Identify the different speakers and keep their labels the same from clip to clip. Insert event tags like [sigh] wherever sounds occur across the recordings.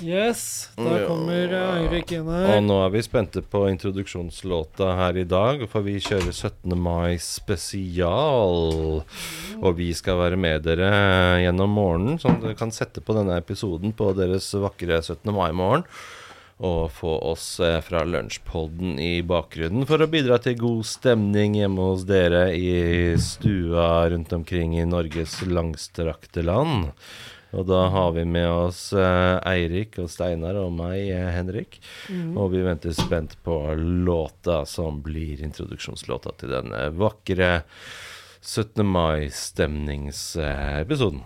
Speaker 1: Yes,
Speaker 2: Mm, Ja.
Speaker 1: da kommer eh, Eirik inn
Speaker 2: Og
Speaker 1: her.
Speaker 2: nå er vi spente på introduksjonslåta her i dag, for vi kjører 17. mai spesial. Og vi skal være med dere gjennom morgenen, så dere kan sette på denne episoden på deres vakre 17. mai-morgen. Og få oss eh, fra lunsjpodden i bakgrunnen for å bidra til god stemning hjemme hos dere i stua rundt omkring i Norges langstrakte land. Og da har vi med oss eh, Eirik og Steinar og meg, eh, Henrik. Og vi venter spent på låta som blir introduksjonslåta til denne vakre 17. mai-stemningsepisoden.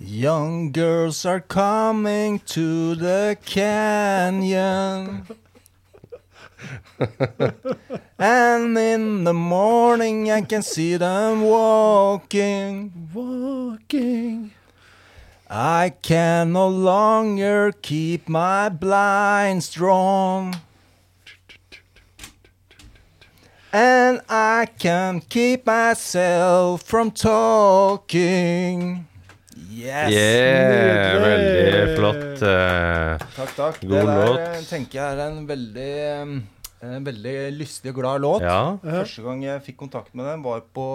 Speaker 3: Young girls are coming to the canyon. And in the morning I can see them walking.
Speaker 1: Walking
Speaker 3: I can no longer keep my blinds drawn. And I can keep myself from talking. Yes!
Speaker 2: Yeah,
Speaker 1: nydelig.
Speaker 2: veldig flott. eh,
Speaker 3: Takk, takk.
Speaker 2: God
Speaker 3: det der
Speaker 2: låt.
Speaker 3: eh, tenker jeg er en veldig, eh, en veldig lystig og glad låt.
Speaker 2: ja.
Speaker 1: Ja.
Speaker 3: Første gang jeg fikk kontakt med den, var på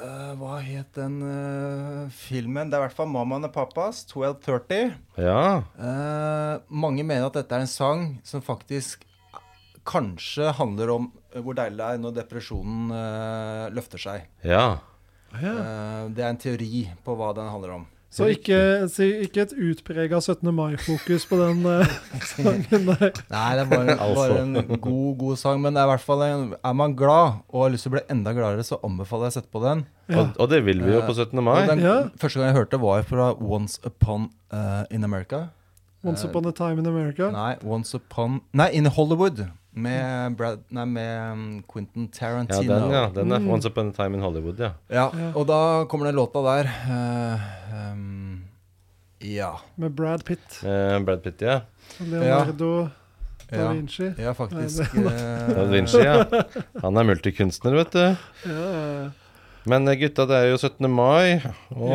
Speaker 3: eh, Hva het den eh, filmen? Det er i hvert fall 'Mammaen og pappas', 1230.
Speaker 2: ja.
Speaker 3: Eh, mange mener at dette er en sang som faktisk kanskje handler om eh, hvor deilig det er når depresjonen eh, løfter seg.
Speaker 2: Ja.
Speaker 1: Ja.
Speaker 3: Eh, det er en teori på hva den handler om.
Speaker 1: Så ikke, si, ikke et utprega 17. mai-fokus på den
Speaker 2: [laughs]
Speaker 1: eh, sangen der.
Speaker 3: Nei, det er bare,
Speaker 2: Altså.
Speaker 3: bare en god, god sang. Men det er i hvert fall en, er man glad og har lyst til å bli enda gladere, så anbefaler jeg å sette på den.
Speaker 1: Ja.
Speaker 2: Og, og det vil vi jo på 17. mai.
Speaker 3: Og Den,
Speaker 1: Ja.
Speaker 3: Første gang jeg hørte, var fra Once Upon eh, in America.
Speaker 1: Once
Speaker 2: eh,
Speaker 1: upon a time in America.
Speaker 3: Nei, Once Upon Nei, in Hollywood. Med, Brad, nei, med um,
Speaker 2: Ja,
Speaker 3: Quentin Tarantino.
Speaker 2: den, ja. Den er Once Upon a Time in Hollywood, ja.
Speaker 3: Ja,
Speaker 1: Ja.
Speaker 3: og da kommer den låta der. eh, ehm, ja.
Speaker 1: Med Brad Pitt
Speaker 2: Eh, Brad Pitt, ja.
Speaker 1: og Leonardo da
Speaker 3: Ja,
Speaker 1: Vinci. [laughs]
Speaker 3: ja faktisk.
Speaker 2: Da
Speaker 3: eh,
Speaker 2: Vinci, ja. Han er multikunstner, vet du.
Speaker 1: Ja.
Speaker 2: Men eh, gutta, det er jo 17. mai. Og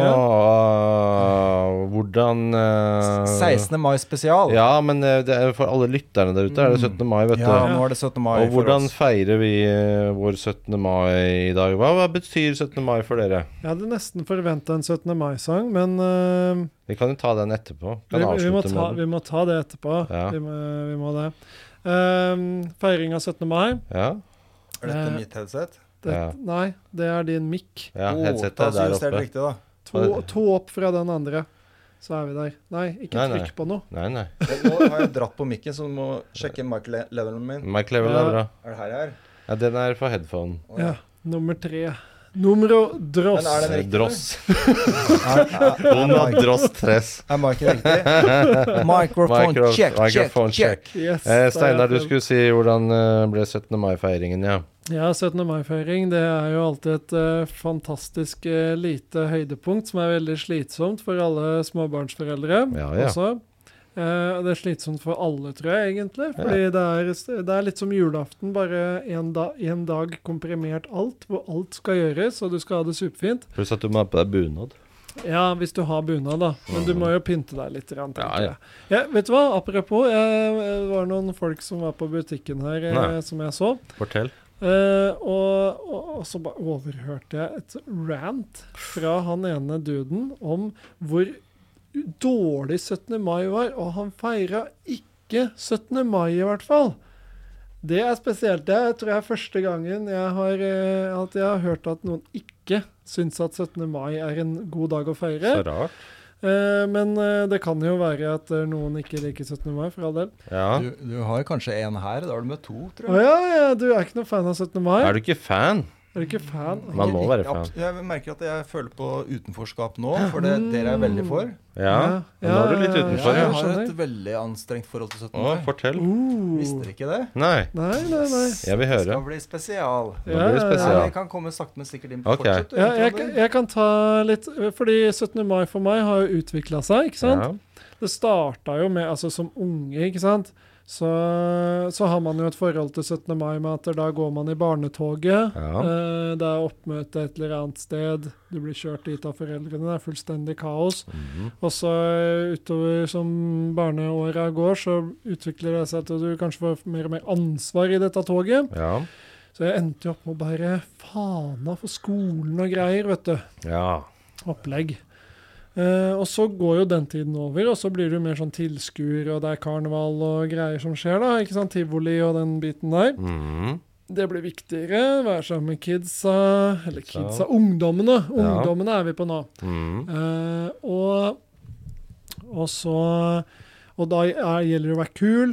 Speaker 2: eh, hvordan eh,
Speaker 3: 16. mai spesial.
Speaker 2: Ja, men eh, det er for alle lytterne der ute er det 17. mai, vet
Speaker 3: Mm. Ja,
Speaker 2: du.
Speaker 3: nå er det 17. mai
Speaker 2: Og hvordan
Speaker 3: for oss.
Speaker 2: feirer vi eh, vår 17. mai i dag? Hva, hva betyr 17. mai for dere?
Speaker 1: Jeg hadde nesten forventa en 17. mai-sang, men eh,
Speaker 2: Vi kan jo ta den etterpå.
Speaker 1: vi,
Speaker 2: Kan
Speaker 1: vi, må
Speaker 2: avslutte
Speaker 1: ta,
Speaker 2: med den.
Speaker 1: vi må ta det etterpå.
Speaker 2: Ja.
Speaker 1: Vi, må, vi må det. Ehm, feiring av 17. mai
Speaker 2: Ja,
Speaker 3: Er dette mitt headset?
Speaker 1: det,
Speaker 2: Ja.
Speaker 1: Nei, det er din mic.
Speaker 2: ja
Speaker 3: Å,
Speaker 2: headsetet
Speaker 3: ta
Speaker 2: er
Speaker 3: så
Speaker 2: der
Speaker 3: justert
Speaker 2: oppe.
Speaker 3: Riktig, Oh, da.
Speaker 1: To, to opp fra den andre, så er vi der. Nei, ikke
Speaker 2: Nei, nei.
Speaker 1: trykk på noe.
Speaker 2: Nei, nei.
Speaker 3: Nå har jeg dratt på mikken, så du må sjekke mic-levelen min.
Speaker 2: Mike Level
Speaker 1: Ja.
Speaker 2: er bra.
Speaker 3: Er det her jeg er?
Speaker 2: Ja, den er for headphone.
Speaker 3: Å,
Speaker 1: Ja, Nummer tre. Numero dross.
Speaker 3: Men er det-
Speaker 2: Eh,
Speaker 3: riktig,
Speaker 2: Dross.
Speaker 3: Er, er, [laughs]
Speaker 2: Donald Dross Tress.
Speaker 3: er mic'en
Speaker 2: [laughs]
Speaker 3: riktig? Microphone
Speaker 2: Micro-
Speaker 3: check, check,
Speaker 2: microphone
Speaker 3: check.
Speaker 1: Yes,
Speaker 2: Eh,
Speaker 1: der er
Speaker 2: Steinar, du
Speaker 1: den.
Speaker 2: skulle si hvordan eh, ble 17. mai-feiringen, ja.
Speaker 1: Ja, 17. mai-feiring det er jo alltid et eh, fantastisk eh, lite høydepunkt, som er veldig slitsomt for alle småbarnsforeldre
Speaker 2: Ja, ja.
Speaker 1: også. Eh, og det er slitsomt for alle, tror jeg, egentlig. Fordi det, er, det er litt som julaften, bare én da, en dag komprimert alt, hvor alt skal gjøres, og du skal ha det superfint.
Speaker 2: Pluss at du må ha på deg bunad.
Speaker 1: Ja, hvis du har bunad, da. Men du må jo pynte deg litt. Grann,
Speaker 2: Ja,
Speaker 1: tenker
Speaker 2: ja.
Speaker 1: Jeg. Ja, vet du hva, apropos, eh, det var noen folk som var på butikken her, eh,
Speaker 2: Nei.
Speaker 1: som jeg så.
Speaker 2: Fortell.
Speaker 1: Eh, og, og, og så bare overhørte jeg et rant fra han ene duden om hvor dårlig 17. mai var, og han feira ikke 17. mai, i hvert fall. Det er spesielt. Det er, tror jeg er første gangen jeg har, eh, at jeg har hørt at noen ikke syns at 17. mai er en god dag å feire.
Speaker 2: Så rart.
Speaker 1: Eh, men eh, det kan jo være at eh, noen ikke liker 17. mai, for all del.
Speaker 2: Ja.
Speaker 3: Du, du har kanskje en her. Da har du med to,
Speaker 1: Å
Speaker 3: tror jeg.
Speaker 1: ja, ja, du er ikke noen fan av 17. mai?
Speaker 2: Er du ikke fan?
Speaker 1: Er du ikke fan?
Speaker 2: Man må være fan.
Speaker 3: Abs- Jeg merker at jeg føler på utenforskap nå, for det dere er veldig for.
Speaker 2: Ja.
Speaker 1: Ja,
Speaker 2: Nå er du
Speaker 1: ja,
Speaker 2: litt
Speaker 1: ja,
Speaker 3: Jeg
Speaker 1: ja,
Speaker 2: utenfor, Mm. ja.
Speaker 3: har
Speaker 1: skjønner.
Speaker 3: et veldig anstrengt forhold til 17.
Speaker 2: Å,
Speaker 3: mai.
Speaker 2: fortell.
Speaker 1: Uh.
Speaker 3: Visste dere ikke det?
Speaker 2: Nei.
Speaker 1: Nei, nei, nei.
Speaker 2: Jeg vil
Speaker 3: Det
Speaker 2: høre.
Speaker 3: skal bli spesial.
Speaker 2: Nå blir det
Speaker 1: Ja,
Speaker 3: Nei,
Speaker 2: spesial.
Speaker 3: jeg kan komme sakte, men sikkert inn på
Speaker 2: Ok.
Speaker 3: fortsett. du,
Speaker 1: Ja, jeg,
Speaker 3: Trond.
Speaker 1: jeg kan ta litt eh, Fordi 17. mai for meg har jo utvikla seg, ikke sant?
Speaker 2: Ja.
Speaker 1: Det starta jo med Altså, som unge, ikke sant? Så, så har man jo et forhold til 17. mai med at da går man i barnetoget.
Speaker 2: Ja.
Speaker 1: Eh, Det er oppmøte et eller annet sted. Du blir kjørt dit av foreldrene. Det er fullstendig kaos.
Speaker 2: Mhm.
Speaker 1: Og så eh, utover som barneåra går, så utvikler det seg til at du kanskje får mer og mer ansvar i dette toget.
Speaker 2: ja.
Speaker 1: Så jeg endte jo opp med å bære fana for skolen og greier, vet du
Speaker 2: Ja.
Speaker 1: opplegg. Eh, og så går jo den tiden over, og så blir det jo mer sånn tilskuer, og det er karneval og greier som skjer, da. ikke sant? Tivoli og den biten der.
Speaker 2: Mhm.
Speaker 1: Det blir viktigere. Være sammen med kidsa Eller kidsa
Speaker 2: Kidsa.
Speaker 1: Ungdommene! Ungdommene er vi på nå.
Speaker 2: Mhm.
Speaker 1: Eh, og, og så Og da er, gjelder det å være kul.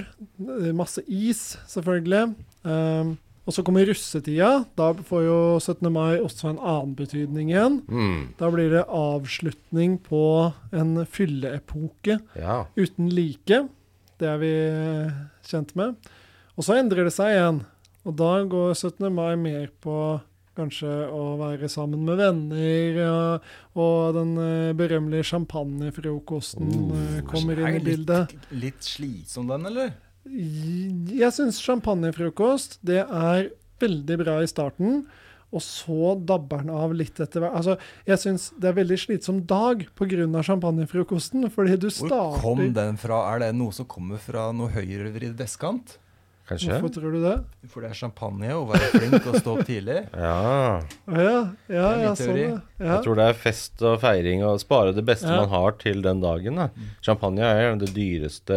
Speaker 1: Det er Masse is, selvfølgelig. Eh, og så kommer russetida. Da får jo 17. mai også en annen betydning igjen.
Speaker 2: Mhm.
Speaker 1: Da blir det avslutning på en fylleepoke
Speaker 2: Ja.
Speaker 1: uten like. Det er vi eh, kjent med. Og så endrer det seg igjen. Og da går 17. mai mer på kanskje å være sammen med venner, og, og den eh, berømmelige champagnefrokosten
Speaker 3: Oh,
Speaker 1: eh, kommer inn i bildet.
Speaker 3: Litt, litt slitsom, den, eller?
Speaker 1: I- Jeg syns champagnefrokost det er veldig bra i starten. Og så dabber den av litt etter hvert. Altså, jeg syns det er veldig slitsom dag pga. champagnefrokosten. Fordi du
Speaker 3: Hvor
Speaker 1: starter
Speaker 3: kom den fra? Er det noe som kommer fra noe høyrevridd vestkant?
Speaker 2: Kanskje?
Speaker 1: Hvorfor tror du det?
Speaker 3: For det er champagne å være flink og stå opp tidlig.
Speaker 2: Ja.
Speaker 1: Å ja, ja,
Speaker 3: Det er min
Speaker 1: ja, sånn,
Speaker 3: teori.
Speaker 1: ja.
Speaker 2: Jeg
Speaker 1: ja.
Speaker 2: tror det er fest og feiring og spare det beste
Speaker 1: Ja.
Speaker 2: man har til den dagen. Da. Champagne er gjerne det dyreste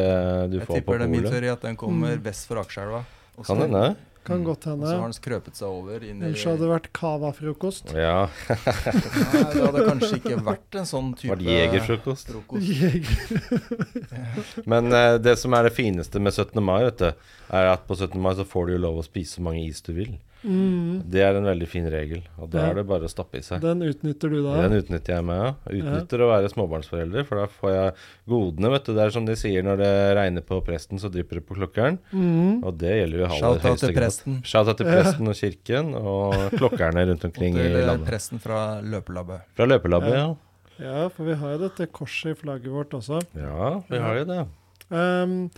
Speaker 2: du får
Speaker 3: Jeg
Speaker 2: på
Speaker 3: tipper det er min
Speaker 2: polet.
Speaker 3: teori at den kommer
Speaker 1: Mm.
Speaker 3: vest for Akerselva. Og så
Speaker 2: Kan hende.
Speaker 1: Kan godt
Speaker 3: og så har
Speaker 1: hende.
Speaker 3: den skrøpet seg over inn i
Speaker 1: Ellers hadde det vært cava-frokost.
Speaker 2: Ja.
Speaker 3: Nei, Det hadde kanskje ikke vært en sånn type
Speaker 2: Var det jegerfrokost?
Speaker 1: [laughs]
Speaker 3: frokost.
Speaker 1: Jeger.
Speaker 2: Men eh, det som er det fineste med 17. mai, vet du, er at på 17. mai så får du jo lov å spise så mange is du vil.
Speaker 1: Mm,
Speaker 2: Det er en veldig fin regel, og da
Speaker 1: Ja.
Speaker 2: er det bare å stappe i seg.
Speaker 1: den utnytter du da.
Speaker 2: Den utnytter jeg meg, ja. Utnytter å være småbarnsforelder, for da får jeg godene, vet du. Det er som de sier når det regner på presten, så drypper det på klokkeren.
Speaker 1: Mm,
Speaker 2: Og det gjelder jo i aller
Speaker 3: Shout-out
Speaker 2: høyeste
Speaker 3: til
Speaker 2: grad.
Speaker 3: presten.
Speaker 2: Shout-out til presten og kirken og klokkerne rundt
Speaker 1: [laughs]
Speaker 3: Og
Speaker 2: omkring i
Speaker 3: til eh,
Speaker 2: landet.
Speaker 3: presten fra løpelabbet.
Speaker 2: Fra løpelabbet, ja.
Speaker 1: Ja. ja, for vi har jo dette korset i flagget vårt også.
Speaker 2: Ja, vi har jo det.
Speaker 1: Ehm,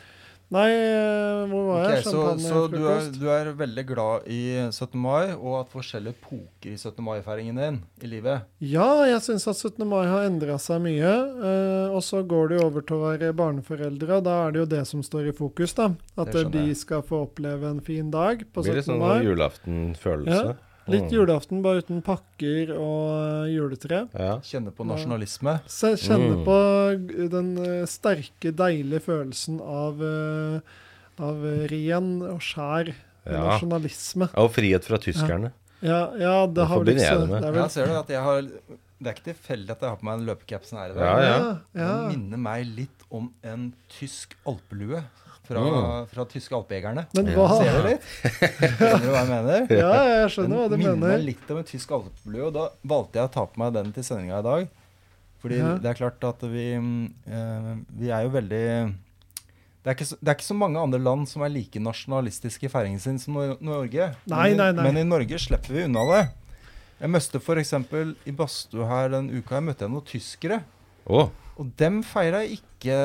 Speaker 1: nei, eh, hvor var
Speaker 3: Ok,
Speaker 1: jeg?
Speaker 3: så så du, er,
Speaker 1: Champagnefrokost?
Speaker 3: du er veldig glad i 17. mai, og at forskjellige poker i 17. mai-feiringen din i livet.
Speaker 1: Ja, jeg syns at 17. mai har endra seg mye. eh, og så går det jo over til å være barneforeldre, og da er det jo det som står i fokus. da. At
Speaker 3: Det skjønner
Speaker 1: de
Speaker 3: jeg.
Speaker 1: skal få oppleve en fin dag på
Speaker 2: Blir
Speaker 1: 17.
Speaker 2: litt sånn
Speaker 1: mai.
Speaker 2: julaftenfølelse. Mm.
Speaker 1: Litt julaften, bare uten pakker og eh, juletre.
Speaker 2: Mm. Ja.
Speaker 3: Kjenne på
Speaker 1: Ja.
Speaker 3: nasjonalisme.
Speaker 1: Så jeg kjenner
Speaker 2: Mm.
Speaker 1: på g- den eh, sterke, deilige følelsen av, eh, av eh, ren og skjær
Speaker 2: ja.
Speaker 1: nasjonalisme.
Speaker 2: Og frihet fra tyskerne.
Speaker 1: Ja, ja det
Speaker 2: Hvorfor
Speaker 1: har vel ikke
Speaker 2: begynner jeg
Speaker 1: så-
Speaker 2: det med?
Speaker 1: det er vel-
Speaker 3: Her ser du at jeg har Det er ikke tilfeldig at jeg har på meg en løpecapsen her i dag.
Speaker 2: Ja, ja.
Speaker 1: ja.
Speaker 3: Den minner meg litt om en tysk alpelue fra,
Speaker 2: Mm.
Speaker 3: fra tyske alpejegerne.
Speaker 1: Men
Speaker 2: Ja.
Speaker 1: hva
Speaker 3: Ser du litt? Skjønner du hva jeg mener?
Speaker 2: [laughs]
Speaker 1: Ja, jeg skjønner hva du
Speaker 3: Den minner meg
Speaker 1: mener.
Speaker 3: litt om en tysk alpelue, og da valgte jeg å ta på meg den til sendinga i dag. Fordi
Speaker 1: Ja.
Speaker 3: det er klart at vi mm, eh, Vi er jo veldig det er, ikke så, det er ikke så mange andre land som er like nasjonalistiske i feiringen sin som Nor- Norge.
Speaker 1: Nei,
Speaker 3: men, i-
Speaker 1: nei, nei.
Speaker 3: men i Norge slipper vi unna det. Jeg møtte f.eks. i badstua her den uka jeg møtte jeg noen tyskere.
Speaker 2: Å,
Speaker 3: Og dem feira ikke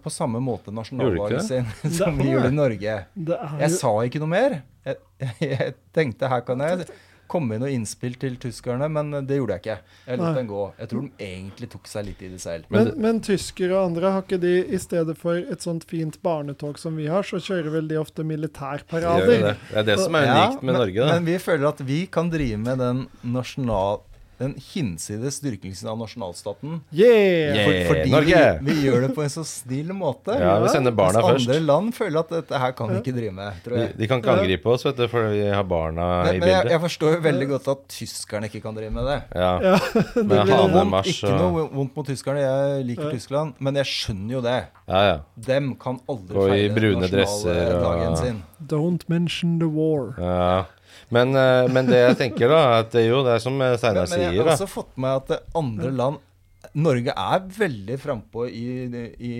Speaker 3: på samme måte
Speaker 2: Gjorde
Speaker 3: nasjonaldagen
Speaker 1: [laughs]
Speaker 3: sin som
Speaker 1: Det-
Speaker 3: vi gjorde i Norge.
Speaker 1: Det er
Speaker 3: Jeg
Speaker 1: jo
Speaker 3: sa ikke noe mer. Jeg, [laughs] jeg tenkte her kan jeg komme med noe innspill til tyskerne, men det gjorde jeg ikke. Jeg
Speaker 1: Nei.
Speaker 3: lot den gå. Jeg tror de egentlig tok seg litt i det selv.
Speaker 1: men,
Speaker 2: Men det-
Speaker 1: men tyskere og andre, har ikke de i stedet for et sånt fint barnetog som vi har, så kjører vel de ofte
Speaker 2: de gjør jo det.
Speaker 1: militærparader?
Speaker 2: det er det som er
Speaker 3: Ja,
Speaker 2: unikt med
Speaker 3: men,
Speaker 2: Norge, da.
Speaker 3: Men vi føler at vi kan drive med den nasjonal... Den hinsides dyrkelsen av nasjonalstaten.
Speaker 1: Yeah!
Speaker 2: Yeah.
Speaker 3: For, fordi
Speaker 2: Norge!
Speaker 3: Vi, vi gjør det på en så snill måte.
Speaker 2: Ja, vi sender barna
Speaker 3: mens andre
Speaker 2: først.
Speaker 3: land føler at dette her kan vi ikke drive med, tror
Speaker 2: De,
Speaker 3: jeg.
Speaker 2: de kan ikke
Speaker 1: Ja.
Speaker 2: angripe oss, vet du, for vi har barna
Speaker 3: Men,
Speaker 2: i
Speaker 3: men jeg,
Speaker 2: bildet.
Speaker 3: jeg forstår jo veldig godt at tyskerne ikke kan drive med det.
Speaker 2: Ja.
Speaker 3: [laughs]
Speaker 1: Ja,
Speaker 2: Med
Speaker 3: Ikke noe vondt-
Speaker 2: hanemarsj
Speaker 3: Ikke
Speaker 2: og
Speaker 3: noe vondt mot tyskerne, jeg liker
Speaker 1: Ja.
Speaker 3: Tyskland, men jeg skjønner jo det.
Speaker 2: Ja, ja.
Speaker 3: Dem kan aldri
Speaker 2: Gå i
Speaker 3: feire
Speaker 2: brune
Speaker 3: den nasjonale
Speaker 2: dresser og-
Speaker 3: dagen sin.
Speaker 1: Don't mention the war.
Speaker 2: ja. Men, eh, men det jeg tenker, da, er at det er jo det er som eh,
Speaker 3: Men,
Speaker 2: Steinar
Speaker 3: men jeg
Speaker 2: sier,
Speaker 3: har
Speaker 2: da.
Speaker 3: også fått med at det andre land Norge er veldig frampå i, i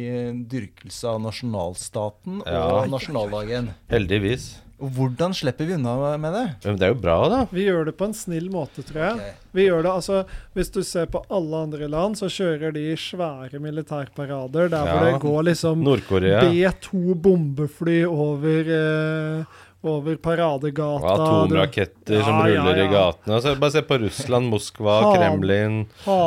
Speaker 3: dyrkelse av nasjonalstaten
Speaker 2: Ja.
Speaker 3: og nasjonaldagen.
Speaker 2: Heldigvis.
Speaker 3: Og hvordan slipper vi unna med det?
Speaker 2: Men det er jo bra, da.
Speaker 1: Vi gjør det på en snill måte, tror jeg.
Speaker 3: Ok.
Speaker 1: Vi gjør det, altså, Hvis du ser på alle andre land, så kjører de svære militærparader der hvor
Speaker 2: Ja.
Speaker 1: det går liksom
Speaker 2: Nord-Korea.
Speaker 1: B2 bombefly over, eh, over
Speaker 2: Og
Speaker 1: paradegata.
Speaker 2: Atomraketter som
Speaker 1: Ja, ja,
Speaker 2: ruller
Speaker 1: ja.
Speaker 2: i gatene. Altså, bare se på Russland, Moskva,
Speaker 1: Faen.
Speaker 2: Kremlin.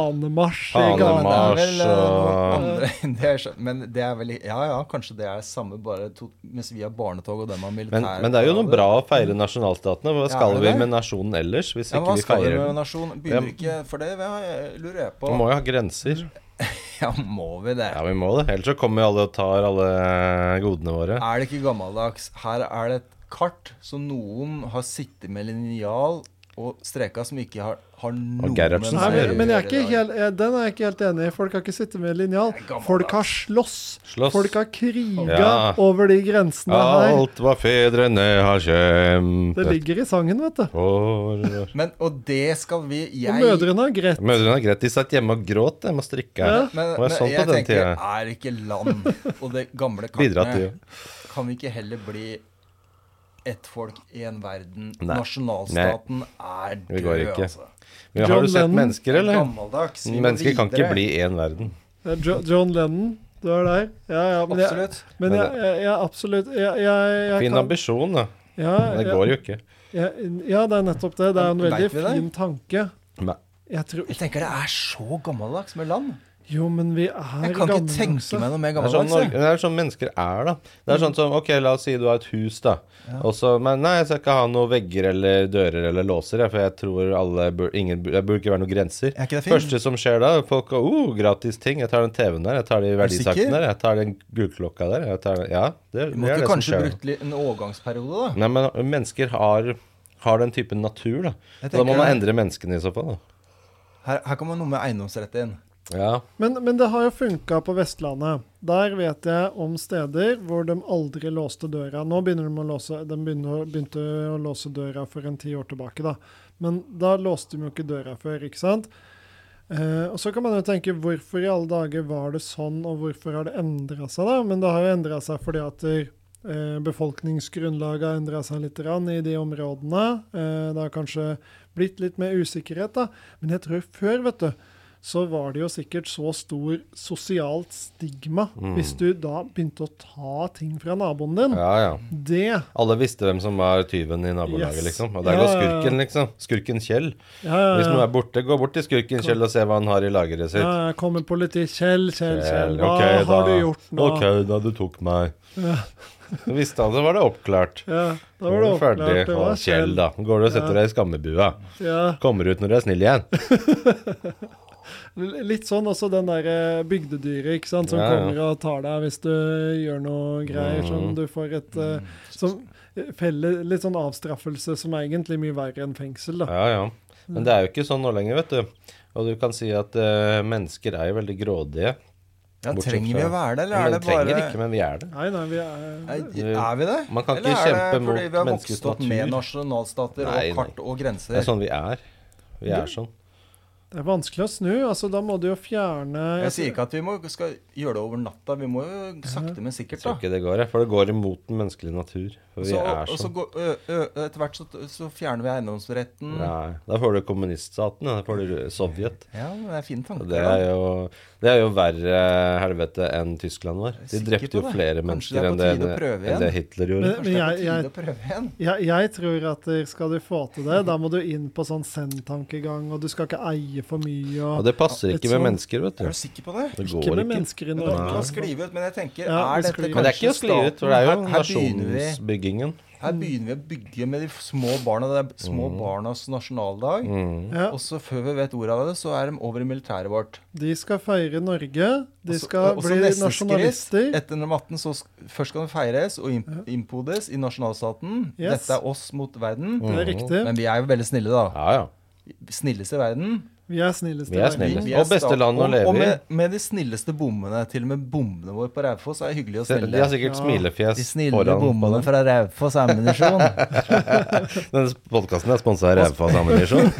Speaker 1: Hanemarsj i
Speaker 2: Hanemas-
Speaker 3: Ja, men
Speaker 1: gatene.
Speaker 3: det er
Speaker 2: Mars
Speaker 3: vel, eh,
Speaker 2: og-
Speaker 3: noen andre- [laughs] det er skjønt, Men det er vel Ja ja, kanskje det er samme, bare to, mens vi har barnetog og dem har militær.
Speaker 2: Men, men det er jo noe bra å feire nasjonalstatene. Hva
Speaker 3: Ja,
Speaker 2: skal
Speaker 3: er det
Speaker 2: vi
Speaker 3: det?
Speaker 2: med nasjonen ellers, hvis
Speaker 3: Ja, men
Speaker 2: ikke
Speaker 3: hva
Speaker 2: vi
Speaker 3: skal vi
Speaker 2: feirer
Speaker 3: med
Speaker 2: den?
Speaker 3: nasjon? Begynner ikke For det har jeg- lurer jeg
Speaker 2: Vi
Speaker 3: på.
Speaker 2: må jo ha grenser.
Speaker 3: [laughs] Ja, må vi det?
Speaker 2: Ja, vi må det. Ellers så kommer jo alle og tar alle godene våre.
Speaker 3: Er det ikke gammeldags? Her er det et kart som noen har sittet med linjal og streka, som ikke har, har noe
Speaker 2: Gerhardsen
Speaker 1: Nei,
Speaker 2: ser
Speaker 1: men, men jeg er
Speaker 3: i
Speaker 1: ikke
Speaker 3: dag.
Speaker 1: helt, jeg, den er jeg ikke helt enig i. Folk har ikke sittet med linjal.
Speaker 3: Det er gammeldags.
Speaker 1: Folk har slåss.
Speaker 2: Slåss.
Speaker 1: Folk har kriga
Speaker 2: Ja.
Speaker 1: over de grensene her.
Speaker 2: Alt hva fedrene har
Speaker 1: Det
Speaker 2: kjempet
Speaker 1: ligger i sangen, vet du.
Speaker 2: for
Speaker 3: Men, og det skal vi
Speaker 1: Og
Speaker 3: Jeg
Speaker 1: mødrene har grett.
Speaker 2: Mødrene har greit, de satt hjemme og gråt. Jeg må strikke.
Speaker 1: Ja.
Speaker 2: Det
Speaker 3: Men,
Speaker 2: var
Speaker 3: men
Speaker 2: sånn på
Speaker 3: jeg
Speaker 2: den
Speaker 3: tenker,
Speaker 2: tida.
Speaker 3: er det ikke land og det gamle
Speaker 2: Bidra til
Speaker 3: kartet Kan vi ikke heller bli ett folk, én verden?
Speaker 2: Nei.
Speaker 3: Nasjonalstaten er
Speaker 2: Vi
Speaker 3: død,
Speaker 2: går ikke.
Speaker 3: altså.
Speaker 2: Men
Speaker 1: John
Speaker 2: har du sett
Speaker 1: Lennon.
Speaker 2: mennesker, eller?
Speaker 3: Gammeldags. vi må
Speaker 2: Mennesker kan ikke
Speaker 3: videre.
Speaker 2: bli én verden.
Speaker 1: Det er Eh, Jo- John Lennon, du er der. Ja, ja, men jeg,
Speaker 3: Absolutt.
Speaker 1: men
Speaker 2: Men
Speaker 1: jeg, jeg, jeg absolutt jeg, jeg, jeg
Speaker 2: Fin
Speaker 1: kan-
Speaker 2: ambisjon, da.
Speaker 1: Ja,
Speaker 2: Men det
Speaker 1: ja,
Speaker 2: går jo ikke.
Speaker 1: ja, ja, det er nettopp det. Det er en
Speaker 3: Vet
Speaker 1: veldig
Speaker 3: vi det?
Speaker 1: fin tanke.
Speaker 2: Nei.
Speaker 1: Jeg tror
Speaker 3: Jeg tenker det er så gammeldags med land.
Speaker 1: Jo, men vi er gamle.
Speaker 3: Jeg kan ikke tenke meg noe mer
Speaker 2: Det er, sånn
Speaker 3: gammeldags. Mm.
Speaker 2: Norge,
Speaker 3: jeg.
Speaker 2: det er sånn mennesker er, da. Det er sånn som OK, la oss si du har et hus, da. Og så Men nei, jeg skal ikke ha noen vegger eller dører eller låser, jeg, for jeg tror alle bur, ingen, bur- Det burde ikke være noen grenser.
Speaker 3: Er ikke det fint?
Speaker 2: Første som skjer da, folk har oh, gratis ting. Jeg tar den TV-en der, jeg tar de
Speaker 3: Er du sikker?
Speaker 2: verdisakene der, jeg tar den gullklokka der, jeg tar Ja, det,
Speaker 3: Vi
Speaker 2: det
Speaker 3: måtte
Speaker 2: er det som
Speaker 3: kanskje
Speaker 2: skjer. da.
Speaker 3: brukt litt- en overgangsperiode, da.
Speaker 2: Nei, men mennesker har har den typen natur, da. Og
Speaker 3: Jeg
Speaker 2: da må
Speaker 3: tenker
Speaker 2: man
Speaker 3: det.
Speaker 2: endre menneskene i så fall, da.
Speaker 3: Her, her kan man noe med eiendomsrett inn.
Speaker 2: Ja.
Speaker 1: Men, men det har jo funka på Vestlandet. Der vet jeg om steder hvor de aldri låste døra. Nå begynner de å låse, de begynner, å- begynte å låse døra for en ti år tilbake, da. Men da låste de jo ikke døra før, ikke sant? Eh, og så kan man jo tenke hvorfor i alle dager var det sånn, og hvorfor har det endra seg, da? Men det har jo endra seg fordi at eh, befolkningsgrunnlaget har endra seg litt grann i de områdene. Eh, det har kanskje blitt litt mer usikkerhet, da. Men jeg tror før, vet du, så var det jo sikkert så stor sosialt stigma hvis du da begynte å ta ting fra naboen din.
Speaker 2: Mm. ja, ja.
Speaker 1: Det
Speaker 2: Alle visste hvem som var tyven i nabolaget,
Speaker 1: Yes.
Speaker 2: liksom. Og der
Speaker 1: Ja,
Speaker 2: går
Speaker 1: ja, ja.
Speaker 2: skurken, liksom. Skurken Kjell.
Speaker 1: ja, ja,
Speaker 2: Hvis noen
Speaker 1: ja.
Speaker 2: er borte, gå bort til skurken Kjell og se hva han har i lageret sitt.
Speaker 1: Ja, ja, kommer politi. Kjell, Kjell, Kjell.
Speaker 2: Kjell,
Speaker 1: Hva
Speaker 2: ok,
Speaker 1: har
Speaker 2: da.
Speaker 1: du gjort nå?
Speaker 2: Ok, da du tok meg. Så visste han, så var det oppklart.
Speaker 1: Ja, da var det
Speaker 2: ferdig.
Speaker 1: oppklart. Det
Speaker 2: Og
Speaker 1: var
Speaker 2: Kjell, da. Går du og setter deg i skammebua.
Speaker 1: Ja.
Speaker 2: Kommer ut når du er snill igjen.
Speaker 1: L- Litt sånn også den der eh, bygdedyret ikke sant, som
Speaker 2: Ja, ja.
Speaker 1: kommer og tar deg hvis du gjør noe greier som
Speaker 2: Mm.
Speaker 1: du får et eh, som eh, felle, Litt sånn avstraffelse som er egentlig mye verre enn fengsel, da.
Speaker 2: Ja, ja. Men det er jo ikke sånn nå lenger, vet du. Og du kan si at eh, mennesker er jo veldig grådige.
Speaker 3: Ja,
Speaker 2: Bortsett
Speaker 3: trenger vi
Speaker 2: fra-
Speaker 3: å være det, eller
Speaker 2: Ja,
Speaker 3: er
Speaker 2: men
Speaker 3: det
Speaker 2: trenger
Speaker 3: bare
Speaker 2: ikke, men vi er det.
Speaker 1: Nei, nei, vi er
Speaker 3: Nei, Er vi det?
Speaker 2: Man kan ikke
Speaker 3: Eller er
Speaker 2: kjempe
Speaker 3: det fordi
Speaker 2: mot
Speaker 3: vi har
Speaker 2: menneskets
Speaker 3: vokst opp med
Speaker 2: natur?
Speaker 3: nasjonalstater
Speaker 2: Nei, nei.
Speaker 3: og kart og
Speaker 2: Det
Speaker 3: grenser?
Speaker 2: er sånn vi er. Vi er sånn.
Speaker 1: Det er vanskelig å snu. altså Da må du jo fjerne
Speaker 3: Jeg sier ikke at vi må, skal gjøre det over natta, vi må jo sakte, men
Speaker 2: Jeg
Speaker 3: sikkert,
Speaker 2: tror
Speaker 3: da.
Speaker 2: ikke det går, jeg, for det går imot den menneskelige natur. For vi
Speaker 3: Så,
Speaker 2: er
Speaker 3: og så
Speaker 2: sånn.
Speaker 3: går, ø, ø, etter hvert så, så fjerner vi eiendomsretten. Ja.
Speaker 2: Nei, da får du kommuniststaten, ja. da får du Sovjet.
Speaker 3: men det er fine
Speaker 2: Og
Speaker 3: tanker.
Speaker 2: Det
Speaker 3: da.
Speaker 2: er, jo, det er jo verre helvete enn Tyskland var.
Speaker 3: Jeg er
Speaker 2: De
Speaker 3: sikker
Speaker 2: drepte jo
Speaker 3: på det.
Speaker 2: flere
Speaker 3: Kanskje
Speaker 2: mennesker
Speaker 3: det er
Speaker 2: enn
Speaker 3: på
Speaker 2: det,
Speaker 3: tide å prøve
Speaker 2: enn det Hitler gjorde.
Speaker 1: Men-
Speaker 3: Kanskje det er på
Speaker 1: jeg-
Speaker 3: tide
Speaker 1: jeg-
Speaker 3: å prøve igjen?
Speaker 1: jeg, jeg tror at eh, skal du få til det, da må du inn på sånn send-tankegang, og du skal ikke eie for mye.
Speaker 2: Og
Speaker 1: og
Speaker 2: det passer
Speaker 1: Et
Speaker 2: ikke med
Speaker 1: sånn-
Speaker 2: mennesker, vet
Speaker 3: Er du
Speaker 2: du.
Speaker 3: sikker på det?
Speaker 2: Det
Speaker 1: Ikke
Speaker 2: går
Speaker 1: med
Speaker 2: ikke.
Speaker 1: mennesker i
Speaker 3: Det er
Speaker 1: Norge.
Speaker 3: ikke å
Speaker 1: altså.
Speaker 3: skrive ut, men jeg tenker
Speaker 1: Ja,
Speaker 3: er
Speaker 1: det
Speaker 3: dette
Speaker 1: skriver.
Speaker 3: kanskje
Speaker 2: Men det er ikke å skli ut, for det er jo
Speaker 3: staten- her- her begynner vi-
Speaker 2: nasjonsbyggingen.
Speaker 3: Her begynner vi å bygge med de små barna. Det er små
Speaker 2: Mm.
Speaker 3: barnas nasjonaldag.
Speaker 1: Ja,
Speaker 3: Og så før vi vet ordet av det, så er de over i militæret vårt.
Speaker 1: de skal feire Norge. De
Speaker 3: Og
Speaker 2: Altså,
Speaker 3: så-
Speaker 1: skal
Speaker 3: og så
Speaker 1: bli
Speaker 3: nesten
Speaker 1: nasjonalister.
Speaker 3: skritt, Etter nummer 18 så sk- først skal den feires og imp impodes i nasjonalstaten.
Speaker 1: Yes.
Speaker 3: Dette er oss mot verden.
Speaker 2: Mm.
Speaker 1: Det
Speaker 2: Mhm.
Speaker 1: er riktig.
Speaker 3: Men vi er jo veldig snille, da.
Speaker 2: Ja, ja.
Speaker 3: Snilleste i verden.
Speaker 1: Vi er snillest
Speaker 2: Vi
Speaker 1: i
Speaker 2: er
Speaker 1: verden.
Speaker 2: snille.
Speaker 3: Vi
Speaker 2: Og beste
Speaker 3: sta-
Speaker 2: land å
Speaker 3: og-
Speaker 2: leve
Speaker 3: Og
Speaker 2: i.
Speaker 3: med, med de snilleste bommene. Til og med bommene våre på Raufoss er hyggelige og
Speaker 2: Se, De har
Speaker 3: snille.
Speaker 2: sikkert
Speaker 1: Ja.
Speaker 2: smilefjes
Speaker 3: De snille
Speaker 2: foran på [laughs]
Speaker 3: bommene
Speaker 2: dem.
Speaker 3: fra Raufoss ammunisjon. [laughs]
Speaker 2: Denne podkasten er sponsa av Rævfas Ammunisjon.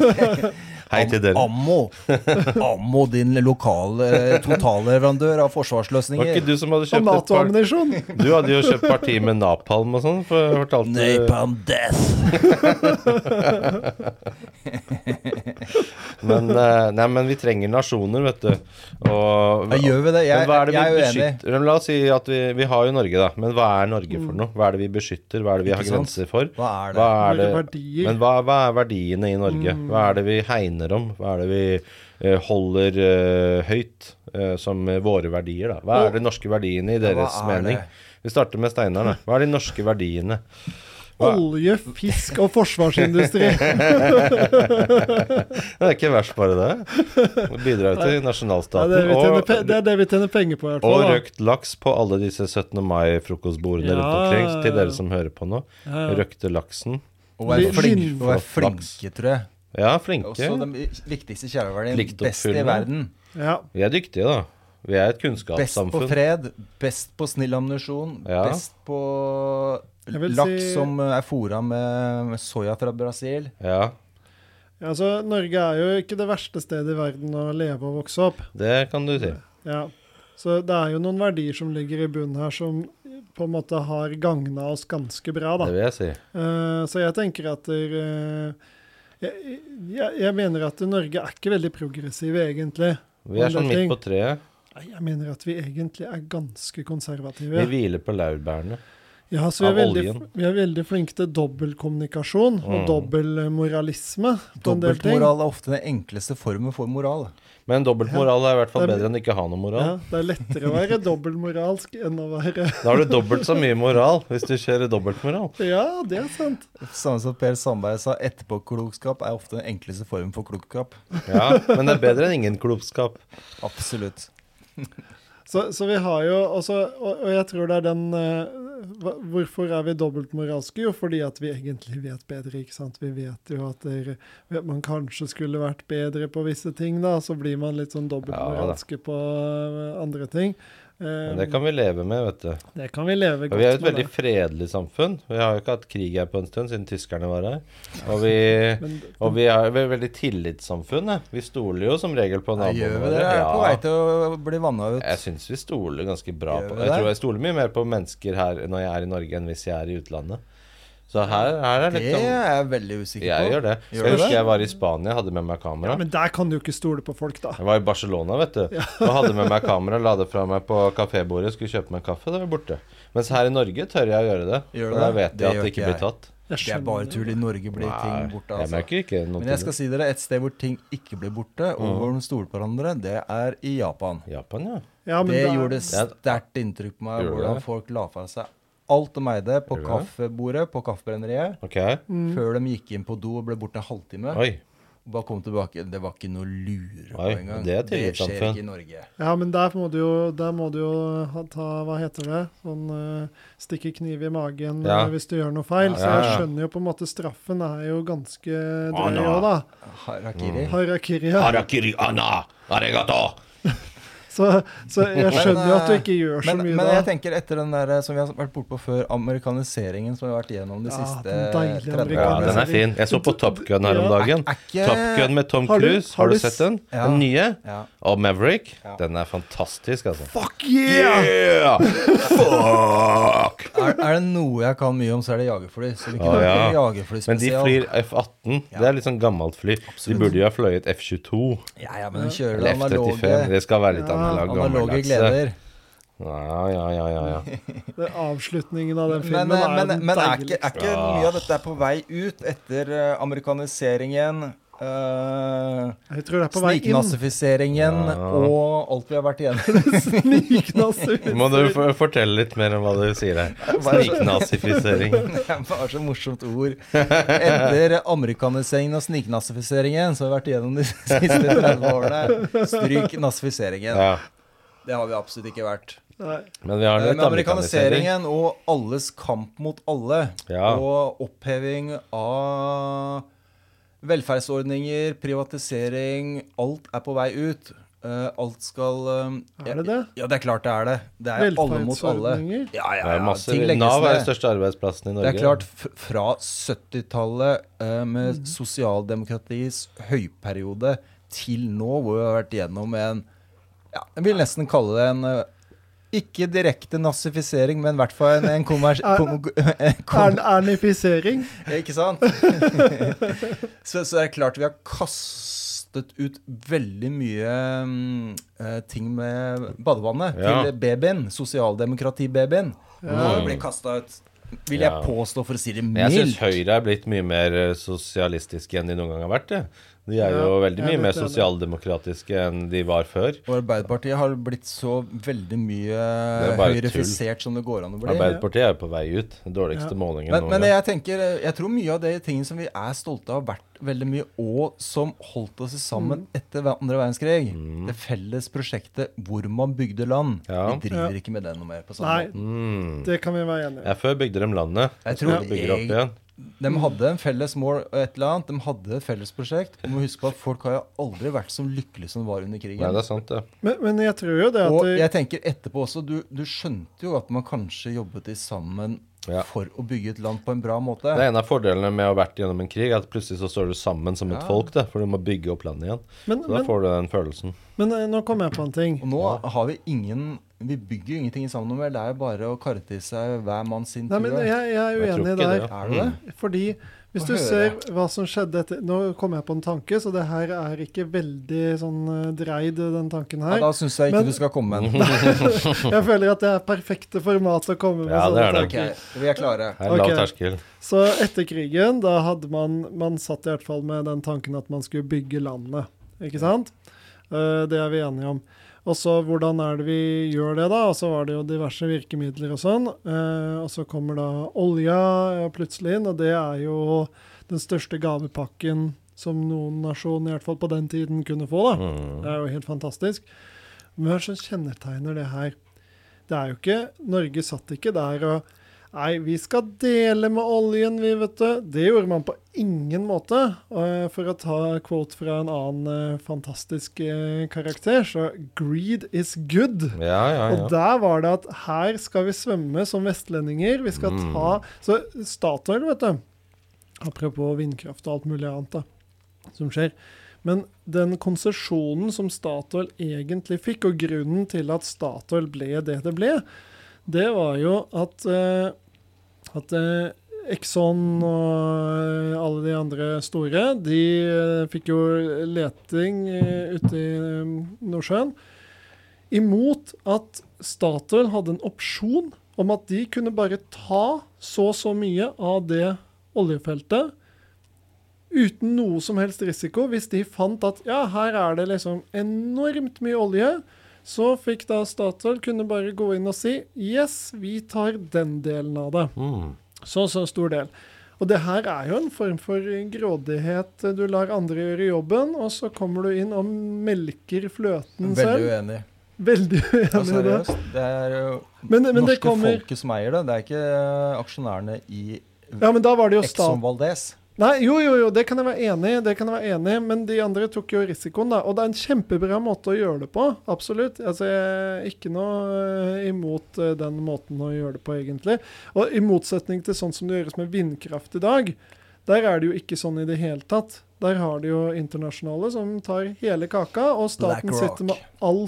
Speaker 2: Hei [laughs] til dere.
Speaker 3: Ammo. Ammo, din lokale totalleverandør av
Speaker 2: Var
Speaker 3: forsvarsløsninger.
Speaker 2: ikke du som hadde
Speaker 1: Og
Speaker 2: kjøpt et par
Speaker 1: Nato-ammunisjon.
Speaker 2: Du hadde jo kjøpt parti med napalm og sånn, for jeg fortalte
Speaker 3: Napalm death.
Speaker 2: Men, eh, nei, men vi trenger nasjoner, vet du. Og,
Speaker 3: Ja, gjør vi det? Jeg-
Speaker 2: Men hva er det vi
Speaker 3: jeg er uenig. Mm.
Speaker 2: beskytter La oss si at vi, vi har jo Norge, da. Men hva er Norge for noe? Hva er det vi beskytter? Hva er det vi har
Speaker 3: Ikke sant?
Speaker 2: grenser for?
Speaker 3: Hva er det? Mm.
Speaker 2: Hva er
Speaker 1: Hvilke
Speaker 2: det?
Speaker 1: verdier.
Speaker 2: Men hva, hva er verdiene i Norge? Hva er det vi hegner om? Hva er det vi eh, holder eh, høyt eh, som eh, våre verdier, da? Hva
Speaker 3: Og-
Speaker 2: er de norske verdiene i
Speaker 3: hva
Speaker 2: deres
Speaker 3: er
Speaker 2: mening?
Speaker 3: det?
Speaker 2: Vi starter med Steinar, da. Hva er de norske verdiene? [laughs] Hva-
Speaker 1: Olje, fisk og
Speaker 2: [laughs]
Speaker 1: forsvarsindustri.
Speaker 2: Det er ikke verst, bare det. Det bidrar jo til
Speaker 1: Det er det
Speaker 2: nasjonalstaten.
Speaker 1: vi tjener, pe det
Speaker 2: og,
Speaker 1: er det vi tjener penger på, i hvert
Speaker 2: og
Speaker 1: fall. da.
Speaker 2: røkt laks på alle disse 17. mai-frokostbordene
Speaker 1: Ja,
Speaker 2: rundt omkring.
Speaker 1: ja,
Speaker 2: Til
Speaker 1: ja.
Speaker 2: dere som hører på nå.
Speaker 1: Ja, ja.
Speaker 2: Røkte laksen.
Speaker 3: Å være
Speaker 1: Lin-
Speaker 3: flink, å være
Speaker 2: Flaks.
Speaker 3: flinke, tror jeg.
Speaker 2: Ja,
Speaker 3: Også
Speaker 2: flinke.
Speaker 3: den viktigste kjerneverdien. Best i
Speaker 2: Pliktoppfyllende.
Speaker 3: verden.
Speaker 1: Ja.
Speaker 2: Vi er dyktige, da. Vi er et
Speaker 3: Best på
Speaker 2: kunnskapssamfunn.
Speaker 3: fred, best på snill ammunisjon,
Speaker 2: Ja.
Speaker 3: best på
Speaker 1: Jeg vil
Speaker 3: laks
Speaker 1: si-
Speaker 3: som eh, er fôra med, med soya fra Brasil.
Speaker 2: Ja,
Speaker 1: Ja, altså, Norge er jo ikke det verste stedet i verden å leve og vokse opp.
Speaker 2: det kan du si.
Speaker 1: Ja. Så det er jo noen verdier som ligger i bunnen her, som på en måte har gagna oss ganske bra, da.
Speaker 2: Det vil jeg si.
Speaker 1: Eh, så jeg tenker at der, eh, jeg, jeg, jeg mener at Norge er ikke veldig progressive, egentlig.
Speaker 2: Vi er sånn midt på treet.
Speaker 1: Nei, Jeg mener at vi egentlig er ganske konservative.
Speaker 2: Vi hviler på laurbærene.
Speaker 1: Ja, så vi er,
Speaker 2: Av
Speaker 1: veldig,
Speaker 2: oljen.
Speaker 1: vi er veldig flinke til dobbeltkommunikasjon og
Speaker 2: Mm.
Speaker 1: dobbeltmoralisme på en del ting.
Speaker 3: Dobbeltmoral er ofte den enkleste formen for moral.
Speaker 2: Men dobbeltmoral er i hvert fall
Speaker 1: Det er-
Speaker 2: bedre enn ikke ha noe
Speaker 1: Ja,
Speaker 2: moral.
Speaker 1: det er lettere å være dobbeltmoralsk enn å være [laughs]
Speaker 2: Da har du dobbelt så mye moral hvis du kjører dobbeltmoral.
Speaker 1: Ja, det er sant.
Speaker 3: Samme som Per Sandberg sa, etterpåklokskap er ofte den enkleste formen for klokskap.
Speaker 2: Ja, men det er bedre enn ingen klokskap.
Speaker 3: Absolutt.
Speaker 1: Så, så vi har jo også, og, og jeg tror det er den eh, hva- Hvorfor er vi dobbeltmoralske? Jo, fordi at vi egentlig vet bedre, ikke sant. Vi vet jo at der, vet man kanskje skulle vært bedre på visse ting, da. Så blir man litt sånn dobbeltmoralske på eh, andre ting.
Speaker 2: Men
Speaker 1: Eh,
Speaker 2: det kan vi leve med, vet du.
Speaker 1: det kan vi leve
Speaker 2: Og
Speaker 1: godt
Speaker 2: vi er jo et
Speaker 1: med.
Speaker 2: veldig
Speaker 1: det.
Speaker 2: fredelig samfunn. Vi har jo ikke hatt krig her på en stund siden tyskerne var her. Og vi,
Speaker 3: [laughs]
Speaker 1: Men
Speaker 2: og vi er jo et veldig tillitssamfunn. jeg. Vi stoler jo som regel på
Speaker 3: Nei, gjør
Speaker 2: naboene
Speaker 3: vi det? Jeg er på vei
Speaker 2: våre. Ja,
Speaker 3: til å bli vanna ut.
Speaker 2: jeg syns vi stoler ganske bra
Speaker 3: Gjør
Speaker 2: på
Speaker 3: vi
Speaker 2: Jeg
Speaker 3: det?
Speaker 2: tror jeg stoler mye mer på mennesker her når jeg er i Norge, enn hvis jeg er i utlandet. Så her, her er
Speaker 3: Det
Speaker 2: litt
Speaker 3: er
Speaker 2: sånn
Speaker 3: jeg veldig usikker på.
Speaker 2: Jeg gjør det.
Speaker 3: Gjør
Speaker 2: Jeg
Speaker 3: du det?
Speaker 2: husker jeg var i Spania, hadde med meg kamera.
Speaker 1: Men der kan du ikke stole på folk, da.
Speaker 2: Jeg var i Barcelona, vet du. Og hadde med meg kamera, la det fra meg på kafébordet, skulle kjøpe meg en kaffe, da var jeg borte. Mens her i Norge tør jeg å gjøre det.
Speaker 3: Gjør du
Speaker 2: For da
Speaker 3: det?
Speaker 2: vet
Speaker 3: Det
Speaker 2: jeg
Speaker 3: gjør
Speaker 2: at det
Speaker 3: ikke
Speaker 2: ikke blir
Speaker 3: jeg.
Speaker 2: tatt.
Speaker 1: Jeg
Speaker 3: Det er bare
Speaker 1: skjønner.
Speaker 3: tull. I Norge blir ting borte. altså.
Speaker 2: Jeg merker ikke noe
Speaker 3: Men jeg
Speaker 2: til
Speaker 3: skal si dere et sted hvor ting ikke blir borte,
Speaker 2: Mm.
Speaker 3: og hvor de stoler på hverandre, det er i Japan.
Speaker 2: det. Japan, ja.
Speaker 1: Ja, men
Speaker 3: det
Speaker 1: er-
Speaker 3: gjorde
Speaker 2: Ja.
Speaker 3: sterkt inntrykk på meg
Speaker 2: Gjorde
Speaker 3: hvordan
Speaker 2: det?
Speaker 3: folk la fra seg alt de eide på
Speaker 2: Gjorde det?
Speaker 3: kaffebordet på kaffebrenneriet,
Speaker 2: Ok.
Speaker 1: Mm.
Speaker 3: før de gikk inn på do og ble borte en halvtime.
Speaker 2: Oi.
Speaker 3: Og bare kom tilbake. Det var ikke noe lure på
Speaker 2: Oi,
Speaker 3: engang.
Speaker 2: det er
Speaker 3: skjer
Speaker 2: tillitssamfunn.
Speaker 3: ikke i Norge.
Speaker 1: Ja, men der må du jo, der må du jo ha- ta Hva heter det? Sånn eh, stikke kniv i magen
Speaker 2: Ja.
Speaker 1: eh, hvis du gjør noe feil. Så
Speaker 2: Ja,
Speaker 1: jeg
Speaker 2: ja.
Speaker 1: skjønner jo på en måte straffen er jo ganske
Speaker 2: Ah,
Speaker 1: drøy
Speaker 2: nei.
Speaker 1: òg, da. Mm.
Speaker 3: Harakiri.
Speaker 1: Harakiria.
Speaker 2: Harakiri ana arigato.
Speaker 1: Så, så jeg skjønner jo at du
Speaker 3: eh,
Speaker 1: ikke gjør så
Speaker 3: Men,
Speaker 1: mye
Speaker 3: men
Speaker 1: da.
Speaker 3: jeg tenker etter den der eh, som vi har vært bortpå før, amerikaniseringen som vi har vært igjennom de
Speaker 1: Ja,
Speaker 3: siste
Speaker 1: den deilige
Speaker 3: 30
Speaker 2: Ja,
Speaker 1: amerikaniseringen.
Speaker 2: den er fin. Jeg så på Top Gun her om dagen.
Speaker 3: Er ikke
Speaker 2: Top Gun med Tom
Speaker 1: Har du-
Speaker 2: Cruise.
Speaker 1: har
Speaker 2: Har du
Speaker 1: du
Speaker 2: sett den?
Speaker 3: Ja.
Speaker 2: Den nye?
Speaker 3: ja.
Speaker 2: Og Maverick?
Speaker 3: Ja.
Speaker 2: Den er fantastisk, altså.
Speaker 1: Fuck yeah!
Speaker 3: [laughs]
Speaker 2: Fuck!
Speaker 3: er, er det noe jeg kan mye om, så er det jagerfly. Så vi
Speaker 2: Å,
Speaker 3: kunne
Speaker 2: Ah, ja.
Speaker 3: hatt en jagerfly
Speaker 2: Men de
Speaker 3: spesial.
Speaker 2: flyr F-18. Det er litt sånn gammelt fly. De burde jo ha fløyet F-22
Speaker 3: Ja, ja, men de kjører det
Speaker 2: eller F-35.
Speaker 3: analoge,
Speaker 2: Det skal være litt
Speaker 1: Ja.
Speaker 2: analog
Speaker 3: analoge
Speaker 2: gammeldagse.
Speaker 3: gleder.
Speaker 2: Ja, ja, ja, ja, ja.
Speaker 1: Det, avslutningen av den
Speaker 3: Men,
Speaker 1: filmen
Speaker 3: eh,
Speaker 1: er jo
Speaker 3: men,
Speaker 1: den
Speaker 3: men er, ikke,
Speaker 1: deiligste.
Speaker 3: er ikke
Speaker 2: Ah.
Speaker 3: mye av dette er på vei ut etter eh, amerikaniseringen, eh,
Speaker 1: Jeg tror det er på vei [laughs] inn.
Speaker 3: sniknazifiseringen
Speaker 2: Ja.
Speaker 3: og alt vi har vært
Speaker 2: [laughs]
Speaker 3: igjennom?
Speaker 1: Sniknazifisering.
Speaker 2: Må du for- fortelle litt mer om hva du sier
Speaker 3: [laughs]
Speaker 2: her?
Speaker 3: Bare-
Speaker 2: Sniknazifisering.
Speaker 3: Det er bare så morsomt ord. Etter amerikaniseringen og sniknazifiseringen, så har vi vært igjennom de [laughs] siste 30 årene. Stryk nazifiseringen.
Speaker 2: Ja.
Speaker 3: Det har vi absolutt ikke vært.
Speaker 1: Nei.
Speaker 2: Men vi har
Speaker 3: Eh,
Speaker 2: litt
Speaker 3: Med
Speaker 2: amerikanisering.
Speaker 3: amerikaniseringen og alles kamp mot alle,
Speaker 2: Ja.
Speaker 3: og oppheving av velferdsordninger, privatisering Alt er på vei ut. eh, alt skal eh,
Speaker 1: Er det det?
Speaker 3: Ja, det er klart det er det. Det er jo alle mot alle.
Speaker 1: Velferdsordninger?
Speaker 3: Ja, ja,
Speaker 2: Det er
Speaker 3: ja.
Speaker 2: masse,
Speaker 3: ting legges
Speaker 2: Nav er
Speaker 3: ned.
Speaker 2: den største arbeidsplassen i Norge.
Speaker 3: Det er klart, f- fra 70-tallet eh, med sosialdemokratiets høyperiode til nå, hvor vi har vært gjennom en ja, Jeg vil nesten kalle det en eh, ikke direkte nazifisering, men i hvert fall en, en konvers...
Speaker 1: Er-
Speaker 3: kon- [laughs] en kon-
Speaker 1: Er, er nifisering?
Speaker 3: Ikke sant? så, så det er klart vi har kastet ut veldig mye mm, eh, ting med badevannet
Speaker 2: Ja.
Speaker 3: til babyen. Sosialdemokrati-babyen. Nå
Speaker 1: Ja.
Speaker 3: blir kasta ut. Vil
Speaker 2: Ja.
Speaker 3: jeg påstå, for å si det
Speaker 2: Men jeg syns
Speaker 3: mildt.
Speaker 2: Høyre er blitt mye mer eh, sosialistiske enn de noen gang har vært. det. De er jo
Speaker 1: Ja, jeg er
Speaker 2: veldig mye mer
Speaker 1: litt enig.
Speaker 2: sosialdemokratiske enn de var før.
Speaker 3: Og Arbeiderpartiet har blitt så veldig mye
Speaker 2: er bare
Speaker 3: høyrefisert som det går an å bli.
Speaker 2: Arbeiderpartiet er jo på vei ut. Den dårligste
Speaker 1: Ja.
Speaker 2: målingen
Speaker 3: Men,
Speaker 2: noen
Speaker 3: men
Speaker 2: gang.
Speaker 3: jeg tenker, jeg tror mye av de tingene som vi er stolte av, har vært veldig mye, og som holdt oss sammen etter ve- andre verdenskrig. Det felles prosjektet hvor man bygde land.
Speaker 2: Mm. Ja.
Speaker 3: Vi driver
Speaker 1: Ja.
Speaker 3: ikke med det noe mer på samme
Speaker 1: Nei,
Speaker 3: måte.
Speaker 2: Mm.
Speaker 1: det kan vi være enige
Speaker 2: Ja, før bygde de landet.
Speaker 3: Jeg
Speaker 2: Nå
Speaker 3: tror
Speaker 2: bygger de opp
Speaker 3: jeg,
Speaker 2: igjen.
Speaker 3: de hadde en felles mål og et eller annet. De hadde et felles prosjekt. Du må huske på at folk har jo aldri vært så lykkelige som de var under krigen.
Speaker 2: Nei, det er sant, det.
Speaker 1: om. Men, men jeg tror jo det at
Speaker 3: Og
Speaker 1: det-
Speaker 3: jeg tenker etterpå også, du, du skjønte jo at man kanskje jobbet i sammen
Speaker 2: Ja.
Speaker 3: for å bygge et land på en bra måte.
Speaker 2: Det er en av fordelene med å ha vært gjennom en krig, at plutselig så står du sammen som et
Speaker 3: Ja.
Speaker 2: folk, da, for du må bygge opp landet igjen.
Speaker 1: men,
Speaker 2: Så da
Speaker 1: men,
Speaker 2: får du den følelsen.
Speaker 1: men eh, nå kom jeg på en ting.
Speaker 3: Og nå har vi ingen Vi bygger jo ingenting sammen noe mer. Det er jo bare å kare til seg hver mann sin
Speaker 1: Nei,
Speaker 3: tur.
Speaker 1: men jeg, jeg er
Speaker 2: Jeg tror
Speaker 1: uenig
Speaker 2: ikke
Speaker 1: der.
Speaker 2: det, ja.
Speaker 3: Er du det?
Speaker 1: Fordi hvis
Speaker 3: Få
Speaker 1: du
Speaker 3: høre.
Speaker 1: ser hva som skjedde etter Nå kom jeg på en tanke, så det her er ikke veldig sånn eh, dreid, den tanken
Speaker 3: Ja,
Speaker 1: her.
Speaker 3: da syns jeg ikke
Speaker 1: Men-
Speaker 3: du skal
Speaker 2: [laughs]
Speaker 3: komme med en.
Speaker 1: Jeg føler at det er perfekte format å komme med
Speaker 2: Ja, det
Speaker 1: sånne
Speaker 2: er det.
Speaker 1: tanker.
Speaker 3: Ok, vi er klare.
Speaker 2: Her er lav
Speaker 1: Ok.
Speaker 2: terskel.
Speaker 1: Så etter krigen, da hadde man Man satt i hvert fall med den tanken at man skulle bygge landet, ikke sant? Eh, Det er vi enige om. Og så hvordan er det vi gjør det, da? Og så var det jo diverse virkemidler og sånn. Eh, Og så kommer da olja eh, plutselig inn, og det er jo den største gavepakken som noen nasjon, i hvert fall på den tiden, kunne få, da.
Speaker 2: Mm.
Speaker 1: Det er jo helt fantastisk. Men hva er det som kjennetegner det her? Det er jo ikke Norge satt ikke der og Nei, vi skal dele med oljen, vi, vet du. Det gjorde man på ingen måte. Og for å ta quote fra en annen eh, fantastisk eh, karakter, så greed is good.
Speaker 2: Ja, ja,
Speaker 1: Og
Speaker 2: ja.
Speaker 1: der var det at her skal vi svømme som vestlendinger. Vi skal
Speaker 2: Mm.
Speaker 1: ta Så Statoil, vet du Apropos vindkraft og alt mulig annet da, som skjer. Men den konsesjonen som Statoil egentlig fikk, og grunnen til at Statoil ble det det ble, det var jo at, eh, at eh, Exxon og alle de andre store, de eh, fikk jo leting eh, ute i eh, Nordsjøen. Imot at Statoil hadde en opsjon om at de kunne bare ta så og så mye av det oljefeltet uten noe som helst risiko, hvis de fant at ja, her er det liksom enormt mye olje. Så fikk da Statoil kunne bare gå inn og si yes, vi tar den delen av det.
Speaker 2: Mm.
Speaker 1: Så, så stor del. Og det her er jo en form for grådighet. Du lar andre gjøre jobben, og så kommer du inn og melker fløten
Speaker 3: Veldig
Speaker 1: selv.
Speaker 3: uenig.
Speaker 1: Veldig [laughs]
Speaker 3: Ja,
Speaker 1: uenig i det.
Speaker 3: Altså, seriøst. Det er jo
Speaker 1: Men, men det
Speaker 3: norske
Speaker 1: kommer
Speaker 3: folket som eier det. Det er ikke eh, aksjonærene i
Speaker 1: Ja, men da var det jo
Speaker 3: Exxon
Speaker 1: stat...
Speaker 3: Valdez.
Speaker 1: Nei, jo, jo, jo, det kan jeg være enig i, det kan jeg være enig i, men de andre tok jo risikoen, da. Og det er en kjempebra måte å gjøre det på, absolutt. Altså, jeg er ikke noe eh, imot eh, den måten å gjøre det på, egentlig. Og i motsetning til sånn som det gjøres med vindkraft i dag, der er det jo ikke sånn i det hele tatt. Der har de jo internasjonale som tar hele kaka, og staten
Speaker 3: BlackRock.
Speaker 1: sitter med all,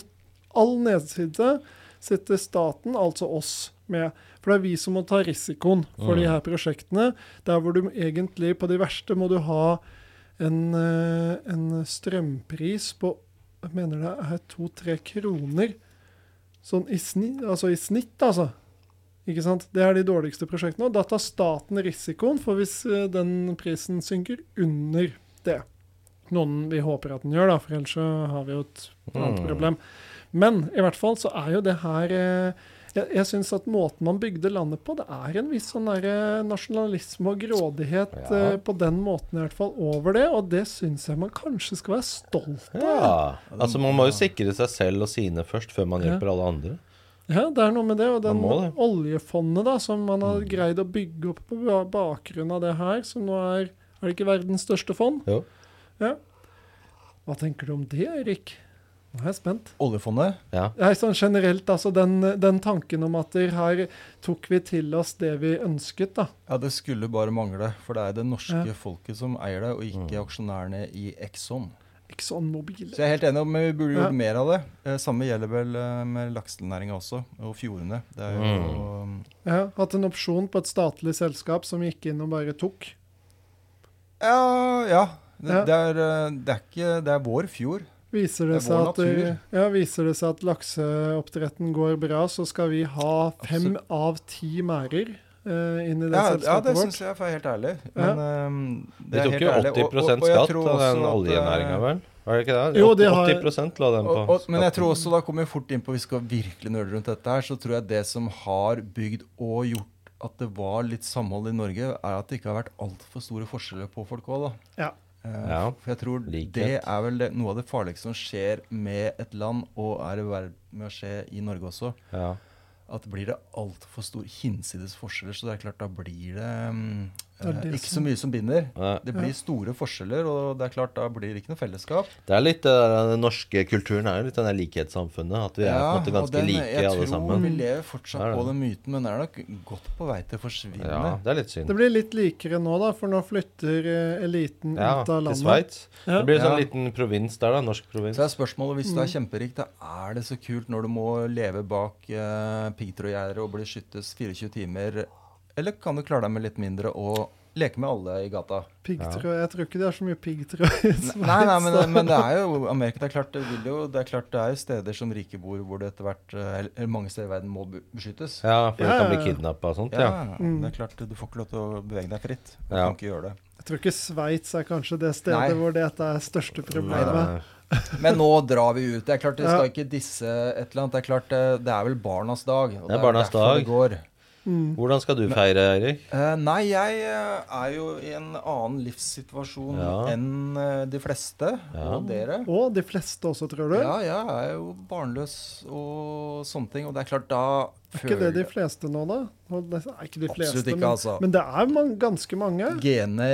Speaker 1: all nedside, sitter staten, altså oss, med. For det er vi som må ta risikoen for de her prosjektene. Der hvor du egentlig, på de verste, må du ha en, eh, en strømpris på jeg mener det er to-tre kroner. Sånn i snitt, altså i snitt, altså. Ikke sant? Det er de dårligste prosjektene. Og da tar staten risikoen, for hvis eh, den prisen synker under det. Noen vi håper at den gjør, da, for ellers så har vi jo et annet
Speaker 2: Mm.
Speaker 1: problem. Men i hvert fall så er jo det her eh, Jeg, jeg syns at måten man bygde landet på, det er en viss sånn der, eh, nasjonalisme og grådighet
Speaker 2: Ja.
Speaker 1: eh, på den måten, i hvert fall, over det. Og det syns jeg man kanskje skal være stolt av.
Speaker 2: ja. Altså, man må jo sikre seg selv og sine først, før man
Speaker 1: Ja.
Speaker 2: hjelper alle andre.
Speaker 1: Ja, det er noe med det. Og den
Speaker 2: Man må det. Mm.
Speaker 1: oljefondet da, som man har greid å bygge opp på ba- bakgrunn av det her, som nå er Er det ikke verdens største fond?
Speaker 2: Jo.
Speaker 1: Ja. Hva tenker du om det, Erik? Nå er jeg spent.
Speaker 3: Oljefondet.
Speaker 2: Ja.
Speaker 1: Nei, sånn generelt, altså den, den tanken om at der her tok vi til oss det vi ønsket, da.
Speaker 3: Ja, det skulle bare mangle. For det er det norske
Speaker 1: Ja.
Speaker 3: folket som eier det, og
Speaker 2: Mm.
Speaker 3: ikke aksjonærene i Exxon.
Speaker 1: ExxonMobil.
Speaker 3: Så jeg er helt enig, men vi burde
Speaker 1: Ja.
Speaker 3: gjort mer av det. Eh, Samme gjelder vel eh, med laksenæringa også, og fjordene. Det er jo
Speaker 2: Mm.
Speaker 1: Ja, hatt en opsjon på et statlig selskap som gikk inn og bare tok.
Speaker 3: Ja, ja. Det,
Speaker 1: Ja.
Speaker 3: Det, er, eh, det er ikke Det er vår fjord.
Speaker 1: Viser det,
Speaker 3: Det er
Speaker 1: seg
Speaker 3: vår
Speaker 1: at, eh, ja, viser det seg at lakseoppdretten går bra, så skal vi ha fem
Speaker 3: Absolutt.
Speaker 1: av ti merder eh, inn i det
Speaker 3: Ja, ja,
Speaker 1: selskapet
Speaker 3: det
Speaker 1: vårt.
Speaker 3: syns jeg, for jeg er helt ærlig. Men eh,
Speaker 2: De
Speaker 3: er
Speaker 2: tok
Speaker 3: helt
Speaker 2: jo
Speaker 3: ærlig,
Speaker 2: 80
Speaker 3: og- og- og jeg
Speaker 2: skatt
Speaker 3: tror
Speaker 2: av
Speaker 3: også
Speaker 2: den
Speaker 3: at, eh,
Speaker 2: oljenæringa, vel? Var det ikke det?
Speaker 1: Jo, de
Speaker 2: 80,
Speaker 1: har-
Speaker 2: 80 la den på.
Speaker 3: Og, og, men jeg
Speaker 2: skatten.
Speaker 3: tror også, da kommer vi fort inn på vi skal virkelig nøle rundt dette her, så tror jeg det som har bygd og gjort at det var litt samhold i Norge, er at det ikke har vært altfor store forskjeller på folk òg, da.
Speaker 1: Ja.
Speaker 3: Eh,
Speaker 2: Ja,
Speaker 3: For jeg tror
Speaker 2: likhet.
Speaker 3: det er vel det, noe av det farligste som skjer med et land, og er i ferd med å skje i Norge også.
Speaker 2: ja.
Speaker 3: At blir det altfor store hinsides forskjeller, så det er klart da blir det mm,
Speaker 1: Det er
Speaker 3: eh,
Speaker 1: det
Speaker 3: ikke så
Speaker 1: som-
Speaker 3: mye som binder.
Speaker 2: Nei.
Speaker 3: Det blir store forskjeller, og det er klart da blir det ikke noe fellesskap.
Speaker 2: Det er litt, eh, Den norske kulturen er jo litt den der likhetssamfunnet. At vi er på en måte
Speaker 3: og
Speaker 2: ganske
Speaker 3: den-
Speaker 2: like alle
Speaker 3: Jeg tror
Speaker 2: sammen.
Speaker 3: vi lever fortsatt
Speaker 2: Det er det.
Speaker 3: på den myten, men den er nok godt på vei til å forsvinne.
Speaker 2: Ja, Det er litt synd.
Speaker 1: Det blir litt likere nå, da, for nå flytter eh, eliten
Speaker 2: Ja,
Speaker 1: ut av
Speaker 2: til
Speaker 1: landet.
Speaker 2: Sveits.
Speaker 1: Ja.
Speaker 2: Det blir en sånn
Speaker 3: Ja.
Speaker 2: liten provins der, da. Norsk provins.
Speaker 3: Så er spørsmålet, hvis du er kjemperik, da er det så kult når du må leve bak uh, piggtrådgjerdet og bli skyttes 24 timer, eller kan du klare deg med litt mindre og leke med alle i gata?
Speaker 1: Piggtråd Jeg tror ikke det er så mye piggtråd i Sveits.
Speaker 3: Nei, nei, men, eh,
Speaker 1: da.
Speaker 3: men det er jo Amerika, det er klart det vil jo Det er klart det er jo steder som rike bor hvor det etter hvert eh, Eller mange steder i verden må bu- beskyttes.
Speaker 2: Ja, for
Speaker 1: Ja,
Speaker 2: du kan
Speaker 1: ja,
Speaker 2: bli
Speaker 1: ja.
Speaker 2: kidnappa og sånt.
Speaker 3: Ja,
Speaker 2: Ja.
Speaker 1: Mm.
Speaker 3: det er klart du får ikke lov til å bevege deg fritt. Du
Speaker 2: Ja.
Speaker 3: kan ikke gjøre det.
Speaker 1: Jeg tror ikke Sveits er kanskje det stedet
Speaker 3: Nei.
Speaker 1: hvor dette er største problemet.
Speaker 2: Nei,
Speaker 3: Men nå drar vi ut. Det er klart Vi
Speaker 1: Ja.
Speaker 3: skal ikke disse et eller annet. Det er klart eh, det er vel barnas dag. og
Speaker 2: Det er barnas
Speaker 3: derfor
Speaker 2: dag.
Speaker 3: Det går.
Speaker 2: Hvordan skal du feire, Erik?
Speaker 3: Eh, nei, jeg eh, er jo i en annen livssituasjon
Speaker 2: Ja.
Speaker 3: enn eh, de fleste
Speaker 2: Ja.
Speaker 3: og dere.
Speaker 1: Og de fleste også, tror du?
Speaker 3: Ja, jeg er jo barnløs og sånne ting. Og det er klart, da
Speaker 1: Er ikke det de fleste nå, da? Og det er ikke de
Speaker 3: Absolutt
Speaker 1: fleste,
Speaker 3: ikke,
Speaker 1: men,
Speaker 3: altså.
Speaker 1: men det er man, ganske mange.
Speaker 3: Gene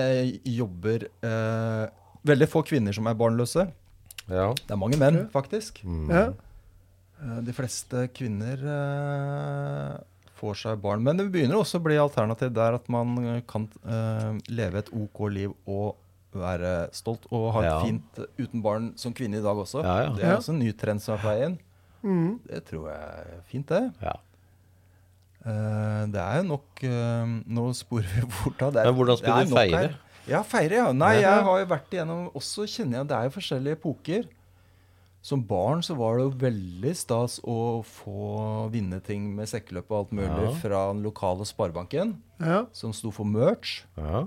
Speaker 3: jobber eh, Veldig få kvinner som er barnløse.
Speaker 2: Ja. Mm.
Speaker 3: Det er mange menn,
Speaker 1: Ok.
Speaker 3: faktisk.
Speaker 1: Ja.
Speaker 3: Eh, De fleste kvinner eh, får seg barn. Men det begynner også å bli alternativ der at man eh, kan eh, leve et OK liv og være stolt og ha det
Speaker 2: Ja.
Speaker 3: fint eh, uten barn som kvinne i dag også.
Speaker 2: Ja, ja.
Speaker 3: Det er
Speaker 1: Ja.
Speaker 3: også en ny trend som er på vei inn.
Speaker 1: Mm.
Speaker 3: Det tror jeg er fint, det.
Speaker 2: ja.
Speaker 3: Eh, det er jo nok eh, Nå sporer vi [laughs] bort av det.
Speaker 2: Men hvordan skal
Speaker 3: det er
Speaker 2: du
Speaker 3: nok
Speaker 2: feire?
Speaker 3: her. Ja, feire, ja. Nei,
Speaker 2: Ja.
Speaker 3: jeg har jo vært igjennom Også kjenner jeg det er jo forskjellige epoker. Som barn så var det jo veldig stas å få vinne ting med sekkeløp og alt mulig
Speaker 2: Ja.
Speaker 3: fra den lokale sparebanken,
Speaker 1: ja.
Speaker 3: som sto for merch.
Speaker 2: ja.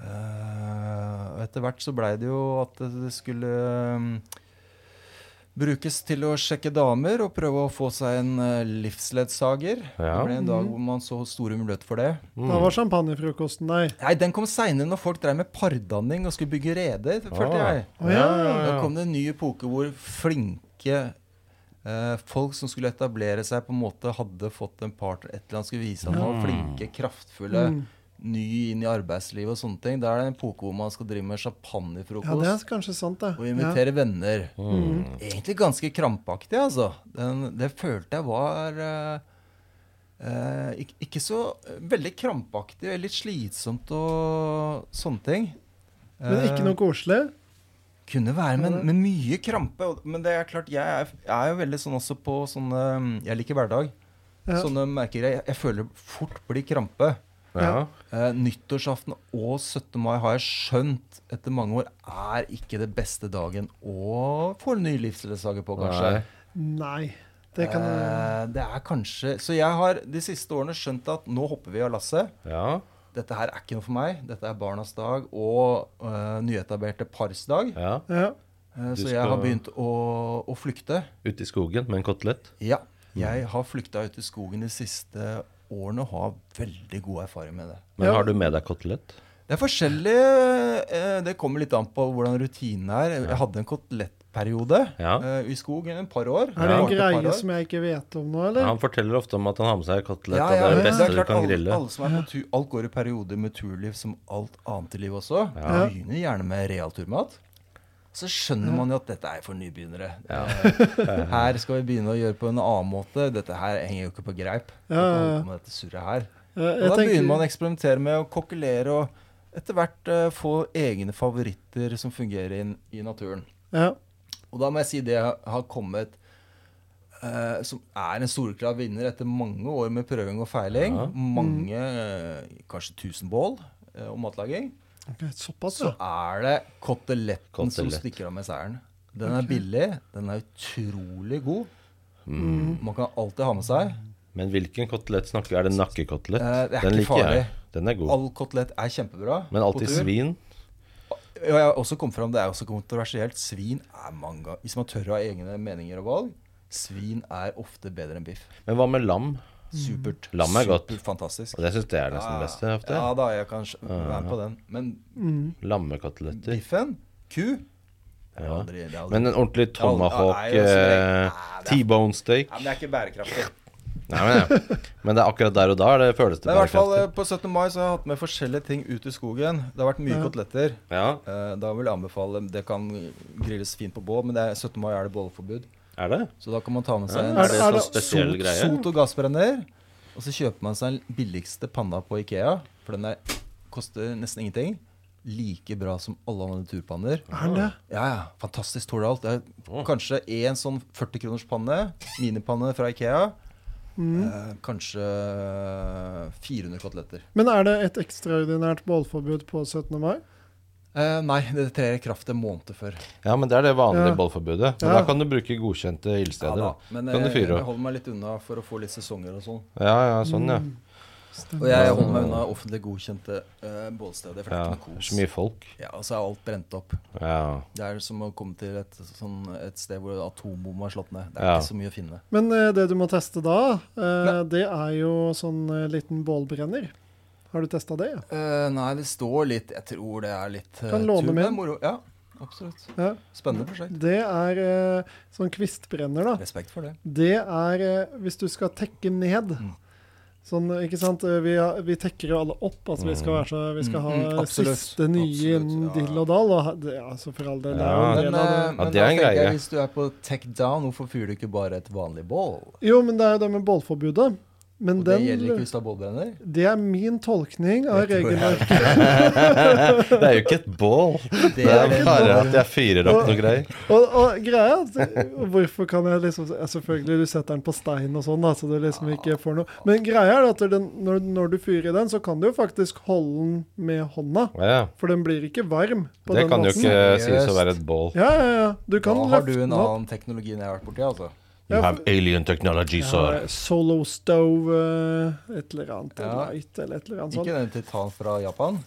Speaker 3: Eh, og etter hvert så blei det jo at det skulle mm, brukes til å sjekke damer og prøve å få seg en eh, livsledsager.
Speaker 2: Ja.
Speaker 3: Det ble en dag hvor man så store muligheter for det.
Speaker 2: Mm.
Speaker 1: Da var champagnefrokosten der.
Speaker 3: Nei, den kom seinere, når folk drev med pardanning og skulle bygge reder, følte
Speaker 2: Ah.
Speaker 3: jeg.
Speaker 1: Å ja.
Speaker 3: Da kom det en ny epoke hvor flinke eh, folk som skulle etablere seg, på en måte hadde fått en partner, et eller annet skulle vise at man
Speaker 1: Ah.
Speaker 3: var flinke, kraftfulle,
Speaker 1: Mm.
Speaker 3: ny inn i arbeidslivet og sånne ting. Da er det en epoke hvor man skal drive med
Speaker 1: ja, det er
Speaker 3: champagnefrokost
Speaker 1: kanskje sant, det.
Speaker 3: og invitere venner.
Speaker 2: Mm.
Speaker 3: Egentlig ganske krampaktig, altså. Den, det følte jeg var eh, eh, ikke, ikke så veldig krampaktig, litt slitsomt og sånne ting.
Speaker 1: Ja. Men
Speaker 3: Eh,
Speaker 1: ikke noe koselig?
Speaker 3: kunne være, men, men mye krampe. og- Men det er klart, jeg er, jeg er jo veldig sånn også på sånne Jeg liker hverdag.
Speaker 1: Ja.
Speaker 3: Sånne merker jeg. Jeg føler fort blir krampe.
Speaker 2: Ja.
Speaker 3: Eh, nyttårsaften og 17. mai har jeg skjønt etter mange år er ikke det beste dagen å få en ny livsledsager på, kanskje.
Speaker 2: Nei.
Speaker 1: Nei. Det kan
Speaker 3: eh, det er kanskje Så jeg har de siste årene skjønt at nå hopper vi av lasset.
Speaker 2: Ja.
Speaker 3: Dette her er ikke noe for meg. Dette er barnas dag og eh, nyetablerte pars dag.
Speaker 2: ja.
Speaker 1: ja.
Speaker 3: Eh,
Speaker 2: Du
Speaker 3: Så jeg har
Speaker 2: skal-
Speaker 3: begynt å, å flykte.
Speaker 2: Ute i skogen med en kotelett.
Speaker 3: Ja. Jeg har flykta ut i skogen de siste årene og har veldig god erfaring med det.
Speaker 2: Men
Speaker 1: Ja.
Speaker 2: har du med deg kotelett?
Speaker 3: Det er forskjellig eh, Det kommer litt an på hvordan rutinen er. Jeg hadde en kotelettperiode
Speaker 2: Ja.
Speaker 3: eh, i skogen et par år.
Speaker 1: Er det en
Speaker 3: Varte et par
Speaker 1: greie
Speaker 3: år.
Speaker 1: som jeg ikke vet om nå, eller?
Speaker 2: Han forteller ofte om at han har med seg kotelett,
Speaker 3: ja,
Speaker 2: og det
Speaker 3: ja,
Speaker 2: er
Speaker 3: men
Speaker 2: det beste du
Speaker 3: klart,
Speaker 2: kan
Speaker 3: alle-
Speaker 2: grille.
Speaker 3: Alle som er på tur, alt går i perioder med turliv som alt annet i livet også.
Speaker 1: Ja.
Speaker 3: Begynner gjerne med realturmat. Så skjønner man jo at dette er for nybegynnere.
Speaker 2: [laughs]
Speaker 3: Eh,
Speaker 2: Ja.
Speaker 3: Her skal vi begynne å gjøre på en annen måte. Dette her henger jo ikke på greip. Vi kan
Speaker 1: Ja, ja, ja.
Speaker 3: holde på med dette surret her.
Speaker 1: Eh,
Speaker 3: Og
Speaker 1: jeg
Speaker 3: da
Speaker 1: tenker-
Speaker 3: begynner man å eksperimentere med å kokkelere og etter hvert eh, få egne favoritter som fungerer inn i naturen.
Speaker 1: Ja.
Speaker 3: Og da må jeg si det har kommet eh, som er en storklad vinner etter mange år med prøving og feiling.
Speaker 2: Ja.
Speaker 3: Mange, eh, kanskje 1000 bål eh, og matlaging.
Speaker 1: Ok, såpass,
Speaker 3: Så
Speaker 1: ja.
Speaker 3: er det koteletten som
Speaker 2: Kotelett.
Speaker 3: stikker av med seieren. Den er billig, den er utrolig god.
Speaker 2: Mm.
Speaker 3: Man kan alltid ha med seg.
Speaker 2: Men hvilken kotelett snakker Er det nakkekotelett?
Speaker 3: Eh, det er
Speaker 2: Den
Speaker 3: ikke
Speaker 2: liker jeg.
Speaker 3: farlig.
Speaker 2: Den er god.
Speaker 3: All kotelett er kjempebra.
Speaker 2: Men alltid
Speaker 3: på tur.
Speaker 2: svin.
Speaker 3: Ja, jeg har også kommet fram, Det er også kontroversielt. Svin er mange ganger Hvis man tør å ha egne meninger og valg, svin er ofte bedre enn biff.
Speaker 2: Men hva med lam?
Speaker 3: Mm. Supert.
Speaker 2: Lam er godt.
Speaker 3: Superfantastisk.
Speaker 2: Og jeg syns det er nesten det beste ofte.
Speaker 3: Ah, Ja da, jeg kan skj- være med på den. Men
Speaker 2: Lammekoteletter.
Speaker 3: biffen, ku det er
Speaker 2: Ja.
Speaker 3: aldri- det er aldri-
Speaker 2: Men en ordentlig tomahawk
Speaker 3: Ja, nei, altså, det er så lenge.
Speaker 2: eh,
Speaker 3: Nei, det er-
Speaker 2: T-bone steak.
Speaker 3: Nei, men det er ikke bærekraftig.
Speaker 2: Nei, men, ja. men det er akkurat der og da er det føles det
Speaker 3: Men i hvert fall eh,
Speaker 2: bærekraftig.
Speaker 3: På 17. mai så har jeg hatt med forskjellige ting ut i skogen. Det har vært mye
Speaker 1: Ja.
Speaker 3: koteletter.
Speaker 2: Ja,
Speaker 3: Eh, Da vil jeg anbefale Det kan grilles fint på bål, men det er, 17. mai er det bålforbud.
Speaker 2: er det?
Speaker 3: Så da kan man ta med seg
Speaker 2: Ja,
Speaker 3: en
Speaker 2: er det
Speaker 1: er det
Speaker 2: sånn spesiell greie?
Speaker 3: Sot og gassbrenner. Og så kjøper man seg den billigste panna på Ikea, for den der koster nesten ingenting. Like bra som alle andre turpanner.
Speaker 1: Er den det?
Speaker 3: Ja, ja, Fantastisk tåler alt. Det er kanskje én sånn 40 kroners panne, minipanne fra Ikea. Eh, kanskje 400 koteletter.
Speaker 1: Men er det et ekstraordinært bålforbud på 17. mai?
Speaker 3: Eh, nei, det trer i kraft en måned før.
Speaker 2: Ja, men det er det vanlige
Speaker 1: Ja.
Speaker 2: bålforbudet. Men
Speaker 1: Ja.
Speaker 2: da kan du bruke godkjente ildsteder.
Speaker 3: da,
Speaker 2: da.
Speaker 3: Men
Speaker 2: Kan du
Speaker 3: eh,
Speaker 2: fyre
Speaker 3: jeg
Speaker 2: opp?
Speaker 3: holder meg litt unna for å få litt sesonger og sånn.
Speaker 2: Ja, ja, sånn, ja.
Speaker 1: Mm.
Speaker 3: Og jeg holder meg unna offentlig godkjente eh, bålsteder. For det
Speaker 2: ja.
Speaker 3: er ikke noe
Speaker 2: Så
Speaker 3: kos.
Speaker 2: mye folk.
Speaker 3: Ja, og så er alt brent opp.
Speaker 2: Ja. [laughs]
Speaker 3: Det er som å komme til et, sånn, et sted hvor atombomma er slått ned. Det er
Speaker 2: Ja.
Speaker 3: ikke så mye å finne.
Speaker 1: Men eh, det du må teste da, eh, det er jo sånn eh, liten bålbrenner. Har du testa det? ja?
Speaker 3: Eh, nei, det står litt Jeg tror det er litt eh,
Speaker 1: Kan låne
Speaker 3: tur,
Speaker 1: min.
Speaker 3: men Moro. Ja, absolutt.
Speaker 1: Ja.
Speaker 3: Spennende prosjekt.
Speaker 1: Det er eh, sånn kvistbrenner, da.
Speaker 3: Respekt for det.
Speaker 1: Det er eh, hvis du skal tekke ned.
Speaker 3: Mm.
Speaker 1: Sånn, ikke sant? Eh, Vi, har- vi tekker jo alle opp. Altså, vi skal, være så, vi skal ha
Speaker 3: Mm, mm, absolutt.
Speaker 1: siste nye innen
Speaker 3: Absolutt, ja.
Speaker 1: dill og dall. Og ha- det, altså, for all del, det er jo
Speaker 2: Ja.
Speaker 1: en
Speaker 3: Men,
Speaker 1: del
Speaker 3: eh,
Speaker 1: av det.
Speaker 3: men
Speaker 2: det er en
Speaker 3: da tenker
Speaker 2: greie.
Speaker 3: Jeg, hvis du er på tech down, hvorfor fyrer du ikke bare et vanlig bål?
Speaker 1: Jo, men det er jo det med bålforbudet. Men
Speaker 3: Og det
Speaker 1: den
Speaker 3: gjelder ikke hvis du har
Speaker 1: [laughs]
Speaker 3: bålbrenner?
Speaker 1: Det er min tolkning av
Speaker 3: Jeg tror jeg-
Speaker 1: regelverket.
Speaker 2: Det er jo ikke et bål. Det
Speaker 3: er
Speaker 2: er
Speaker 3: det
Speaker 2: bare
Speaker 3: bare-
Speaker 2: at jeg fyrer opp noe greier.
Speaker 1: Og, og greia er at Hvorfor kan jeg liksom ja, Selvfølgelig, du setter den på stein og sånn, da, så du liksom ikke får noe Men greia er at den, når, når du fyrer i den, så kan du jo faktisk holde den med hånda.
Speaker 2: Ja,
Speaker 1: For den blir ikke varm på den
Speaker 2: det kan jo
Speaker 1: måten.
Speaker 2: ikke sies å
Speaker 3: Seriøst.
Speaker 2: være et bål.
Speaker 1: Ja, ja, ja. Du
Speaker 3: Da
Speaker 1: kan
Speaker 3: har du
Speaker 1: løfte
Speaker 3: en
Speaker 1: den opp.
Speaker 3: annen teknologi enn jeg har vært borti, altså.
Speaker 2: You have alien technology, sir.
Speaker 1: Ja, solo stove, eh, et eller annet.
Speaker 3: Ja.
Speaker 1: Light, eller et eller annet
Speaker 3: Ikke
Speaker 1: sånt.
Speaker 3: den titan fra Japan?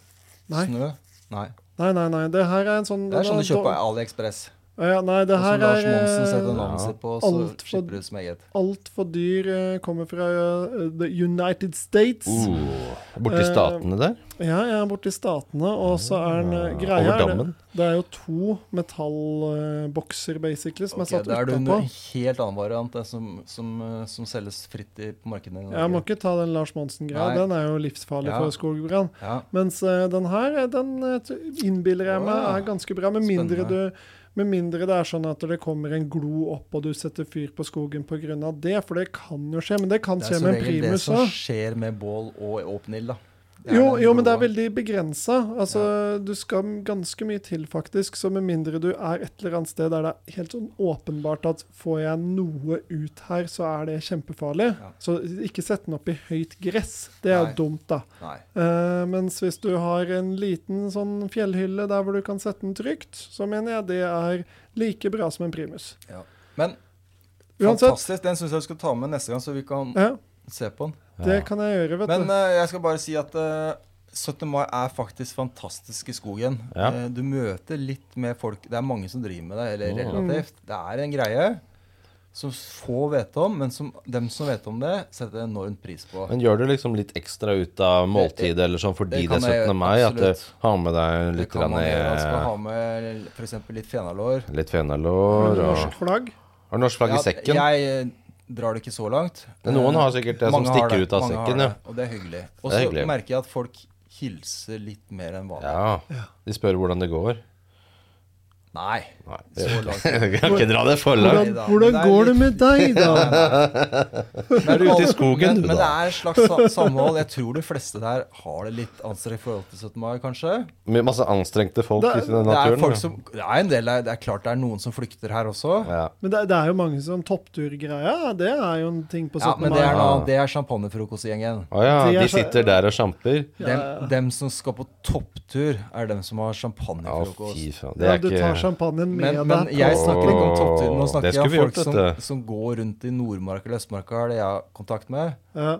Speaker 1: Sånn. Nei.
Speaker 3: Snø? Nei.
Speaker 1: Nei, nei, nei. Det her er en sånn
Speaker 3: Det er sånn du kjøper på
Speaker 1: da-
Speaker 3: AliExpress.
Speaker 1: Ja, nei, det
Speaker 3: Og som
Speaker 1: her
Speaker 3: Lars
Speaker 1: er
Speaker 3: Monsen
Speaker 1: eh,
Speaker 3: setter annonser på, så
Speaker 1: alt for-
Speaker 3: slipper du som eget.
Speaker 1: altfor dyr eh, kommer fra eh, The United States.
Speaker 2: Uh, Borti
Speaker 1: Eh,
Speaker 2: statene der?
Speaker 1: Ja, jeg er borti statene, og så er den eh, greia
Speaker 2: Over
Speaker 1: er det,
Speaker 2: dammen?
Speaker 1: det er jo to metallbokser, basically, som
Speaker 3: Ok,
Speaker 1: er satt
Speaker 3: da er du
Speaker 1: utenpå.
Speaker 3: under en helt annen variant det som, som, eh, som selges fritt i, på markedet. i Norge.
Speaker 1: Jeg må ikke ta den Lars Monsen-greia,
Speaker 3: Nei.
Speaker 1: den er jo livsfarlig
Speaker 3: Ja.
Speaker 1: for skogbrann.
Speaker 3: ja.
Speaker 1: Mens eh, den her, eh, den eh, t- innbiller jeg meg
Speaker 3: Wow.
Speaker 1: er ganske bra. Med mindre,
Speaker 3: Spennende.
Speaker 1: du, med mindre det er sånn at det kommer en glo opp og du setter fyr på skogen pga. det, for det kan jo skje. Men det kan
Speaker 3: Det er
Speaker 1: skje
Speaker 3: som
Speaker 1: med en
Speaker 3: regel det
Speaker 1: primus
Speaker 3: som
Speaker 1: òg.
Speaker 3: skjer med bål og åpen ild, da. Det er
Speaker 1: Jo,
Speaker 3: den
Speaker 1: jo, men det er
Speaker 3: bloa.
Speaker 1: veldig begrensa. Altså, du skal ganske mye til, faktisk. Så med mindre du er et eller annet sted der det er helt sånn åpenbart at får jeg noe ut her, så er det kjempefarlig.
Speaker 3: Ja.
Speaker 1: Så ikke sett den opp i høyt gress. Det er
Speaker 3: Nei.
Speaker 1: jo dumt, da.
Speaker 3: Nei.
Speaker 1: Eh, mens hvis du har en liten sånn fjellhylle der hvor du kan sette den trygt, så mener jeg det er like bra som en primus.
Speaker 3: Ja. Men
Speaker 1: Uansett.
Speaker 3: fantastisk. Den syns jeg du skal ta med neste gang, så vi kan
Speaker 1: Ja,
Speaker 3: se på den.
Speaker 1: det kan jeg gjøre, vet
Speaker 3: Men
Speaker 1: du.
Speaker 3: eh, jeg skal bare si at eh, 17. mai er faktisk fantastisk i skogen.
Speaker 2: Ja.
Speaker 3: Eh, du møter litt mer folk Det er mange som driver med det, eller
Speaker 2: Ja.
Speaker 3: relativt. Det er en greie som få vet om, men som dem som vet om det, setter enormt pris på.
Speaker 2: Men gjør du liksom litt ekstra ut av måltidet eller sånn fordi det
Speaker 3: det kan
Speaker 2: er 17.
Speaker 3: jeg gjøre,
Speaker 2: mai? At du
Speaker 3: absolutt.
Speaker 2: har med deg
Speaker 3: Det
Speaker 2: litt,
Speaker 3: kan man gjøre. Man skal ha
Speaker 2: grann,
Speaker 3: med f.eks. litt fenalår.
Speaker 2: eh, litt fenalår og
Speaker 1: Norsk flagg.
Speaker 2: Har du norsk flagg i sekken?
Speaker 3: Ja, jeg eh, drar det ikke så langt. Eh,
Speaker 2: Men noen har sikkert det som
Speaker 3: Mange har
Speaker 2: stikker ut av
Speaker 3: mange har
Speaker 2: sekken, ja.
Speaker 3: det, Og det er hyggelig. Og
Speaker 2: Det er
Speaker 3: så
Speaker 2: hyggelig.
Speaker 3: merker jeg at folk hilser litt mer enn vanlig.
Speaker 2: ja. De spør hvordan det går.
Speaker 3: Nei.
Speaker 2: Nei,
Speaker 3: Så [laughs]
Speaker 2: jeg [laughs]
Speaker 3: langt.
Speaker 2: jeg kan ikke dra det for langt.
Speaker 1: Hvordan, hvordan går det med
Speaker 3: [laughs]
Speaker 1: deg, da?
Speaker 2: Er du ute i skogen, du,
Speaker 3: Men det
Speaker 2: da?
Speaker 3: er et slags sa- samhold. Jeg tror de fleste der har det litt anstrengt i forhold til 17. mai, kanskje.
Speaker 2: Med masse anstrengte folk
Speaker 1: Det er-
Speaker 2: ute i den
Speaker 3: Det er,
Speaker 2: naturen.
Speaker 3: folk
Speaker 2: ja.
Speaker 3: som, det er en del der, det er klart det er noen som flykter her også.
Speaker 2: ja.
Speaker 1: Men det, det er jo mange som toppturgreia. Det er jo en ting på 17.
Speaker 3: Ja, men
Speaker 1: mai.
Speaker 3: det er,
Speaker 2: da-
Speaker 3: noe, annet. det er champagnefrokostgjengen.
Speaker 2: Å ja,
Speaker 1: Det er
Speaker 2: de
Speaker 1: så-
Speaker 2: sitter der og sjamper?
Speaker 1: Ja,
Speaker 3: Dem,
Speaker 1: ja, ja.
Speaker 3: dem som skal på topptur, er dem som har
Speaker 2: Å, fy
Speaker 3: champagnefrokost.
Speaker 2: faen. Det
Speaker 1: Ja,
Speaker 2: er
Speaker 1: du tar
Speaker 2: ikke
Speaker 1: champagnen med
Speaker 3: Men, men
Speaker 1: deg.
Speaker 3: jeg snakker ikke om
Speaker 2: Åh,
Speaker 3: topptur. Nå
Speaker 2: det
Speaker 3: snakker jeg
Speaker 2: skulle
Speaker 3: om
Speaker 2: vi
Speaker 3: folk
Speaker 2: gjort,
Speaker 3: som,
Speaker 2: dette.
Speaker 3: som går rundt i Nordmarka eller Østmarka, er det jeg har kontakt med.
Speaker 1: Ja.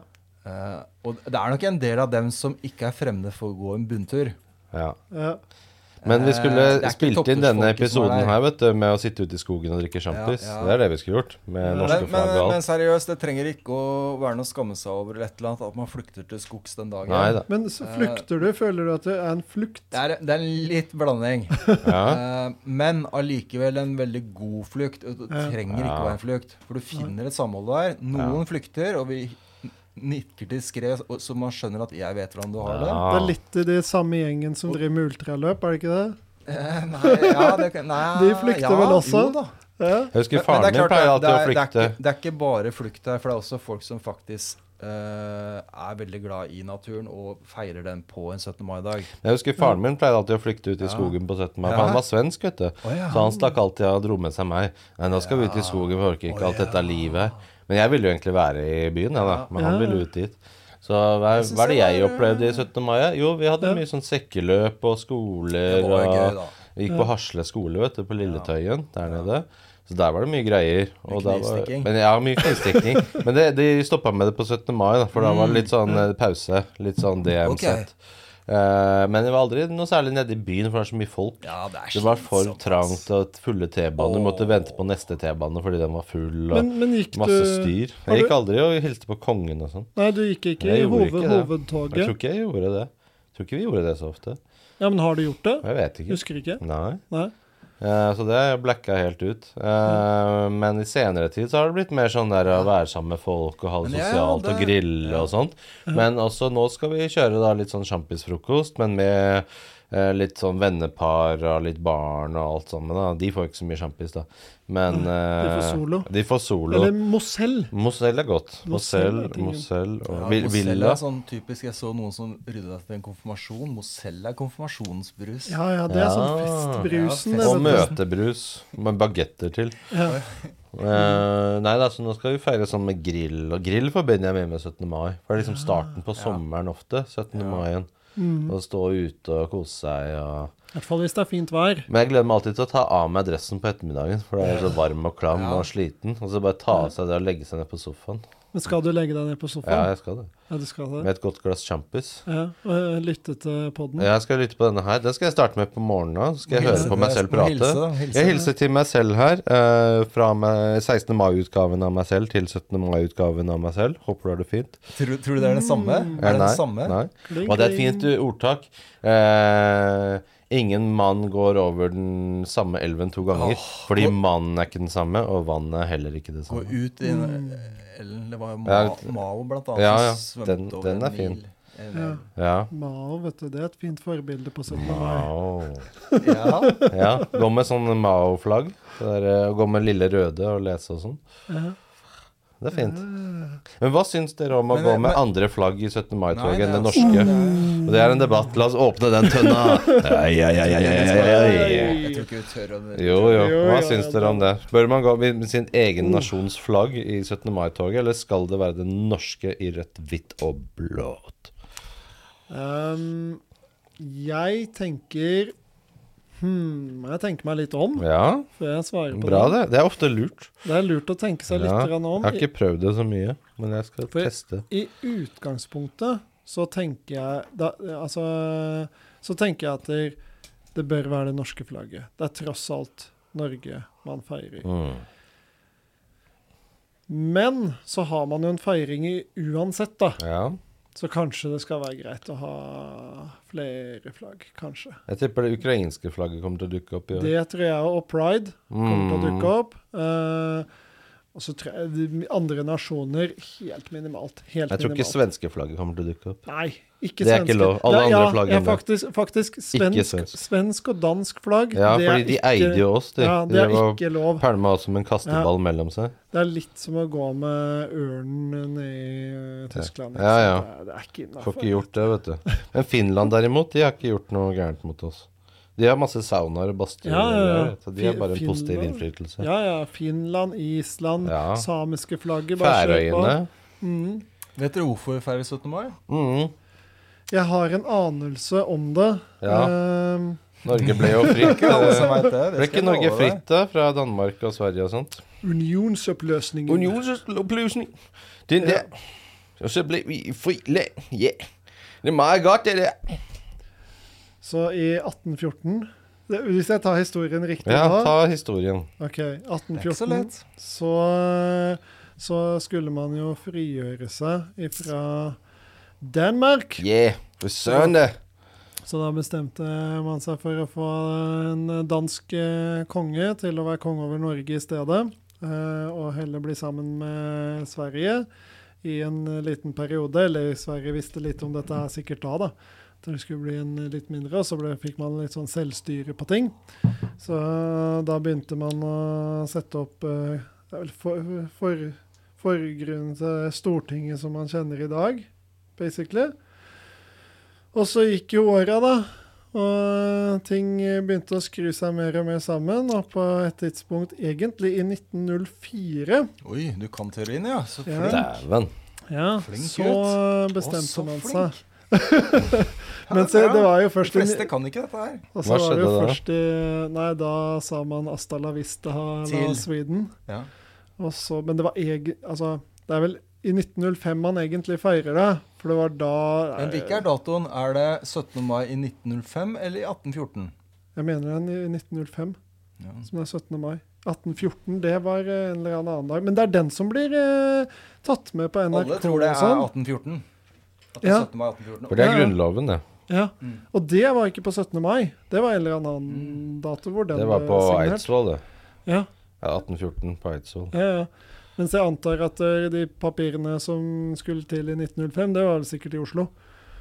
Speaker 3: Eh, og det er nok en del av dem som ikke er fremmede for å gå en bunntur.
Speaker 2: ja.
Speaker 1: Ja.
Speaker 2: Men vi skulle
Speaker 3: Eh, det er ikke
Speaker 2: spilt inn denne
Speaker 3: topptursfolket som er
Speaker 2: episoden
Speaker 3: der.
Speaker 2: her vet du, med å sitte ute i skogen og drikke sjampis.
Speaker 3: Ja, ja.
Speaker 2: Det er det vi skulle gjort. Med
Speaker 3: Men,
Speaker 2: norske
Speaker 3: men,
Speaker 2: flagg og
Speaker 3: men
Speaker 2: alt.
Speaker 3: seriøst, det trenger ikke å være noe å skamme seg over eller et eller annet, at man flykter til skogs den dagen.
Speaker 2: Nei da.
Speaker 1: Men
Speaker 3: Eh,
Speaker 1: så flykter du. Føler du at det er en flukt?
Speaker 3: Det er, det er en litt blanding.
Speaker 2: Ja.
Speaker 3: Eh, men allikevel en veldig god flukt. Det trenger ikke å være en flukt. For du finner et samhold der. Noen flykter, og vi nikker diskré, og- så man skjønner at jeg vet hvordan du har det.
Speaker 1: Det er litt i de samme gjengen som driver med ultraløp, er det ikke det?
Speaker 3: Eh, nei, ja, det kan- nei,
Speaker 1: De flykter
Speaker 3: ja,
Speaker 1: vel også?
Speaker 3: Jo da.
Speaker 1: Ja.
Speaker 2: Jeg husker
Speaker 3: Men- men
Speaker 2: faren
Speaker 3: det er
Speaker 2: min
Speaker 3: klart,
Speaker 2: pleier alltid
Speaker 3: det
Speaker 2: å
Speaker 3: er-
Speaker 2: flykte.
Speaker 3: Det er, ikke, det er ikke bare flukt her, for det er også folk som faktisk eh, er veldig glad i naturen og feirer den på en 17. mai-dag.
Speaker 2: Jeg husker faren min pleide alltid å flykte ut i skogen på 17. mai, for
Speaker 3: Ja.
Speaker 2: han var svensk, vet du.
Speaker 3: Å, ja.
Speaker 2: Så han stakk alltid av og dro med seg meg. Nei, nå skal vi ut i skogen, vi orker ikke alt dette livet her. Men jeg ville jo egentlig være i byen, jeg da. Men
Speaker 1: Ja.
Speaker 2: han ville ut dit. Så hva,
Speaker 3: synes
Speaker 2: hva er det
Speaker 3: det
Speaker 2: jeg
Speaker 3: var-
Speaker 2: opplevde i 17. mai? Jo, vi hadde mye sånn sekkeløp og skoler
Speaker 3: Det var jo gøy,
Speaker 2: og
Speaker 3: da.
Speaker 2: Vi gikk på Hasle skole, vet du, på Lilletøyen der nede. Så der var det mye greier.
Speaker 3: Mye
Speaker 2: da var-
Speaker 3: knivstikking.
Speaker 2: men, ja, mye knivstikking.
Speaker 3: [laughs]
Speaker 2: men det, de stoppa med det på 17. mai, da, for da var det litt sånn eh, pause. Litt sånn DM-sett.
Speaker 3: Mm, Ok.
Speaker 2: Eh, men det var aldri noe særlig nede i byen, for det er så mye folk.
Speaker 3: Ja, det er
Speaker 2: det var for
Speaker 3: slitsomt, ass.
Speaker 2: trangt og fulle T-baner. Du måtte vente på neste T-bane fordi den var full, og
Speaker 1: Men- men gikk
Speaker 2: masse
Speaker 1: du-
Speaker 2: styr.
Speaker 1: har du-
Speaker 2: Jeg gikk aldri og hilste på kongen og sånn.
Speaker 1: Nei, du gikk ikke
Speaker 2: Jeg
Speaker 1: i
Speaker 2: gjorde
Speaker 1: hoved,
Speaker 2: ikke det. Jeg tror
Speaker 1: hovedtoget.
Speaker 2: ikke jeg gjorde det. Jeg tror ikke vi gjorde det så ofte.
Speaker 1: Ja, Men har du gjort det?
Speaker 2: Jeg vet ikke.
Speaker 1: Husker ikke.
Speaker 2: Nei.
Speaker 1: Nei.
Speaker 2: Eh, Så det har jeg blacka helt ut. Eh, Men i senere tid så har det blitt mer sånn der å være sammen med folk og ha det
Speaker 3: Men jeg
Speaker 2: sosialt
Speaker 3: hadde-
Speaker 2: og grille og sånt. Men også nå skal vi kjøre da litt sånn sjampisfrokost, men med eh, litt sånn vennepar og litt barn og alt sammen. da De får ikke så mye sjampis, da. Men
Speaker 1: de får
Speaker 2: eh,
Speaker 1: solo.
Speaker 2: De får solo.
Speaker 1: Eller Mosell.
Speaker 2: Mosell er godt.
Speaker 1: Mosell er
Speaker 2: Mosell,
Speaker 1: tingen.
Speaker 2: Mosell og
Speaker 3: Ja,
Speaker 2: Vil-
Speaker 3: Moselle
Speaker 2: Villa.
Speaker 3: er sånn typisk, Jeg så noen som rydda etter en konfirmasjon. Moselle er konfirmasjonsbrus.
Speaker 1: Ja ja, det er sånn
Speaker 2: Ah, Ja.
Speaker 1: festbrusen.
Speaker 3: Ja,
Speaker 1: det,
Speaker 2: Og
Speaker 1: vet
Speaker 2: møtebrus med bagetter til.
Speaker 1: du. Ja.
Speaker 2: Eh, nei, da, så nå skal vi feire sånn med grill. Og grill forbinder jeg mye med 17. mai. For det er liksom starten på sommeren ofte. 17. maien. Å stå ute og kose seg. Og...
Speaker 1: I hvert fall hvis det er fint vær.
Speaker 2: Men jeg gleder meg alltid til å ta av meg dressen på ettermiddagen. For da er jeg så varm og klam og sliten. Og så bare ta av seg det og legge seg ned på sofaen.
Speaker 1: Men skal du legge deg ned på
Speaker 2: Ja,
Speaker 1: sofaen?
Speaker 2: jeg skal det.
Speaker 1: Ja, du skal det.
Speaker 2: Med et godt glass sjampis.
Speaker 1: Ja, og eh, lytte til podden.
Speaker 2: Jeg skal lytte på denne her. Den skal jeg starte med på morgenen. Så skal jeg
Speaker 3: Må
Speaker 2: høre
Speaker 3: Mm. hilse.
Speaker 2: på meg selv
Speaker 3: Må
Speaker 2: prate.
Speaker 3: hilse, da. Hilse.
Speaker 2: Jeg hilser til meg selv her. eh, fra meg- 16. mai-utgaven av meg selv til 17. mai-utgaven av meg selv. Håper du har det fint.
Speaker 3: Tror, tror du det er den samme?
Speaker 1: Mm.
Speaker 2: Eh,
Speaker 3: Er det
Speaker 2: nei,
Speaker 3: den samme?
Speaker 2: Nei.
Speaker 1: Kling,
Speaker 2: Og det er et
Speaker 1: kling.
Speaker 2: fint ordtak. Eh, ingen mann går over den samme elven to ganger. fordi mannen er ikke den samme, og vannet er heller ikke det
Speaker 3: Gå
Speaker 2: samme.
Speaker 3: ut i
Speaker 1: Mm.
Speaker 3: Ellen, Det var jo Ma,
Speaker 2: Ja,
Speaker 3: Mao, blant annet,
Speaker 2: ja, ja.
Speaker 3: som svømte
Speaker 2: Den-
Speaker 3: over
Speaker 2: den
Speaker 3: en
Speaker 2: er fin.
Speaker 3: mil. En-
Speaker 1: Ja.
Speaker 2: Ja.
Speaker 1: Mao, vet du. Det er et fint forbilde på 17. mai.
Speaker 2: Mao.
Speaker 3: Ja.
Speaker 2: Ja, gå med sånn Mao-flagg. Det der, eh, og Gå med lille røde og lese og sånn.
Speaker 1: Ja.
Speaker 2: Det er fint. Men hva syns dere om å
Speaker 3: Men-
Speaker 2: gå med
Speaker 3: men-
Speaker 2: andre flagg i 17.
Speaker 3: Nei,
Speaker 2: mai-toget
Speaker 3: det
Speaker 2: enn det
Speaker 3: er sånn, også-
Speaker 2: norske? Og det er en debatt. La oss åpne den tønna.
Speaker 3: [laughs]
Speaker 2: Ei, ei, ei, ei, ei, ei, ei.
Speaker 3: Jeg tror ikke vi tør å
Speaker 2: Jo, jo.
Speaker 1: Jo,
Speaker 2: Hva
Speaker 1: jo,
Speaker 2: syns
Speaker 1: ja,
Speaker 2: dere om det? Bør man gå med sin egen nasjons flagg i 17. mai-toget, eller skal det være det norske i rødt, hvitt og blått?
Speaker 1: Um, jeg tenker hmm, Jeg tenker meg litt om
Speaker 2: Ja,
Speaker 1: før jeg svarer på
Speaker 2: bra
Speaker 1: det.
Speaker 2: det. Det er ofte lurt.
Speaker 1: Det er lurt å tenke seg litt
Speaker 2: Ja,
Speaker 1: grann
Speaker 2: jeg
Speaker 1: om.
Speaker 2: har ikke prøvd det så mye, men jeg skal
Speaker 1: For-
Speaker 2: teste.
Speaker 1: I utgangspunktet så tenker jeg da, Altså Så tenker jeg at det, det bør være det norske flagget. Det er tross alt Norge man feirer.
Speaker 2: Mm.
Speaker 1: Men så har man jo en feiring i uansett, da.
Speaker 2: Ja.
Speaker 1: Så kanskje det skal være greit å ha flere flagg. Kanskje.
Speaker 2: Jeg tipper det ukrainske flagget kommer til å dukke opp i år. Mm.
Speaker 1: Det tror jeg, og pride kommer til å dukke opp. Eh, Og så tror jeg de andre nasjoner helt minimalt. Helt
Speaker 2: Jeg tror ikke
Speaker 1: minimalt.
Speaker 2: svenskeflagget kommer til å dukke opp.
Speaker 1: Nei, ikke
Speaker 2: Det er ikke
Speaker 1: svenske.
Speaker 2: lov. Alle
Speaker 1: Nei,
Speaker 2: andre
Speaker 1: ja,
Speaker 2: flagg
Speaker 1: ja,
Speaker 2: er lov.
Speaker 1: faktisk, faktisk svensk,
Speaker 2: svensk.
Speaker 1: svensk og dansk flagg.
Speaker 2: Ja,
Speaker 1: det er
Speaker 2: fordi de
Speaker 1: ikke-
Speaker 2: eide jo oss, de.
Speaker 1: Ja,
Speaker 2: de
Speaker 1: det er
Speaker 2: var-
Speaker 1: ikke lov.
Speaker 2: Pælma oss som en kasteball mellom seg.
Speaker 1: Det er litt som å gå med ørnen ned i eh, Tyskland.
Speaker 2: Ja, ja.
Speaker 1: sant? Det, er, det er ikke
Speaker 2: Får
Speaker 1: innafor.
Speaker 2: ikke gjort det, vet du. Men Finland derimot, de har ikke gjort noe gærent mot oss. De har masse saunaer og badstuer.
Speaker 1: Ja, ja, ja.
Speaker 2: og greier, Så de er
Speaker 1: Fi-
Speaker 2: bare en positiv
Speaker 1: Finland.
Speaker 2: innflytelse.
Speaker 1: Ja, ja. Finland, Island,
Speaker 2: Ja.
Speaker 1: samiske flagget. bare kjør på.
Speaker 2: Færøyene.
Speaker 1: Mm.
Speaker 3: Vet dere hvorfor vi feirer 17. mai?
Speaker 2: Mm.
Speaker 1: Jeg har en anelse om det.
Speaker 2: Ja.
Speaker 1: Ehm,
Speaker 2: Norge ble [laughs] jo fritt.
Speaker 3: Ikke alle som
Speaker 2: eh,
Speaker 3: vet det. det
Speaker 2: Ble
Speaker 3: skal jeg
Speaker 2: ikke Norge
Speaker 3: love deg.
Speaker 2: fritt da, fra Danmark og Sverige og sånt?
Speaker 1: unionsoppløsningen.
Speaker 2: Unionsoppløsning. Den
Speaker 1: Ja.
Speaker 2: der. Og så ble vi fri land. Yeah. Det er meget godt, det der.
Speaker 1: Så i 1814 det, Hvis jeg tar historien riktig
Speaker 2: Ja,
Speaker 1: da
Speaker 2: ta historien.
Speaker 1: Ok,
Speaker 3: Det er ikke så
Speaker 1: 1814
Speaker 3: lett.
Speaker 1: så, så skulle man jo frigjøre seg ifra Danmark.
Speaker 2: Yeah. For søren, det.
Speaker 1: Så da bestemte man seg for å få en dansk eh, konge til å være konge over Norge i stedet. eh, Og heller bli sammen med Sverige i en eh, liten periode. Eller Sverige visste litt om dette her sikkert da, da. Så det skulle bli en litt mindre, og så ble, fikk man litt sånn selvstyre på ting. Så da begynte man å sette opp eh, det er vel for, for, forgrunnen til Stortinget som man kjenner i dag, basically. Og så gikk jo åra, da. Og ting begynte å skru seg mer og mer sammen. Og på et tidspunkt, egentlig i 1904,
Speaker 3: Oi, du kan teorien, ja. Så
Speaker 1: Ja.
Speaker 3: flink.
Speaker 2: Dæven.
Speaker 1: ja,
Speaker 3: Flink
Speaker 1: så bestemte
Speaker 3: Å, så
Speaker 1: man
Speaker 3: flink.
Speaker 1: seg. [laughs] Men se, det var jo
Speaker 3: De
Speaker 1: først i
Speaker 3: fleste kan ikke dette her.
Speaker 1: og
Speaker 2: Hva
Speaker 1: så var det jo
Speaker 2: skjedde da?
Speaker 1: først i Nei, da sa man 'Asta la vista la
Speaker 3: Til.
Speaker 1: Sweden'.
Speaker 3: Ja.
Speaker 1: Og så, men det var egen... Altså, det er vel i 1905 man egentlig feirer det. For det var da
Speaker 3: Men hvilken er datoen? Er det 17. mai i 1905 eller i 1814?
Speaker 1: Jeg mener den i 1905,
Speaker 3: Ja.
Speaker 1: som er 17. mai. 1814, det var eh, en eller annen dag. Men det er den som blir eh, tatt med på NRK.
Speaker 3: Alle tror det
Speaker 1: og
Speaker 3: er
Speaker 1: sånn.
Speaker 3: 1814. At det er
Speaker 1: Ja.
Speaker 3: 17. mai 1814.
Speaker 2: For det
Speaker 1: Ja,
Speaker 2: er
Speaker 1: ja.
Speaker 2: grunnloven, det.
Speaker 1: Ja.
Speaker 3: Mm.
Speaker 1: Og det var ikke på 17. mai. Det var en eller annen dato hvor den
Speaker 2: Det var
Speaker 1: ble
Speaker 2: på
Speaker 1: signert.
Speaker 2: Eidsvoll, det.
Speaker 1: Ja,
Speaker 2: Ja, 1814 på Eidsvoll.
Speaker 1: ja, ja. Mens jeg antar at eh, de papirene som skulle til i 1905, det var vel sikkert i Oslo.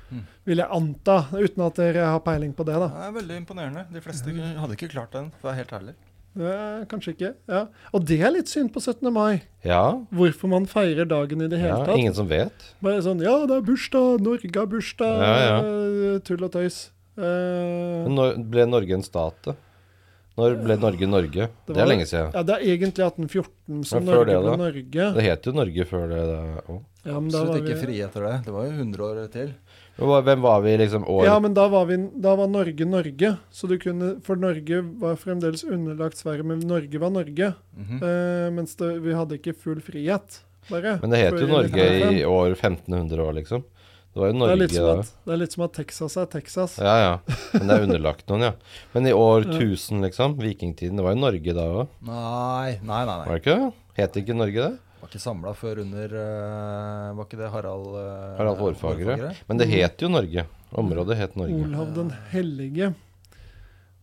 Speaker 3: Mm.
Speaker 1: Vil jeg anta, uten at dere har peiling på det, da.
Speaker 3: Det er veldig imponerende. De fleste hadde ikke klart den, for å være helt ærlig.
Speaker 1: Eh, kanskje ikke. ja. Og det er litt synd på 17. mai.
Speaker 2: Ja,
Speaker 1: Hvorfor man feirer dagen i det hele
Speaker 2: ja
Speaker 1: tatt.
Speaker 2: ingen som vet.
Speaker 1: Bare sånn Ja, det er bursdag! Norge har bursdag!
Speaker 2: Ja, Mm. ja.
Speaker 1: eh, Tull og tøys. Eh,
Speaker 2: Men når ble Norge en stat, da? Når ble Norge Norge? Det,
Speaker 1: var-
Speaker 2: er lenge siden.
Speaker 1: ja, det er egentlig 1814 som
Speaker 2: Men før
Speaker 1: Norge
Speaker 2: det,
Speaker 1: ble
Speaker 2: da?
Speaker 1: Norge.
Speaker 2: Det het jo Norge før det. Da. også.
Speaker 1: Ja, men da
Speaker 3: Absolutt
Speaker 1: var
Speaker 3: ikke
Speaker 1: vi,
Speaker 3: fri etter det. Det var jo 100 år til.
Speaker 2: Men hva- Hvem var vi liksom år
Speaker 1: ja, men da var, vi, da var Norge Norge. Så du kunne For Norge var fremdeles underlagt Sverige, men Norge var Norge.
Speaker 2: Mm.
Speaker 3: Mhm.
Speaker 1: Eh, mens det, vi hadde ikke full frihet, bare.
Speaker 2: Men det het jo
Speaker 1: før
Speaker 2: Norge
Speaker 1: 1905.
Speaker 2: i år 1500 år, liksom. Det var jo
Speaker 1: det er,
Speaker 2: Norge
Speaker 1: litt som
Speaker 2: da.
Speaker 1: at, det er litt som at Texas er Texas.
Speaker 2: Ja, ja. Men det er underlagt noen, ja. Men i år
Speaker 1: Ja.
Speaker 2: 1000, liksom. Vikingtiden. Det var jo Norge da òg,
Speaker 3: Nei, nei, nei.
Speaker 2: var
Speaker 3: nei.
Speaker 2: det ikke? det? Het ikke Norge det?
Speaker 3: Var ikke samla før under eh, Var ikke det Harald eh,
Speaker 2: Harald Hårfagre. Men
Speaker 1: Mm.
Speaker 2: det het jo Norge. Området het Norge.
Speaker 1: Olav den hellige.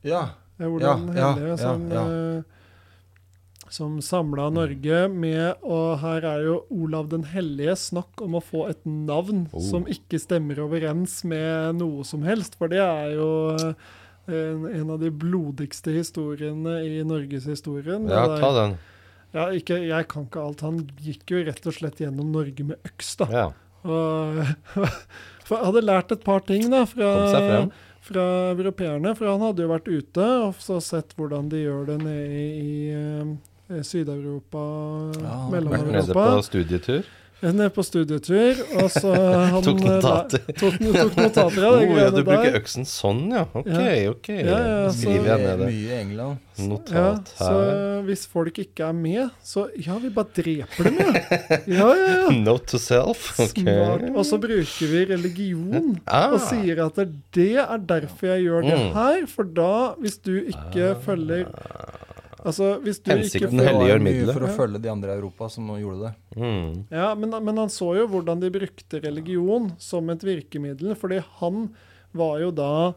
Speaker 3: Ja.
Speaker 1: Det er
Speaker 3: Ja,
Speaker 1: hvordan
Speaker 3: ja,
Speaker 1: Helle
Speaker 3: ja,
Speaker 1: som,
Speaker 3: ja.
Speaker 1: eh, som samla Norge med Og her er jo Olav den hellige snakk om å få et navn
Speaker 2: Oh.
Speaker 1: som ikke stemmer overens med noe som helst, for det er jo eh, en, en av de blodigste historiene i norgeshistorien.
Speaker 2: Ja,
Speaker 1: Det er-
Speaker 2: ta den.
Speaker 1: Ja, ikke, jeg kan ikke alt. Han gikk jo rett og slett gjennom Norge med øks, da.
Speaker 2: Ja,
Speaker 1: Og, [laughs] for jeg hadde lært et par ting da fra,
Speaker 2: Kom seg frem.
Speaker 1: fra europeerne. For han hadde jo vært ute og så sett hvordan de gjør det nede i, eh, Syd-Europa,
Speaker 3: Ja,
Speaker 2: Vært
Speaker 1: Mellom-Europa.
Speaker 2: nede på studietur.
Speaker 1: Ned på studietur, og
Speaker 2: [laughs]
Speaker 1: så han,
Speaker 2: Tok notater.
Speaker 1: eh, [laughs] Tok, tok
Speaker 2: [laughs]
Speaker 1: notater
Speaker 2: Å
Speaker 1: av de
Speaker 2: ja, du
Speaker 1: greiene
Speaker 2: bruker
Speaker 1: der.
Speaker 2: øksen sånn, ja. Ok,
Speaker 1: Ja.
Speaker 2: ok.
Speaker 1: Ja, ja,
Speaker 2: Nå
Speaker 1: så- eh,
Speaker 2: skriver jeg ned det.
Speaker 3: Mye i England.
Speaker 1: Ja,
Speaker 2: Notat
Speaker 1: så
Speaker 2: her.
Speaker 1: hvis folk ikke er med, så ja, vi bare dreper dem, ja. Ja, ja, ja.
Speaker 2: [laughs] Note to self. Ok.
Speaker 1: [laughs] Smart. Og så bruker vi religion
Speaker 2: Ah.
Speaker 1: og sier at det- det er derfor jeg gjør det
Speaker 2: Mm. Ah.
Speaker 1: her. For da, hvis du ikke følger Altså, hvis du
Speaker 2: Hensikten
Speaker 1: ikke
Speaker 2: Den
Speaker 3: Det
Speaker 1: følger
Speaker 2: hellige-
Speaker 3: var
Speaker 2: helliger
Speaker 3: mye
Speaker 2: middelet.
Speaker 3: for å
Speaker 1: Ja.
Speaker 3: følge de andre i Europa som gjorde det.
Speaker 2: Mm.
Speaker 1: ja, men, men han så jo hvordan de brukte religion som et virkemiddel, fordi han var jo da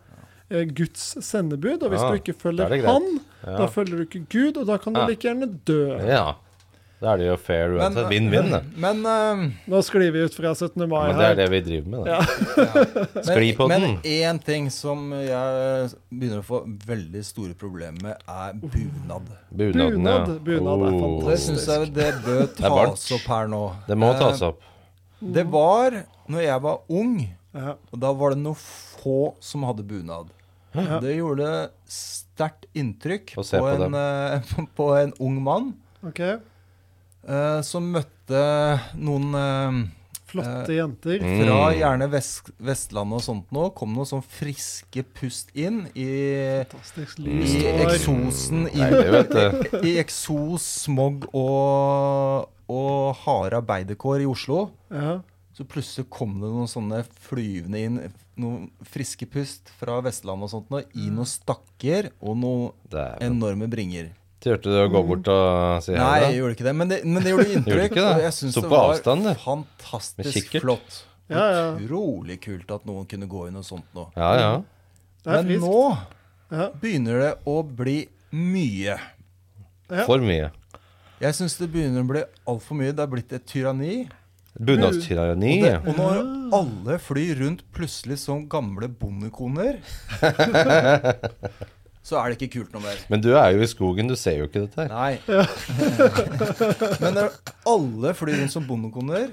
Speaker 1: eh, Guds sendebud, og hvis
Speaker 2: Ah,
Speaker 1: du ikke
Speaker 2: da er
Speaker 1: følger
Speaker 2: det greit.
Speaker 1: han, da
Speaker 2: Ja.
Speaker 1: følger du ikke Gud, og da kan du
Speaker 2: Ah.
Speaker 1: like gjerne dø.
Speaker 2: ja. Da er det jo fair uansett.
Speaker 1: [laughs]
Speaker 2: Vinn-vinn, det.
Speaker 3: eh, Men, eh,
Speaker 1: Nå sklir vi ut fra 17. mai
Speaker 2: Men det
Speaker 1: her.
Speaker 2: er det vi driver med, [laughs] da.
Speaker 1: Ja.
Speaker 3: men-
Speaker 2: Skli på den.
Speaker 3: Men én ting som jeg eh, begynner å få veldig store problemer med, er bunad.
Speaker 2: Bunaden, ja.
Speaker 1: Bunad. Bunad er
Speaker 2: Oh.
Speaker 3: Det syns jeg det bør
Speaker 2: er varmt.
Speaker 3: tas opp her nå.
Speaker 2: Det må
Speaker 3: Eh,
Speaker 2: tas opp.
Speaker 3: Det var når jeg var ung,
Speaker 1: Ja.
Speaker 3: og da var det noen få som hadde bunad. Det gjorde sterkt inntrykk
Speaker 2: Å se på
Speaker 3: en,
Speaker 2: dem.
Speaker 3: eh, [laughs] på en ung mann
Speaker 1: OK.
Speaker 3: eh, som møtte noen eh,
Speaker 1: Flotte jenter.
Speaker 2: Mm.
Speaker 3: fra gjerne vest, Vestlandet og sånt nå, kom noen sånn friske pust inn i,
Speaker 1: Fantastisk
Speaker 3: i
Speaker 2: Mm.
Speaker 1: lyst hår.
Speaker 3: eksosen
Speaker 2: Nei,
Speaker 3: inn
Speaker 2: det vet
Speaker 3: [laughs]
Speaker 2: du.
Speaker 3: i eksos, smog og, og harde arbeiderkår i Oslo.
Speaker 1: Ja.
Speaker 3: Så plutselig kom det noen sånne flyvende inn, noen friske pust fra Vestlandet og sånt, nå, i noen stakker og noen
Speaker 2: Dæven.
Speaker 3: enorme bringer.
Speaker 2: Turte du å gå bort og si
Speaker 3: Nei,
Speaker 2: hei,
Speaker 3: jeg
Speaker 2: da?
Speaker 3: gjorde ikke det, men det, men det gjorde
Speaker 2: Gjorde
Speaker 3: inntrykk.
Speaker 2: ikke det?
Speaker 3: og jeg syns
Speaker 2: Så
Speaker 3: det
Speaker 2: på
Speaker 3: var
Speaker 2: avstand, du. Med
Speaker 3: fantastisk
Speaker 2: kikkert.
Speaker 3: flott.
Speaker 1: Ja, ja.
Speaker 3: Utrolig kult at noen kunne gå i noe sånt nå.
Speaker 2: Ja, ja.
Speaker 1: Det er
Speaker 3: Men
Speaker 1: friskt.
Speaker 3: nå
Speaker 1: Ja.
Speaker 3: begynner det å bli mye.
Speaker 1: Ja.
Speaker 2: For mye.
Speaker 3: Jeg syns det begynner å bli altfor mye. Det er blitt et tyranni.
Speaker 2: Bunadstyranni.
Speaker 3: Og, det, og når alle flyr rundt plutselig som gamle bondekoner,
Speaker 2: [laughs]
Speaker 3: så er det ikke kult noe mer.
Speaker 2: Men du er jo i skogen, du ser jo ikke dette her.
Speaker 3: Nei. [laughs] Men når alle flyr rundt som bondekoner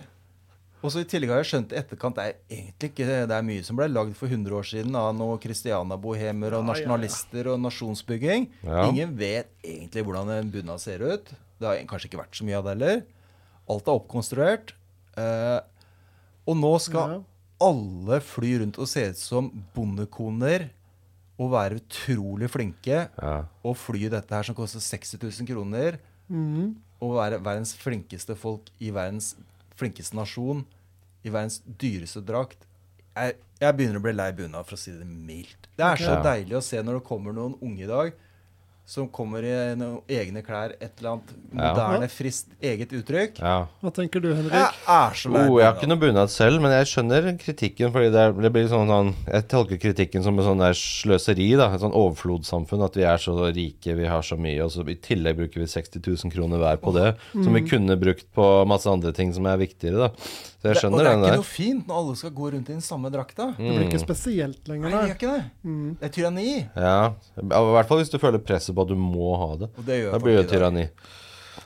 Speaker 3: og så I tillegg har jeg skjønt i etterkant det er egentlig ikke det er mye som ble lagd for 100 år siden av noen Christiania-bohemer
Speaker 1: Ja, ja,
Speaker 3: og
Speaker 1: ja.
Speaker 3: nasjonalister og nasjonsbygging.
Speaker 2: Ja.
Speaker 3: Ingen vet egentlig hvordan en bunad ser ut. Det har kanskje ikke vært så mye av det heller. Alt er oppkonstruert. Eh, og nå skal
Speaker 1: Ja.
Speaker 3: alle fly rundt og se ut som bondekoner og være utrolig flinke
Speaker 2: Ja.
Speaker 3: og fly dette her som koster 60 000 kroner,
Speaker 1: Mm.
Speaker 3: og være verdens flinkeste folk i verdens flinkeste nasjon, i verdens dyreste drakt Jeg, jeg begynner å bli lei bunad, for å si det mildt. Det er så
Speaker 2: Ja.
Speaker 3: deilig å se når det kommer noen unge i dag som kommer i noen egne klær, et eller annet
Speaker 2: Ja.
Speaker 3: moderne, friskt eget uttrykk.
Speaker 2: ja.
Speaker 1: Hva tenker du,
Speaker 3: Jeg
Speaker 1: Henrik?
Speaker 3: er så lei
Speaker 2: Oh, jeg har ikke
Speaker 3: bunad.
Speaker 2: noe bunad selv, men jeg skjønner kritikken. Fordi det, er- det blir sånn, sånn Jeg tolker kritikken som en sånn der sløseri. da Et sånn overflodssamfunn. At vi er så rike, vi har så mye, og så i tillegg bruker vi 60 000 kroner hver på det. Som
Speaker 3: Mm.
Speaker 2: vi kunne brukt på masse andre ting som er viktigere, da. Så jeg
Speaker 3: Det- og
Speaker 2: skjønner
Speaker 3: det er
Speaker 2: den
Speaker 3: ikke
Speaker 2: der. Mm.
Speaker 3: noe fint når alle skal gå rundt i den samme drakta.
Speaker 1: Det blir ikke spesielt lenger,
Speaker 3: Nei, det
Speaker 1: nei.
Speaker 3: gjør ikke det. Det er tyranni.
Speaker 2: Ja. I hvert fall hvis du føler presset på at du må ha det.
Speaker 3: Og det gjør
Speaker 2: Da blir det
Speaker 3: folk i dag.
Speaker 2: tyranni.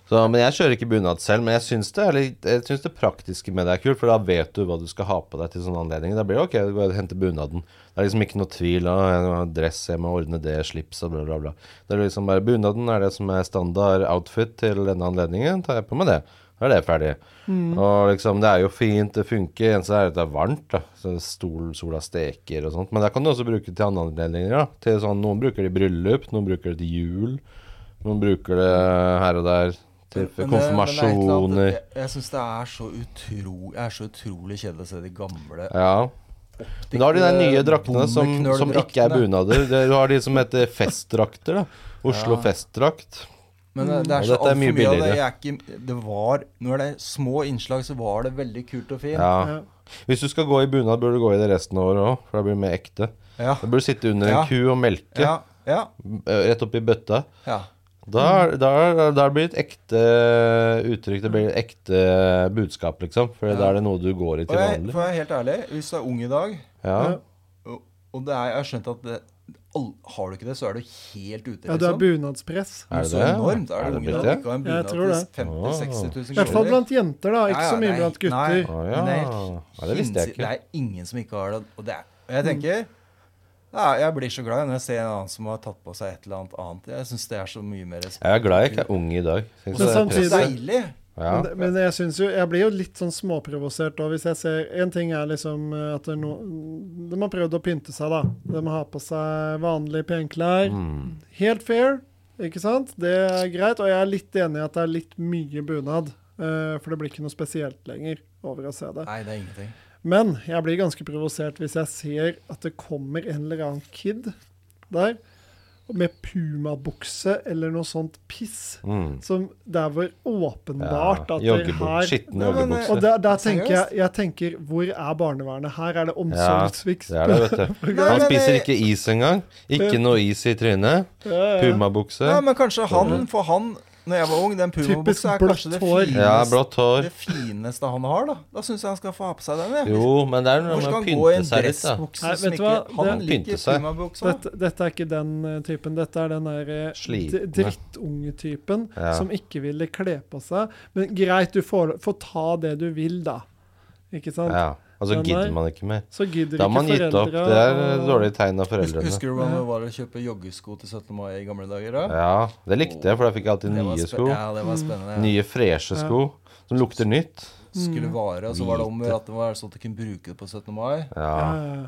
Speaker 2: Så, men jeg kjører ikke bunad selv, men jeg syns det, er litt- jeg syns det praktiske med det er kult, for da vet du hva du skal ha på deg til sånne anledninger. Da blir det ok, du går og henter bunaden. Det er liksom ikke noe tvil. Å, jeg må ha dress, jeg må ordne det, slips og bla, bla, bla. Det er liksom bare Bunaden er det som er standard outfit til denne anledningen. Tar jeg på meg det, da er det ferdig. Og liksom, det er jo fint, det funker. Eneste er at det er varmt, da. Så stol, sola steker og sånt. Men det kan du også bruke til andre anledninger, da. Til sånn, noen bruker det i bryllup, noen bruker det til jul. Noen bruker det her og der til
Speaker 3: Men- men det- men det er et eller
Speaker 2: konfirmasjoner.
Speaker 3: annet- Jeg, jeg syns det er så, utro, jeg er så utrolig kjedelig å se de gamle
Speaker 2: Ja. Men da har de de nye draktene som, som ikke er
Speaker 3: bondeknøldraktene.
Speaker 2: bunader. Det- Du har de som heter festdrakter, da. Oslo festdrakt.
Speaker 3: Men det, det er
Speaker 2: Og
Speaker 3: så
Speaker 2: dette er
Speaker 3: altfor
Speaker 2: mye
Speaker 3: mye av det.
Speaker 2: billigere.
Speaker 3: Jeg er ikke, det var, når det er små innslag, så var det veldig kult og fint.
Speaker 2: Ja.
Speaker 1: Ja.
Speaker 2: Hvis du skal gå i bunad, bør du gå i det resten av året òg, for da blir det mer ekte.
Speaker 3: Ja.
Speaker 2: Da bør du sitte under en
Speaker 3: Ja.
Speaker 2: ku og melke
Speaker 3: Ja. ja,
Speaker 2: eh, rett oppi bøtta.
Speaker 3: ja.
Speaker 2: Da, er- da, er- da blir det et ekte uttrykk, det blir et ekte budskap, liksom. For da er det noe du går i
Speaker 3: Og
Speaker 2: til
Speaker 3: jeg,
Speaker 2: vanlig.
Speaker 3: for jeg er helt ærlig, hvis du er ung i dag,
Speaker 2: Ja.
Speaker 3: og, og det er, jeg har skjønt at det, all, har du ikke det, så er du helt ute,
Speaker 1: Ja, du er bunadspress.
Speaker 2: Er
Speaker 3: Men
Speaker 2: det
Speaker 3: så
Speaker 2: det?
Speaker 3: enormt er
Speaker 2: Er
Speaker 3: det
Speaker 2: det blitt
Speaker 3: unge i
Speaker 2: det? Ah.
Speaker 3: dag. Ikke ha en
Speaker 1: Jeg
Speaker 3: bunad
Speaker 1: tror
Speaker 3: til
Speaker 1: det.
Speaker 3: 50 60
Speaker 1: I
Speaker 3: 000
Speaker 1: hvert fall
Speaker 3: kroner.
Speaker 1: blant jenter, da. Ikke
Speaker 3: Ja, ja,
Speaker 1: så mye
Speaker 3: nei,
Speaker 1: blant
Speaker 3: nei.
Speaker 1: gutter.
Speaker 2: Å ja.
Speaker 3: Det er
Speaker 2: ja. Det visste jeg
Speaker 3: hinsides- Det
Speaker 2: ikke.
Speaker 3: er ingen som ikke har det. Og det er, og
Speaker 1: Mm.
Speaker 3: jeg tenker ja, Jeg blir så glad når jeg ser en annen som har tatt på seg et eller annet annet. Jeg syns det er så mye mer respekt.
Speaker 2: Jeg er glad jeg ikke er ung i dag. Synes
Speaker 1: Men
Speaker 2: det er
Speaker 1: samtidig-
Speaker 2: presset.
Speaker 3: Deilig!
Speaker 2: ja.
Speaker 1: Men, men jeg synes jo Jeg blir jo litt sånn småprovosert da, hvis jeg ser En ting er liksom eh, at det er no, de har prøvd å pynte seg, da. De har på seg vanlige penklær.
Speaker 2: Mm.
Speaker 3: Mm,
Speaker 1: Helt fair, ikke sant? Det er greit. Og jeg er litt enig i at det er litt mye bunad. eh, For det blir ikke noe spesielt lenger over å se det.
Speaker 3: Nei, det er ingenting.
Speaker 1: Men jeg blir ganske provosert hvis jeg ser at det kommer en eller annen kid der med pumabukse eller noe sånt piss.
Speaker 2: Mm.
Speaker 1: Som der hvor åpenbart at det
Speaker 2: Joggebuk-
Speaker 1: her
Speaker 2: Skitne
Speaker 3: Nei, men,
Speaker 1: Og
Speaker 2: joggebukser.
Speaker 1: der, der tenker jeg,
Speaker 3: Seriøst?
Speaker 1: jeg tenker, hvor er barnevernet? Her er det
Speaker 2: Ja,
Speaker 1: omsorgssvikt.
Speaker 2: det er det, vet du.
Speaker 3: Nei,
Speaker 2: Han
Speaker 3: men
Speaker 2: spiser
Speaker 3: det-
Speaker 2: ikke is engang. Ikke noe is i trynet.
Speaker 1: Ja, ja.
Speaker 2: Pumabukse.
Speaker 3: Nei, men kanskje han, for han Når jeg var ung, den
Speaker 1: Typisk
Speaker 3: pumabuksa er kanskje
Speaker 1: blått
Speaker 3: det
Speaker 1: hår.
Speaker 3: fineste,
Speaker 2: Ja, blått hår.
Speaker 3: det fineste han har. Da Da syns jeg han skal få ha på seg den. Jeg.
Speaker 2: Jo, men det er noe
Speaker 3: Hvor
Speaker 2: med å
Speaker 3: skal han gå i
Speaker 2: pynte
Speaker 3: en
Speaker 2: seg litt, da.
Speaker 1: Nei,
Speaker 3: dressbukse som
Speaker 1: vet du
Speaker 3: ikke
Speaker 1: hva?
Speaker 2: Det-
Speaker 3: Han
Speaker 2: Pynte
Speaker 3: liker
Speaker 2: seg.
Speaker 3: pumabuksa.
Speaker 1: Dette, dette er ikke den eh, typen. Dette er den der eh,
Speaker 2: Slitne.
Speaker 1: d- drittunge-typen
Speaker 2: Ja.
Speaker 1: som ikke ville kle på seg. Men greit, du får, får ta det du vil, da. Ikke sant?
Speaker 2: Ja. Altså
Speaker 1: Den
Speaker 2: gidder
Speaker 1: der-
Speaker 2: man ikke mer.
Speaker 1: Så gidder
Speaker 2: Da har man
Speaker 1: ikke
Speaker 2: gitt
Speaker 1: foreldra
Speaker 2: opp. Det er
Speaker 1: å-
Speaker 2: et dårlig tegn av
Speaker 3: Hus-
Speaker 2: foreldrene.
Speaker 3: Husker du hvordan det var å kjøpe joggesko til 17. mai i gamle dager? da?
Speaker 2: Ja, det likte jeg, for da fikk jeg alltid
Speaker 3: Det var
Speaker 2: nye
Speaker 3: spe-
Speaker 2: sko.
Speaker 3: Ja, det var spennende.
Speaker 2: Nye, freshe sko som lukter nytt.
Speaker 3: Skulle vare, og så var det om å gjøre at det var sånn at du kunne bruke det på 17. mai.
Speaker 2: Ja,
Speaker 1: Ja, ja,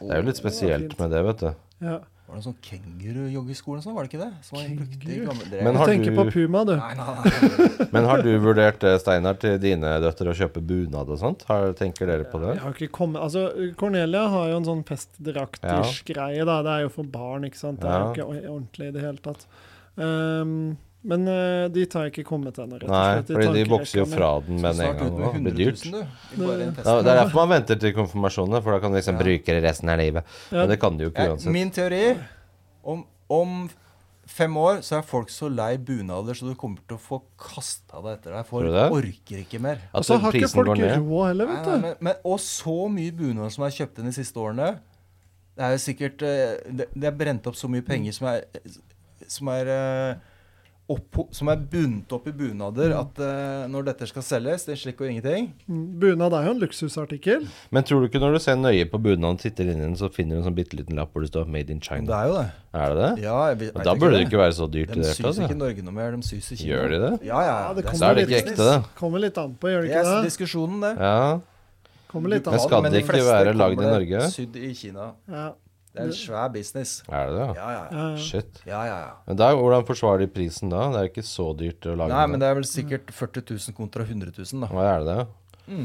Speaker 2: det er jo litt spesielt med det, vet du.
Speaker 1: ja.
Speaker 3: Var det en sånn kenguru-joggesko eller sånn, var det ikke det? Som man brukte i gamle drev.
Speaker 2: Men
Speaker 1: Du
Speaker 2: har
Speaker 1: tenker på
Speaker 2: du-
Speaker 1: Puma, du.
Speaker 3: Nei, nei,
Speaker 2: [laughs]
Speaker 3: nei.
Speaker 2: Men har du vurdert det, Steinar, til dine døtre å kjøpe bunad og sånt? Har, tenker dere på det?
Speaker 1: Jeg har ikke kommet, altså Cornelia har jo en sånn festdraktisk greie, da. Det er jo for barn, ikke sant. Det er jo
Speaker 2: Ja.
Speaker 1: ikke or- ordentlig i det hele tatt. Ehm, men eh, dit har jeg ikke kommet ennå, rett og
Speaker 2: Nei,
Speaker 1: slett. i
Speaker 2: fordi de
Speaker 1: tankerekka
Speaker 2: vokser jo
Speaker 1: mi.
Speaker 2: fra den med en
Speaker 3: Snart
Speaker 2: gang.
Speaker 3: ut
Speaker 2: og
Speaker 3: med
Speaker 2: Det
Speaker 3: 100
Speaker 2: blir dyrt.
Speaker 3: 000, du. I bare en
Speaker 2: Ja,
Speaker 3: fest.
Speaker 2: det er derfor man venter til konfirmasjonene, for da kan du liksom
Speaker 3: Ja.
Speaker 2: bruke det resten av livet.
Speaker 1: Ja.
Speaker 2: Men det kan du jo ikke
Speaker 3: Jeg,
Speaker 2: uansett.
Speaker 3: min teori om, om fem år så er folk så lei bunader så du kommer til å få kasta deg etter
Speaker 2: Tror
Speaker 3: deg. Folk
Speaker 2: du det?
Speaker 3: orker ikke mer.
Speaker 1: Og
Speaker 2: At
Speaker 1: så altså, har ikke
Speaker 2: prisen
Speaker 1: folk
Speaker 2: går ned.
Speaker 1: råd heller,
Speaker 3: Nei,
Speaker 1: vet
Speaker 3: nei,
Speaker 1: du.
Speaker 3: men, men, og så mye bunader som er kjøpt inn de siste årene. Det er jo sikkert eh, Det, det er brent opp så mye penger som er, som er eh, oppho- som er bundet opp i bunader, at eh, når dette skal selges, det slikker jo ingenting.
Speaker 1: Mm, Bunad er jo en luksusartikkel.
Speaker 2: Men tror du ikke når du ser nøye på bunaden og titter inn i den, så finner du en sånn bitte liten lapp hvor det står 'Made in China'?
Speaker 3: er jo det.
Speaker 2: Er det det?
Speaker 3: Ja, jeg vet,
Speaker 2: Og da burde det ikke være så dyrt i
Speaker 3: De
Speaker 2: det hele
Speaker 3: syr ikke i
Speaker 2: tatt. da.
Speaker 3: Norge noe mer, de syr i Kina.
Speaker 2: Gjør de det?
Speaker 3: Ja, ja, ja.
Speaker 1: det
Speaker 3: er
Speaker 2: Da er det
Speaker 1: litt-
Speaker 2: ikke ekte, da.
Speaker 1: Kommer litt an på, gjør det
Speaker 3: Det er
Speaker 1: ikke det?
Speaker 3: diskusjonen, det.
Speaker 2: Ja.
Speaker 1: Kommer litt
Speaker 2: Men
Speaker 1: an
Speaker 2: skal
Speaker 1: på.
Speaker 3: Men
Speaker 2: det
Speaker 3: de
Speaker 2: ikke
Speaker 3: fleste
Speaker 2: være lagd i
Speaker 3: kommer
Speaker 2: Norge?
Speaker 3: Sydd i Kina.
Speaker 1: Ja.
Speaker 3: Det er en svær business.
Speaker 2: Er det det?
Speaker 3: Ja, ja, ja.
Speaker 1: Ja, ja.
Speaker 2: Shit.
Speaker 3: ja, ja, ja.
Speaker 2: Men da, hvordan forsvarer de prisen da? Det er ikke så dyrt å lage
Speaker 3: Nei, men det er vel sikkert 40 000 kontra 100 000, da.
Speaker 2: Hva er det?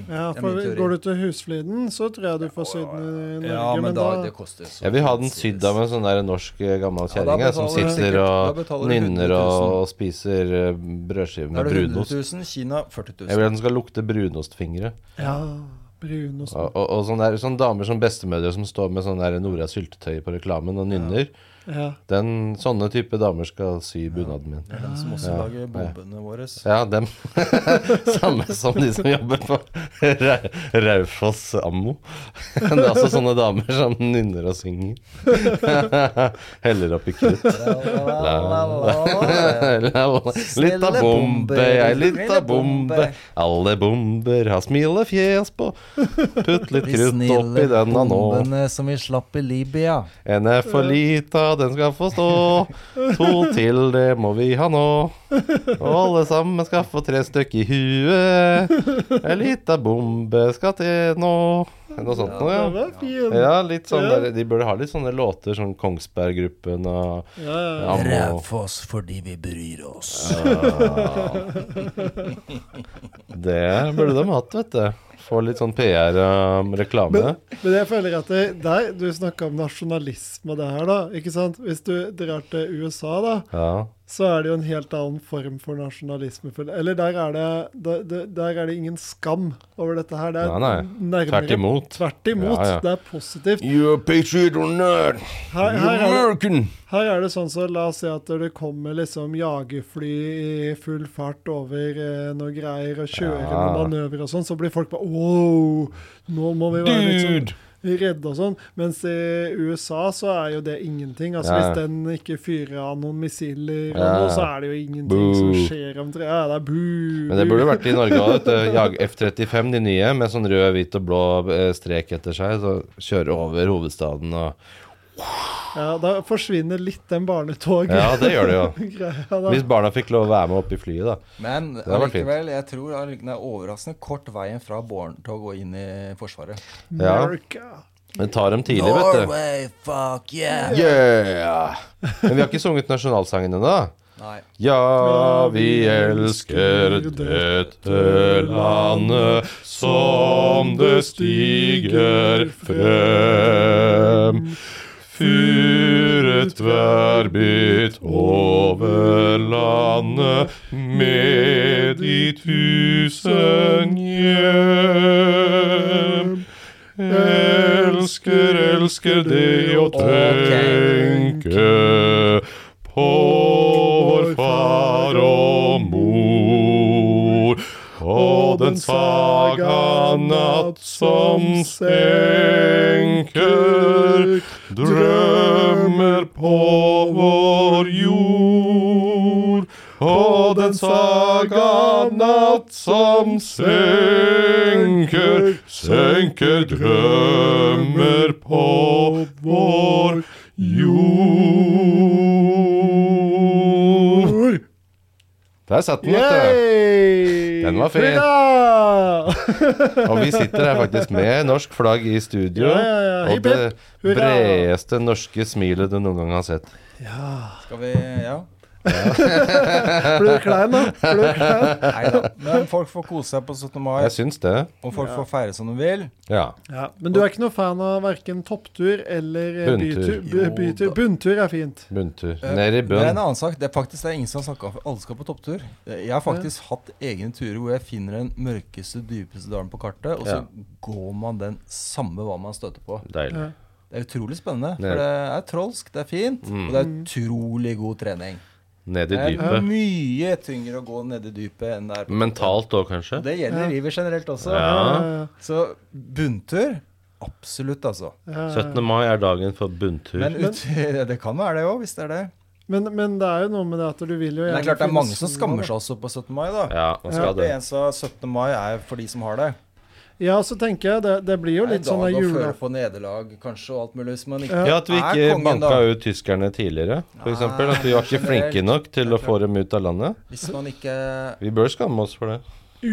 Speaker 1: ja, for
Speaker 3: Det er min teori.
Speaker 1: Går du til Husfliden, så tror jeg du får sydd den i Norge.
Speaker 3: Ja, men da Det koster så
Speaker 2: Jeg vil ha den sydd av en sånn der norsk eh, gammel
Speaker 3: Ja, da
Speaker 2: kjerring jeg, som
Speaker 3: betaler du
Speaker 2: sitter
Speaker 3: sikkert- da
Speaker 2: og
Speaker 3: betaler du
Speaker 2: nynner
Speaker 3: 100 000.
Speaker 2: og spiser eh, brødskive
Speaker 3: Da
Speaker 2: med
Speaker 3: er det 100
Speaker 2: brunost.
Speaker 3: 000, Kina 40
Speaker 2: Jeg
Speaker 3: 000.
Speaker 2: vil at den skal lukte brunostfingre.
Speaker 1: Ja, brunost.
Speaker 2: Og, og, og sånne, der, sånne damer som bestemødre som står med sånn der Nora syltetøy på reklamen og nynner.
Speaker 1: Ja.
Speaker 2: Den, sånne type damer skal sy bunaden min.
Speaker 3: Det er den som også lager bombene
Speaker 2: [laughs]
Speaker 3: våre.
Speaker 2: Ja, dem. Samme som de som jobber på Ra- Raufoss Ammo. [laughs] Det er også sånne damer som nynner og synger. [laughs] Heller oppi krutt. [laughs] Litt av bombe, jeg, litt av bombe. Alle bomber har smilefjes på. Putt litt krutt oppi denne nå.
Speaker 3: bombene som vi slapp i Libya.
Speaker 2: En er for lita, den skal få stå. To til, det må vi ha nå. Og alle sammen skal få tre stykk i huet. En lita bombe skal til nå. Noe sånt noe,
Speaker 1: Den
Speaker 2: ja.
Speaker 1: var fin. Ja,
Speaker 2: Ja, litt sånn
Speaker 1: Ja.
Speaker 2: der, De burde ha litt sånne låter som Kongsberg-gruppen og
Speaker 1: ja.
Speaker 2: Ammo.
Speaker 3: Rævfoss fordi vi bryr oss.
Speaker 2: Det burde de hatt, vet du. Få litt sånn PR-reklame.
Speaker 1: Men, men jeg føler at det, der, du snakka om nasjonalisme og det her, da. ikke sant? Hvis du drar til USA, da,
Speaker 2: ja.
Speaker 1: så er det jo en helt annen form for nasjonalisme. føler- Eller der er det, der, der- der er det ingen skam over dette her. Det er
Speaker 2: Nei, nei.
Speaker 1: nærmere
Speaker 2: Tvert imot.
Speaker 1: Tvert imot.
Speaker 2: Ja, ja.
Speaker 1: Det er positivt.
Speaker 2: You're a patriot or not?
Speaker 1: Her, her, er det,
Speaker 2: American!
Speaker 1: her er det sånn så la oss si at det kommer liksom jagerfly i full fart over eh, noe greier og kjører
Speaker 2: Ja.
Speaker 1: noen manøvrer og sånn, så blir folk bare wow, nå må vi være litt sånn
Speaker 2: Dude!
Speaker 1: redde og sånn. Mens i USA så er jo det ingenting. Altså
Speaker 2: Ja.
Speaker 1: Hvis den ikke fyrer av noen missiler, og
Speaker 2: Ja.
Speaker 1: noe, så er det jo ingenting som
Speaker 2: Boo.
Speaker 1: skjer omtrent. Ja, det er bu.
Speaker 2: Men det burde vært i Norge òg. Jag F-35, de nye, med sånn rød, hvit og blå eh, strek etter seg. Så kjøre over hovedstaden og
Speaker 1: Ja, da forsvinner litt den barnetoget.
Speaker 2: Ja, det gjør det jo.
Speaker 1: [laughs] Greia, da.
Speaker 2: Hvis barna fikk lov å være med opp i flyet, da.
Speaker 3: Men
Speaker 2: hadde vært fint.
Speaker 3: allikevel, jeg tror allike- det er overraskende kort veien fra barnetog og inn i Forsvaret.
Speaker 2: Ja.
Speaker 1: America.
Speaker 2: Men tar dem tidlig, vet du.
Speaker 3: fuck yeah!
Speaker 2: Yeah! Men vi har ikke sunget nasjonalsangen ennå.
Speaker 3: Nei.
Speaker 2: Ja, vi elsker dette landet som det stiger frem. Fyret tverrbit over landet med de tusen hjem. Elsker, elsker det å tenke på vår far og den saga natt som senker drømmer på vår jord. Og den saga natt som senker, senker drømmer på vår jord.
Speaker 1: Ord.
Speaker 2: Der satt den, vet du.
Speaker 1: Yay!
Speaker 2: Den var fin.
Speaker 1: Hurra!
Speaker 2: Og vi sitter her faktisk med norsk flagg i studio.
Speaker 1: Ja, ja, ja.
Speaker 2: Og
Speaker 1: Hipp, hipp.
Speaker 2: det
Speaker 1: Hurra!
Speaker 2: bredeste norske smilet du noen gang har sett.
Speaker 1: ja.
Speaker 3: Skal vi Ja.
Speaker 1: Blir du klein, da? Blir du klein?
Speaker 3: Nei da. Men folk får kose seg på 17. mai,
Speaker 2: Jeg syns det.
Speaker 3: og folk får feire som de vil.
Speaker 2: Ja.
Speaker 1: Ja, men du er ikke noe fan av verken topptur eller eh, bytur?
Speaker 2: Bunntur.
Speaker 1: bu- bytur.
Speaker 3: Jo da.
Speaker 1: Bunntur er fint.
Speaker 2: Bunntur.
Speaker 3: Eh,
Speaker 2: Ned i
Speaker 3: Det er en
Speaker 2: bunn.
Speaker 3: annen sak. Det er faktisk det er ingen som har snakka om Alle skal på topptur. Jeg har faktisk hatt egne turer hvor jeg finner den mørkeste, dypeste dalen på kartet, og så
Speaker 2: Ja.
Speaker 3: går man den samme hva man støter på.
Speaker 2: Deilig.
Speaker 1: Ja.
Speaker 3: Det er utrolig spennende.
Speaker 2: Det er-
Speaker 3: For det er trolsk, det er fint,
Speaker 2: Mm.
Speaker 3: og det er utrolig god trening.
Speaker 2: Ned i
Speaker 3: Det er
Speaker 2: dypet.
Speaker 3: mye tyngre å gå ned i dypet enn
Speaker 2: Mm.
Speaker 3: det er på
Speaker 2: Mentalt òg, kanskje?
Speaker 3: Det gjelder i livet generelt også.
Speaker 2: Ja.
Speaker 3: Så bunntur absolutt, altså.
Speaker 1: Ja, ja.
Speaker 2: 17. mai er dagen for bunntur.
Speaker 3: Men ut, [laughs] det kan være det òg, hvis det er det.
Speaker 1: Men, men det er jo noe med det at du vil jo
Speaker 3: Men det
Speaker 1: gjerne
Speaker 3: er klart det er
Speaker 1: finne
Speaker 3: mange som skammer seg også på 17. mai, da.
Speaker 2: Ja, man skal
Speaker 3: Det
Speaker 2: det.
Speaker 3: eneste av 17. mai er for de som har det.
Speaker 1: Ja, så tenker jeg det, det blir jo
Speaker 3: Det er en
Speaker 1: litt sånn
Speaker 3: dag å
Speaker 1: jule...
Speaker 3: føle på nederlag, kanskje, og alt mulig. Hvis man ikke
Speaker 2: Ja, At vi
Speaker 3: Er
Speaker 2: ikke
Speaker 3: kongen,
Speaker 2: banka
Speaker 3: da?
Speaker 2: ut tyskerne tidligere,
Speaker 3: Nei,
Speaker 2: f.eks. At vi var ikke
Speaker 3: generelt.
Speaker 2: flinke nok til å få dem ut av landet.
Speaker 3: Hvis man ikke
Speaker 2: Vi bør skamme oss for det.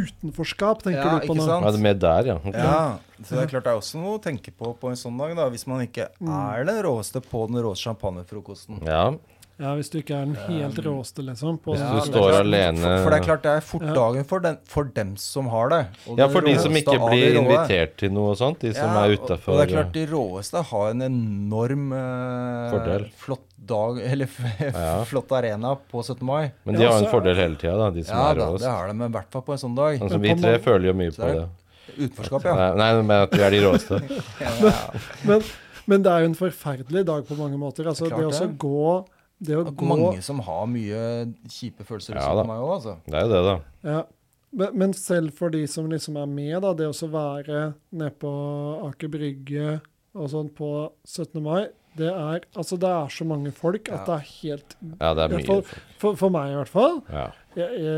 Speaker 1: Utenforskap, tenker
Speaker 3: Ja,
Speaker 1: du på
Speaker 3: ikke
Speaker 1: nå.
Speaker 3: sant?
Speaker 2: Er det med der, ja? Ok.
Speaker 3: Ja. Så det er klart det er også noe å tenke på på en sånn dag, da. Hvis man ikke
Speaker 1: Mm.
Speaker 3: er den råeste på den råeste champagnefrokosten.
Speaker 2: Ja.
Speaker 1: Ja, hvis du ikke er den helt råeste, liksom. På
Speaker 2: Hvis
Speaker 1: ja,
Speaker 2: du
Speaker 3: det er
Speaker 2: står
Speaker 3: klart.
Speaker 2: alene-
Speaker 3: For, for det er klart det er fort
Speaker 1: Ja.
Speaker 3: dagen for, den, for dem som har det. Og
Speaker 2: ja,
Speaker 3: den
Speaker 2: for de som
Speaker 3: råeste
Speaker 2: ikke
Speaker 3: av de
Speaker 2: blir
Speaker 3: råe.
Speaker 2: invitert til noe og sånt, de som
Speaker 3: Ja,
Speaker 2: er
Speaker 3: og- Og
Speaker 2: utafor.
Speaker 3: det er klart, de råeste har en enorm eh,
Speaker 2: Fordel.
Speaker 3: flott dag, [laughs] eller
Speaker 2: Ja.
Speaker 3: flott arena på 17. mai.
Speaker 2: Men
Speaker 1: Ja,
Speaker 2: de har en
Speaker 1: så-
Speaker 2: fordel hele tida, da, de som
Speaker 3: Ja
Speaker 2: er
Speaker 3: da, det
Speaker 2: råest.
Speaker 3: har de, men i hvert fall på en sånn dag.
Speaker 2: Altså,
Speaker 1: Men
Speaker 2: vi
Speaker 1: på
Speaker 2: tre
Speaker 1: mange-
Speaker 2: føler jo mye
Speaker 3: Så er
Speaker 2: på det.
Speaker 3: det-
Speaker 2: Sånn.
Speaker 3: Utenforskap, ja.
Speaker 2: Nei, nei, men at vi er de råeste.
Speaker 3: ja.
Speaker 2: [laughs]
Speaker 1: Men, men det er jo en forferdelig dag på mange måter. Altså,
Speaker 3: Det er
Speaker 1: det,
Speaker 3: klart
Speaker 1: å
Speaker 3: det.
Speaker 1: gå Det å
Speaker 3: At
Speaker 1: gå
Speaker 3: mange som har mye kjipe følelser
Speaker 2: Ja
Speaker 3: ja,
Speaker 2: da.
Speaker 3: meg òg, altså.
Speaker 2: Det er jo det, da.
Speaker 1: ja. Men- Men selv for de som liksom er med, da, det å så være nede på Aker Brygge og sånn på 17. mai, det er altså det er så mange folk at det er helt
Speaker 2: Ja, det
Speaker 1: i
Speaker 2: er
Speaker 1: hvert
Speaker 2: mye.
Speaker 1: fall, for, for meg i hvert fall.
Speaker 2: Ja,
Speaker 1: Jeg, jeg, jeg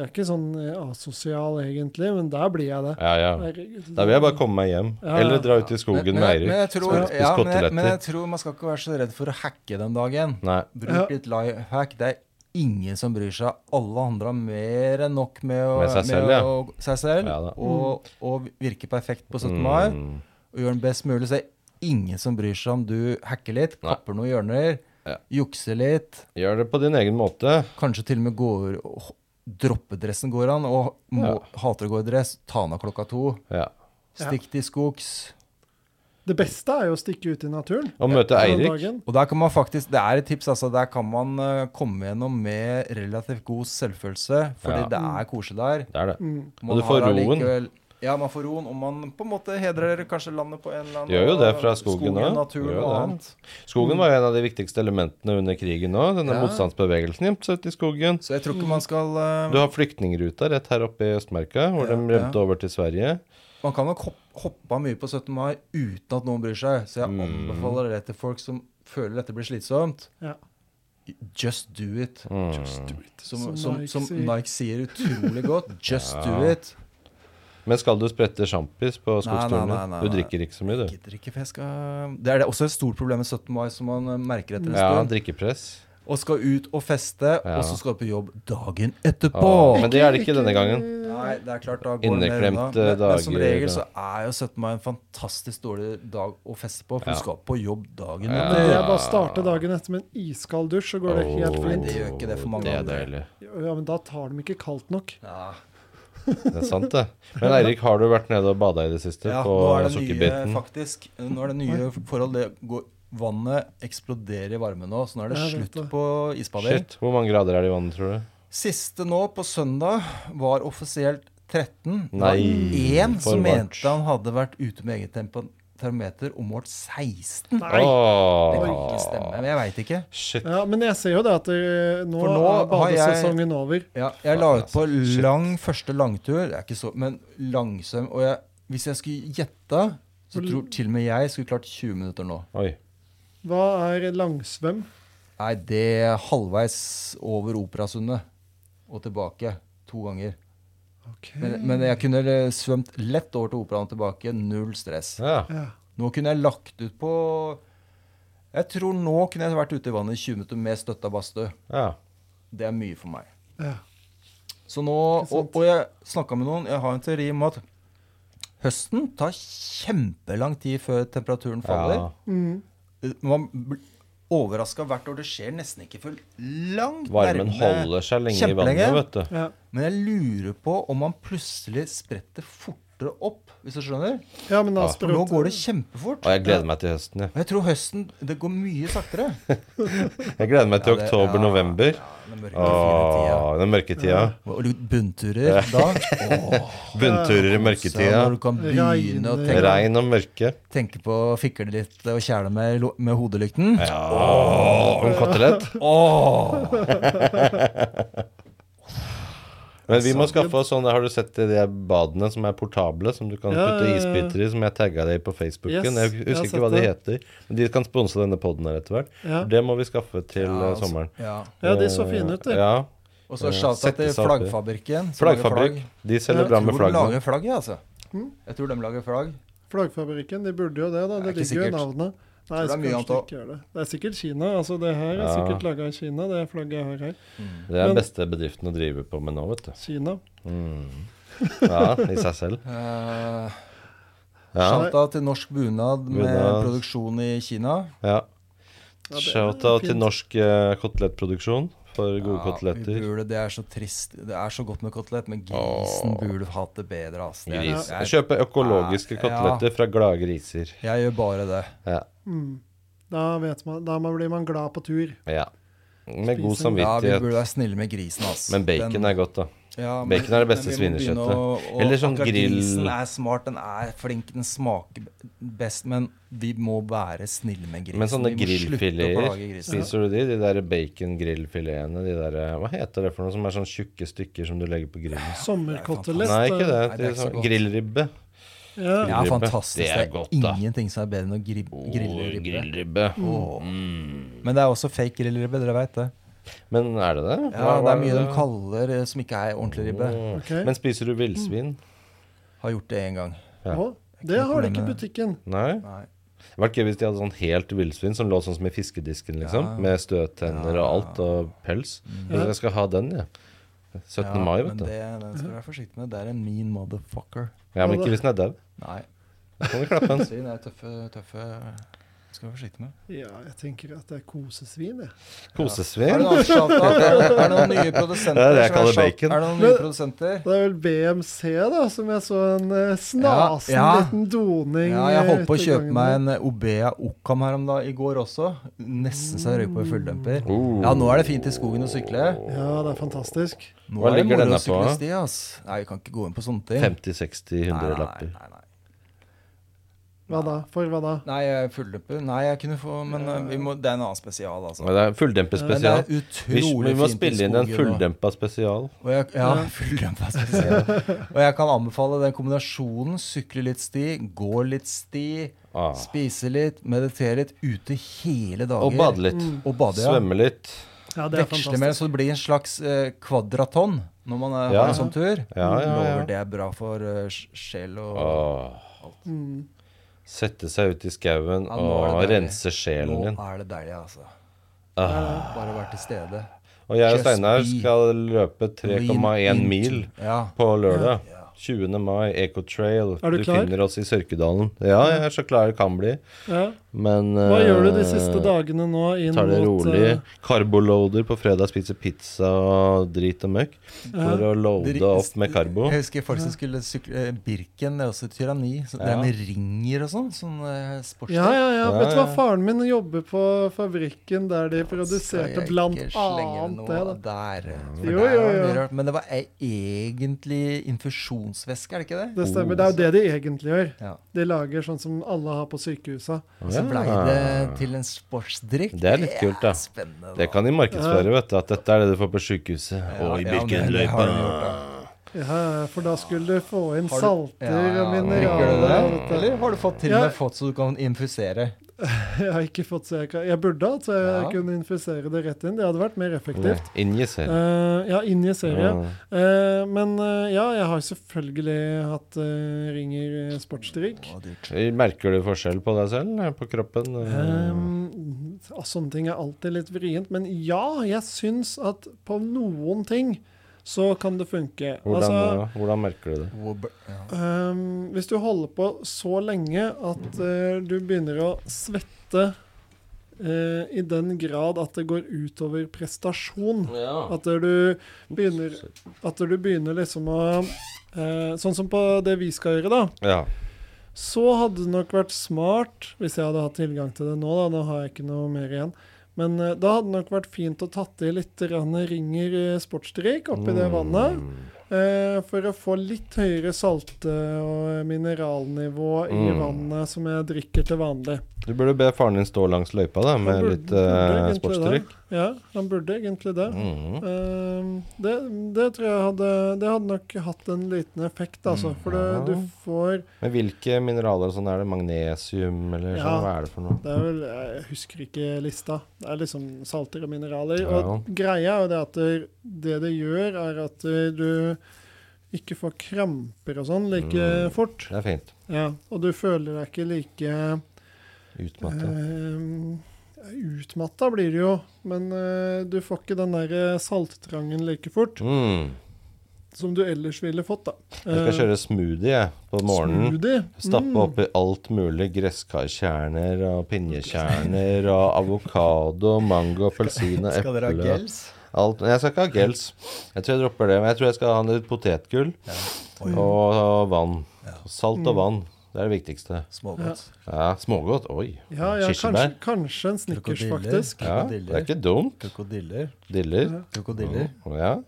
Speaker 1: er ikke sånn eh, asosial egentlig, men der blir jeg det.
Speaker 2: ja. ja.
Speaker 1: Herregud.
Speaker 2: Da vil jeg bare komme meg hjem.
Speaker 1: Ja, ja.
Speaker 2: Eller dra ut i
Speaker 3: Men,
Speaker 2: skogen med
Speaker 3: men, men, jeg
Speaker 2: Eirik.
Speaker 3: tror,
Speaker 2: Spise
Speaker 3: ja, men, jeg, men jeg
Speaker 2: koteletter.
Speaker 3: tror man skal ikke være så redd for å hacke den dagen.
Speaker 2: Nei.
Speaker 3: Bruk
Speaker 1: Ja.
Speaker 3: litt life hack. Det er ingen som bryr seg. Alle andre har mer enn nok med, å,
Speaker 2: Med seg selv, ja.
Speaker 3: å, seg selv
Speaker 2: Ja da.
Speaker 3: og, og virke perfekt på 17. mai.
Speaker 2: Mm.
Speaker 3: Og gjøre den best mulig. Så det er ingen som bryr seg om du hacker litt,
Speaker 2: Nei.
Speaker 3: kapper noen hjørner,
Speaker 2: Ja.
Speaker 3: jukser litt.
Speaker 2: Gjør det på din egen måte.
Speaker 3: Kanskje til og med går åh, Droppedressen går an, og må, hater å gå i dress. Ta den av klokka to.
Speaker 2: Ja.
Speaker 1: Ja.
Speaker 3: Stikk til skogs.
Speaker 1: Det beste er jo å stikke ut i naturen.
Speaker 2: Og møte
Speaker 1: på den
Speaker 2: Eirik.
Speaker 1: dagen.
Speaker 3: Og der kan man faktisk, det er et tips, altså. Der kan man eh, komme gjennom med relativt god selvfølelse, fordi
Speaker 2: Ja.
Speaker 3: det er koselig der.
Speaker 2: Det er det.
Speaker 1: Mm.
Speaker 2: Og du får
Speaker 3: har
Speaker 2: roen.
Speaker 3: allikevel- Ja, man får roen, og man på en måte hedrer kanskje landet på en eller annen
Speaker 2: Gjør jo det fra skogen også. Gjør
Speaker 3: naturen
Speaker 2: jo
Speaker 3: og
Speaker 2: det.
Speaker 3: annet.
Speaker 2: Skogen var jo en av de viktigste elementene under krigen òg. Denne
Speaker 3: Mm. Ja.
Speaker 2: motstandsbevegelsen gjemte seg ute i skogen.
Speaker 3: Så jeg tror ikke man skal eh,
Speaker 2: Du har flyktningruta rett her oppe i Østmarka, hvor de
Speaker 3: Ja,
Speaker 2: rømte
Speaker 3: ja.
Speaker 2: over til Sverige.
Speaker 3: Man kan nok hopp- hoppe av mye på 17. mai uten at noen bryr seg. Så jeg
Speaker 2: Mm.
Speaker 3: anbefaler det til folk som føler dette blir slitsomt.
Speaker 1: Ja.
Speaker 3: Just do it.
Speaker 2: Mm.
Speaker 1: Just do it. som
Speaker 3: Som, som,
Speaker 1: Nike
Speaker 3: som
Speaker 1: sier.
Speaker 3: Nike sier
Speaker 2: [laughs]
Speaker 3: utrolig godt. Just
Speaker 2: Ja.
Speaker 3: do it.
Speaker 2: Men skal du sprette sjampis på
Speaker 3: Nei, nei,
Speaker 2: skogsturen
Speaker 3: nei,
Speaker 2: din?
Speaker 3: nei,
Speaker 2: Du
Speaker 3: nei.
Speaker 2: drikker ikke så mye, du.
Speaker 3: Gidder ikke, for jeg skal Det er det også et stort problem med 17. mai, som man eh, merker etter en
Speaker 2: Ja,
Speaker 3: stund.
Speaker 2: drikkepress.
Speaker 3: Og skal ut og feste,
Speaker 2: Ja.
Speaker 3: og så skal du på jobb dagen etterpå.
Speaker 2: Åh, men det er det ikke denne gangen.
Speaker 3: Nei, det er klart, da går det mer unna.
Speaker 2: Inneklemte
Speaker 3: Men, men som
Speaker 2: dager,
Speaker 3: regel
Speaker 2: da.
Speaker 3: så er jo 17. mai en fantastisk dårlig dag å feste på, for
Speaker 2: Ja.
Speaker 3: du skal på jobb dagen
Speaker 2: Ja.
Speaker 1: Det
Speaker 3: etter.
Speaker 1: er bare å starte dagen etter med en iskald dusj, så går det helt
Speaker 2: Åh,
Speaker 1: fint.
Speaker 3: det gjør ikke det for mange
Speaker 2: Det er
Speaker 3: andre.
Speaker 2: deilig.
Speaker 1: Ja, men da tar de ikke kaldt nok.
Speaker 3: Ja.
Speaker 2: Det er sant, det. Men Eirik, har du vært nede og bada i det siste
Speaker 3: Ja,
Speaker 2: på
Speaker 3: nå er det nye,
Speaker 2: sukkerbiten?
Speaker 3: faktisk. Nå er det nye forhold. Det går, vannet eksploderer i varme nå, så nå er det
Speaker 1: Jeg vet
Speaker 3: slutt
Speaker 1: det.
Speaker 3: på isbading.
Speaker 2: Shit, Hvor mange grader er det i vannet, tror du?
Speaker 3: Siste nå, på søndag, var offisielt 13. Det var
Speaker 2: Nei,
Speaker 3: Én
Speaker 2: for
Speaker 3: som
Speaker 2: varmt.
Speaker 3: mente han hadde vært ute med egen tempo- termometer og målt 16.
Speaker 1: Nei.
Speaker 3: Det kan ikke
Speaker 2: Åh,
Speaker 3: stemme, men jeg veit ikke.
Speaker 2: shit.
Speaker 1: Ja, men jeg ser jo det at det, nå,
Speaker 3: For nå
Speaker 1: er
Speaker 3: har jeg-
Speaker 1: badesesongen over.
Speaker 3: Ja, jeg la
Speaker 2: Faen,
Speaker 3: ut på
Speaker 2: altså. Shit.
Speaker 3: lang første langtur. Det er ikke så, men langsom. Og jeg, hvis jeg skulle gjette, så
Speaker 1: Hvor-
Speaker 3: tror til og med jeg skulle klart 20 minutter nå.
Speaker 2: Oi.
Speaker 1: Hva er langsvøm?
Speaker 3: Nei, det er halvveis over Operasundet og tilbake to ganger.
Speaker 1: Ok.
Speaker 3: Men, men jeg kunne eh, svømt lett over til Operaen og tilbake. Null stress.
Speaker 2: Ja.
Speaker 1: Ja.
Speaker 3: Nå kunne jeg lagt ut på Jeg tror nå kunne jeg vært ute i vannet i 20 minutter med støtta badstue.
Speaker 2: ja.
Speaker 3: Det er mye for meg.
Speaker 1: Ja.
Speaker 3: Så nå,
Speaker 1: Ikke
Speaker 3: og,
Speaker 1: sant?
Speaker 3: og jeg snakka med noen, jeg har en teori om at høsten tar kjempelang tid før temperaturen faller. Eh,
Speaker 2: ja.
Speaker 1: Mm.
Speaker 3: Man blir overraska hvert år. Det skjer nesten ikke før langt
Speaker 2: Varmen
Speaker 3: nærme-
Speaker 2: holder seg lenge i
Speaker 3: Kjempelenge.
Speaker 2: vannet, vet du.
Speaker 1: ja.
Speaker 3: Men jeg lurer på om man plutselig spretter fortere opp, hvis du skjønner?
Speaker 1: ja, men da
Speaker 2: Ja,
Speaker 3: For nå
Speaker 1: sprøt-
Speaker 3: går det kjempefort.
Speaker 2: Og jeg gleder meg til høsten, jeg.
Speaker 3: Og jeg tror høsten Det går mye
Speaker 2: [laughs]
Speaker 3: saktere.
Speaker 2: Jeg gleder meg til
Speaker 3: Ja, det- ja,
Speaker 2: oktober-november.
Speaker 3: Ja, den mørke, fine tida.
Speaker 2: Åh, den mørke tida.
Speaker 3: Og litt bunnturer da. Åh,
Speaker 2: Bunnturer i
Speaker 3: så når
Speaker 2: mørketida.
Speaker 3: du kan begynne å
Speaker 1: Regner.
Speaker 3: tenke,
Speaker 2: Regn eh. og mørke.
Speaker 3: tenke på å fikle litt og kjæle med, lo- med hodelykten.
Speaker 2: Åh, en kotelett.
Speaker 3: Åh.
Speaker 2: Men vi må skaffe oss sånn, har du sett de der badene som er portable, som du kan
Speaker 1: Ja,
Speaker 2: putte
Speaker 1: ja, ja.
Speaker 2: isbiter i, som jeg tagga deg på Facebooken.
Speaker 1: Yes,
Speaker 2: jeg
Speaker 1: jeg
Speaker 2: husker
Speaker 1: har
Speaker 2: ikke hva
Speaker 1: sett
Speaker 2: de heter. Men de kan sponse denne poden her etter hvert.
Speaker 1: Ja.
Speaker 2: Det må vi skaffe til
Speaker 3: Ja,
Speaker 2: eh,
Speaker 3: altså,
Speaker 2: sommeren.
Speaker 3: Ja.
Speaker 1: ja, de så fine ut, de.
Speaker 2: Eh, Ja.
Speaker 3: Og så
Speaker 2: Eh,
Speaker 3: shout-out til
Speaker 2: sette seg oppi.
Speaker 3: Flaggfabrikken. som lager
Speaker 2: Flaggfabrikk.
Speaker 3: flagg.
Speaker 2: De selger
Speaker 1: Ja,
Speaker 2: bra
Speaker 3: Jeg
Speaker 2: med
Speaker 3: tror de
Speaker 2: flagg. nå.
Speaker 3: lager flagg, jeg, altså. Jeg tror de lager flagg.
Speaker 1: Flaggfabrikken, de burde jo det, da.
Speaker 3: Det er
Speaker 1: Det
Speaker 3: ikke
Speaker 1: ligger jo i
Speaker 3: sikkert.
Speaker 1: navnet. Nei,
Speaker 3: Tror det
Speaker 1: så
Speaker 3: er mye annet
Speaker 1: kanskje de
Speaker 3: også.
Speaker 1: ikke gjør det. Det er sikkert Kina. Altså, det her er
Speaker 2: Ja.
Speaker 1: sikkert laga i Kina, det flagget jeg har her.
Speaker 2: Det er
Speaker 1: Men-
Speaker 2: den beste bedriften å drive på med nå, vet du.
Speaker 1: Kina.
Speaker 2: Ja, i seg selv.
Speaker 3: Eh,
Speaker 2: Ja.
Speaker 3: Shout-out til norsk bunad med
Speaker 2: Bunad.
Speaker 3: produksjon i Kina.
Speaker 2: ja.
Speaker 1: Ja, det er
Speaker 2: Shout-out til
Speaker 1: fint.
Speaker 2: norsk eh, kotelettproduksjon for gode
Speaker 3: Ja, vi
Speaker 2: koteletter.
Speaker 3: Burde, det er så trist. Det er så godt med kotelett, men grisen burde hatt det bedre. Altså. Det er-
Speaker 2: Gris.
Speaker 3: Jeg,
Speaker 2: Kjøpe økologiske
Speaker 3: Ja.
Speaker 2: koteletter fra glade griser.
Speaker 3: jeg gjør bare det.
Speaker 2: Ja.
Speaker 1: Mm. Da, vet man, da man- blir man glad på tur.
Speaker 2: ja. Med god
Speaker 1: Spise en-
Speaker 3: Ja, vi burde
Speaker 2: samvittighet.
Speaker 3: være snille med grisen. Altså.
Speaker 2: Men bacon er godt, da.
Speaker 3: ja,
Speaker 2: bacon er det beste
Speaker 3: men vi må begynne
Speaker 2: svinekjøttet.
Speaker 3: å- å-
Speaker 2: Eller sånn
Speaker 3: akkurat
Speaker 2: grill-
Speaker 3: Grisen er smart, den er flink, den smaker b- best, men vi må være snille med grisen.
Speaker 2: Men sånne
Speaker 3: Vi må slutte å
Speaker 2: grillfileter,
Speaker 3: plage grisen.
Speaker 2: spiser du de? De der bacon-grillfiletene, de der eh, Hva heter det for noe som er sånn tjukke stykker som du legger på grillen?
Speaker 1: Sommerkotelett.
Speaker 2: Nei, ikke det.
Speaker 3: Nei, det
Speaker 2: det
Speaker 3: er
Speaker 2: er
Speaker 3: ikke så
Speaker 2: sånn
Speaker 3: godt.
Speaker 2: grillribbe.
Speaker 1: eh, Ja.
Speaker 3: Det er
Speaker 2: Grillribbe.
Speaker 3: fantastisk.
Speaker 2: Det
Speaker 3: Det
Speaker 2: er
Speaker 3: er,
Speaker 2: godt, da.
Speaker 3: ingenting som er bedre enn å gri grille
Speaker 2: Åh,
Speaker 3: ribbe.
Speaker 2: grillribbe.
Speaker 3: Åh. Men det er også fake grillribbe, dere veit det.
Speaker 2: Men er det det?
Speaker 3: Ja,
Speaker 2: Hva-
Speaker 3: det
Speaker 2: hva
Speaker 3: er mye de
Speaker 2: det?
Speaker 3: kaller eh, som ikke er ordentlig ribbe.
Speaker 2: Åh.
Speaker 1: Ok.
Speaker 2: Men spiser du villsvin?
Speaker 3: Har gjort det én gang.
Speaker 2: Ja.
Speaker 1: Å, det har de ikke i
Speaker 3: Problemet-
Speaker 1: butikken.
Speaker 2: Nei?
Speaker 3: Nei.
Speaker 2: Det hadde vært gøy hvis de hadde sånn helt villsvin som lå sånn som i fiskedisken, liksom.
Speaker 3: Ja.
Speaker 2: Med støttenner og alt, og pels.
Speaker 1: Ja.
Speaker 2: Jeg skal ha den, jeg. 17. Mm. mai, vet
Speaker 3: men
Speaker 2: du.
Speaker 3: det, den skal du være forsiktig med. Det er en mean motherfucker.
Speaker 2: Ja, men ikke hvis den er død.
Speaker 3: Nei.
Speaker 2: Da kan du klappe
Speaker 3: [laughs]
Speaker 2: den.
Speaker 3: Svin er tøffe, tøffe Skal du være forsiktig med.
Speaker 1: Ja, jeg tenker at det er kosesvin, jeg.
Speaker 3: Er det
Speaker 2: Kosesvin.
Speaker 3: noen annen shout-out? Er [laughs] det- er det noen nye produsenter?
Speaker 2: Det er det jeg
Speaker 3: som er
Speaker 2: kaller
Speaker 3: shout-
Speaker 2: bacon.
Speaker 3: Er det noen nye produsenter?
Speaker 1: Det er vel BMC, da, som jeg så en eh, snasen
Speaker 3: Ja, ja.
Speaker 1: liten doning
Speaker 3: Ja, jeg
Speaker 1: eh,
Speaker 3: holdt på å
Speaker 1: ute i
Speaker 3: kjøpe
Speaker 1: gangen
Speaker 3: meg
Speaker 1: der.
Speaker 3: en eh, Obea Occam her om da, i går også. Nesten så jeg røyk på i fulldemper.
Speaker 2: Oh.
Speaker 3: Ja, nå er det fint i skogen å sykle.
Speaker 1: Ja, det er fantastisk.
Speaker 3: Nå
Speaker 2: Hva
Speaker 3: er det
Speaker 2: ligger
Speaker 3: moro
Speaker 2: denne
Speaker 3: å
Speaker 2: på?
Speaker 3: sykle sti, ass. Nei, vi kan ikke gå inn på sånne ting.
Speaker 2: 50-60-100 lapper.
Speaker 3: Nei, nei, nei.
Speaker 1: Hva da? For hva da?
Speaker 3: nei jeg er fulldemper. Nei, jeg kunne få Men eh, vi må, det er en annen spesial, altså.
Speaker 2: Men det er fulldemper
Speaker 3: Men det
Speaker 2: spesial.
Speaker 3: er
Speaker 2: Vi,
Speaker 3: utrolig
Speaker 2: vi må
Speaker 3: fint i
Speaker 2: spille inn en
Speaker 3: skogen, og-
Speaker 2: fulldempa spesial.
Speaker 3: Og jeg, ja, fulldempa spesial. Og jeg kan anbefale den kombinasjonen. Sykle litt sti, gå litt sti,
Speaker 2: Ah.
Speaker 3: spise litt, meditere litt. Ute hele dager.
Speaker 2: Og bade litt.
Speaker 3: Og Mm. bade, ja.
Speaker 2: Svømme litt.
Speaker 1: Ja, det er
Speaker 3: Veksle med,
Speaker 1: fantastisk.
Speaker 3: så det blir en sånn- slags eh, kvadraton når man eh,
Speaker 2: Ja.
Speaker 3: har en sånn tur.
Speaker 2: Ja, Ah, ja, ja.
Speaker 3: Lover det er bra for eh, sj- sjel og
Speaker 2: Åh.
Speaker 1: Mm.
Speaker 2: Sette seg ut i skauen
Speaker 3: Ja, nå er det
Speaker 2: og
Speaker 3: deilig.
Speaker 2: rense sjelen din.
Speaker 3: Nå er det deilig, altså.
Speaker 2: Ah.
Speaker 3: Bare være til stede.
Speaker 2: Og jeg og
Speaker 3: Just
Speaker 2: Steinar
Speaker 3: be
Speaker 2: skal løpe 3,1
Speaker 3: Lean
Speaker 2: mil
Speaker 3: into- Ja.
Speaker 2: på lørdag. 20. mai, Ecotrail.
Speaker 1: Er du
Speaker 2: Du
Speaker 1: klar?
Speaker 2: finner oss i Sørkedalen. Ja, jeg er så klar jeg kan bli.
Speaker 1: Ja.
Speaker 2: Men
Speaker 1: Hva gjør du de siste
Speaker 2: eh,
Speaker 1: dagene nå inn
Speaker 2: Tar det
Speaker 1: mot
Speaker 2: rolig.
Speaker 1: eh,
Speaker 2: Carboloader på fredag, spiser pizza og drit og møkk. For å loade opp med karbo.
Speaker 3: Jeg husker folk som skulle sykle eh, Birken, det er også et tyranni. Så Det
Speaker 2: Ja.
Speaker 3: er med ringer og sånn. Sånn eh, sportsstil.
Speaker 1: Ja, ja, ja.
Speaker 2: Ja,
Speaker 1: Vet du hva,
Speaker 2: ja.
Speaker 1: faren min jobber på fabrikken der de
Speaker 3: Skal jeg
Speaker 1: produserte
Speaker 3: ikke
Speaker 1: blant
Speaker 3: slenge
Speaker 1: annet
Speaker 3: noe
Speaker 1: det. da.
Speaker 3: Der, eh? for
Speaker 1: Jo,
Speaker 3: der
Speaker 1: jo,
Speaker 3: var det
Speaker 1: jo.
Speaker 3: mye rart. Men det var e egentlig infusjon kondensvæske, er det ikke det?
Speaker 1: Det stemmer. Det er jo det de egentlig gjør.
Speaker 3: Ja.
Speaker 1: De lager sånn som alle har på sykehusa.
Speaker 3: Og så blei
Speaker 2: Ja.
Speaker 3: det til en sportsdrikk.
Speaker 2: Det er litt kult, da.
Speaker 3: er Spennende.
Speaker 2: Det kan de markedsføre, vet du. At dette er det du får på sykehuset. og i
Speaker 3: ja, men det har
Speaker 2: Birkenløypa.
Speaker 3: de gjort, da.
Speaker 1: Ja, for da skulle du få inn
Speaker 3: Har du-
Speaker 1: salter
Speaker 3: Ja,
Speaker 1: og
Speaker 3: ja, drikker du
Speaker 1: mineraler.
Speaker 3: det? Eller har du fått til
Speaker 1: Ja.
Speaker 3: og med fått så du kan infusere?
Speaker 1: Jeg har ikke fått så jeg kan Jeg burde hatt, så jeg
Speaker 3: Ja.
Speaker 1: kunne infisere det rett inn. Det hadde vært mer
Speaker 2: Nei,
Speaker 1: effektivt.
Speaker 2: Injiser.
Speaker 1: Eh, ja, injisere.
Speaker 2: Ja.
Speaker 1: Ja. Eh, men eh, ja, jeg har selvfølgelig hatt eh, Ringer eh, sportsdrikk.
Speaker 3: Å, dyrt.
Speaker 2: Merker du forskjell på deg selv? eh, På kroppen?
Speaker 1: Um, sånne ting er alltid litt vrient, men ja, jeg syns at på noen ting så kan det funke.
Speaker 2: hvordan, eh,
Speaker 1: Altså,
Speaker 2: hvordan merker du det?
Speaker 3: Hvor bør- ja.
Speaker 1: um, hvis du holder på så lenge at eh, du begynner å svette eh, i den grad at det går utover prestasjon
Speaker 2: Ja.
Speaker 1: at du begynner, at du begynner liksom å eh, Sånn som på det vi skal gjøre, da. Så hadde det nok vært smart, hvis jeg hadde hatt tilgang til det nå, da, nå har jeg ikke noe mer igjen, men eh, da hadde det nok vært fint å tatt i litt grann ringer eh, sportsdrikk oppi
Speaker 2: Mm.
Speaker 1: det vannet, eh, for å få litt høyere salte- og mineralnivå i
Speaker 2: Mm.
Speaker 1: vannet som jeg drikker til vanlig.
Speaker 2: Du burde be faren din stå langs løypa da, med
Speaker 1: Han burde-
Speaker 2: litt
Speaker 1: burde
Speaker 2: uh,
Speaker 1: egentlig
Speaker 2: sportsdrikk.
Speaker 1: det. Ja, han burde egentlig det.
Speaker 2: Mhm.
Speaker 1: Ehm, det, det tror jeg hadde Det hadde nok hatt en liten effekt, altså. For det,
Speaker 2: Ja.
Speaker 1: du får
Speaker 2: Men hvilke mineraler og sånn er det? Magnesium, eller
Speaker 1: Ja.
Speaker 2: sånn? Hva er det for noe?
Speaker 1: Det er vel Jeg husker ikke lista. Det er liksom salter og mineraler. Og
Speaker 2: Ja.
Speaker 1: greia er jo det at det, det det gjør, er at du ikke får kramper og sånn like
Speaker 2: Mm.
Speaker 1: fort.
Speaker 2: Det er fint.
Speaker 1: Ja, og du føler deg ikke like
Speaker 2: Utmatte.
Speaker 1: eh, Utmatta blir det jo, men eh, du får ikke den der eh, salttrangen like fort
Speaker 2: Mm.
Speaker 1: som du ellers ville fått, da. Eh,
Speaker 2: Jeg skal kjøre smoothie jeg, på morgenen.
Speaker 1: Smoothie.
Speaker 2: Stappe
Speaker 1: Mm.
Speaker 2: oppi alt mulig. Gresskarkjerner og pinjekjerner og avokado, mango, appelsin og
Speaker 3: Skal dere ha
Speaker 2: eple.
Speaker 3: gels?
Speaker 2: Alt. Jeg skal ikke ha gels. Jeg tror jeg dropper det. Men jeg tror jeg skal ha litt potetgull
Speaker 3: Ja.
Speaker 2: og,
Speaker 3: Oi,
Speaker 2: vann. Salt
Speaker 1: Mm.
Speaker 2: og vann. Det er det viktigste.
Speaker 3: smågodt.
Speaker 2: Ja, Smågodt. Oi.
Speaker 1: Mm. Ja, ja kanskje,
Speaker 2: Kirsebær.
Speaker 1: kanskje en snickers,
Speaker 3: Krokodiller.
Speaker 1: faktisk.
Speaker 2: Ja, det er ikke dumt.
Speaker 3: Krokodiller.
Speaker 2: Diller.
Speaker 3: Krokodiller.
Speaker 2: Ja.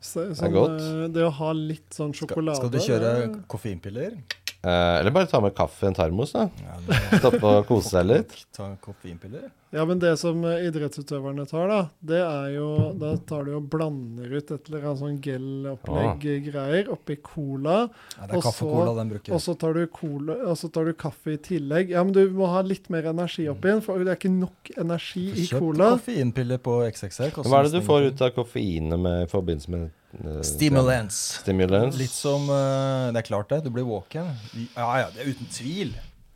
Speaker 1: Så,
Speaker 2: er
Speaker 1: sånn,
Speaker 2: godt.
Speaker 1: eh, det å ha litt sånn
Speaker 3: Skal,
Speaker 1: sjokolade
Speaker 3: skal du kjøre koffeinpiller?
Speaker 2: Eh, eller bare ta med kaffe i en termos, da.
Speaker 3: Ja,
Speaker 2: Stoppe og kose seg litt.
Speaker 3: Ta koffeinpiller?
Speaker 1: Ja, men det som eh, idrettsutøverne tar, da, det er jo Da tar du og blander ut et eller annet sånn
Speaker 2: Ah.
Speaker 1: gel-opplegg-greier oppi cola,
Speaker 3: Nei, det
Speaker 1: Og
Speaker 3: er kaffe og cola
Speaker 1: så-
Speaker 3: den
Speaker 1: og
Speaker 3: bruker.
Speaker 1: så tar du cola, og så tar du kaffe i tillegg. Ja, men du må ha litt mer energi
Speaker 2: Mm.
Speaker 1: oppi den, for det er ikke nok energi i
Speaker 3: Kjøp
Speaker 1: cola.
Speaker 3: koffeinpiller på XXL.
Speaker 2: Men Hva er det du får ut av koffeinet med, i forbindelse med eh,
Speaker 3: Stimulans.
Speaker 2: Stimulans.
Speaker 3: Litt som eh, Det er klart, det. Du blir våken. Ja ja, det er uten tvil.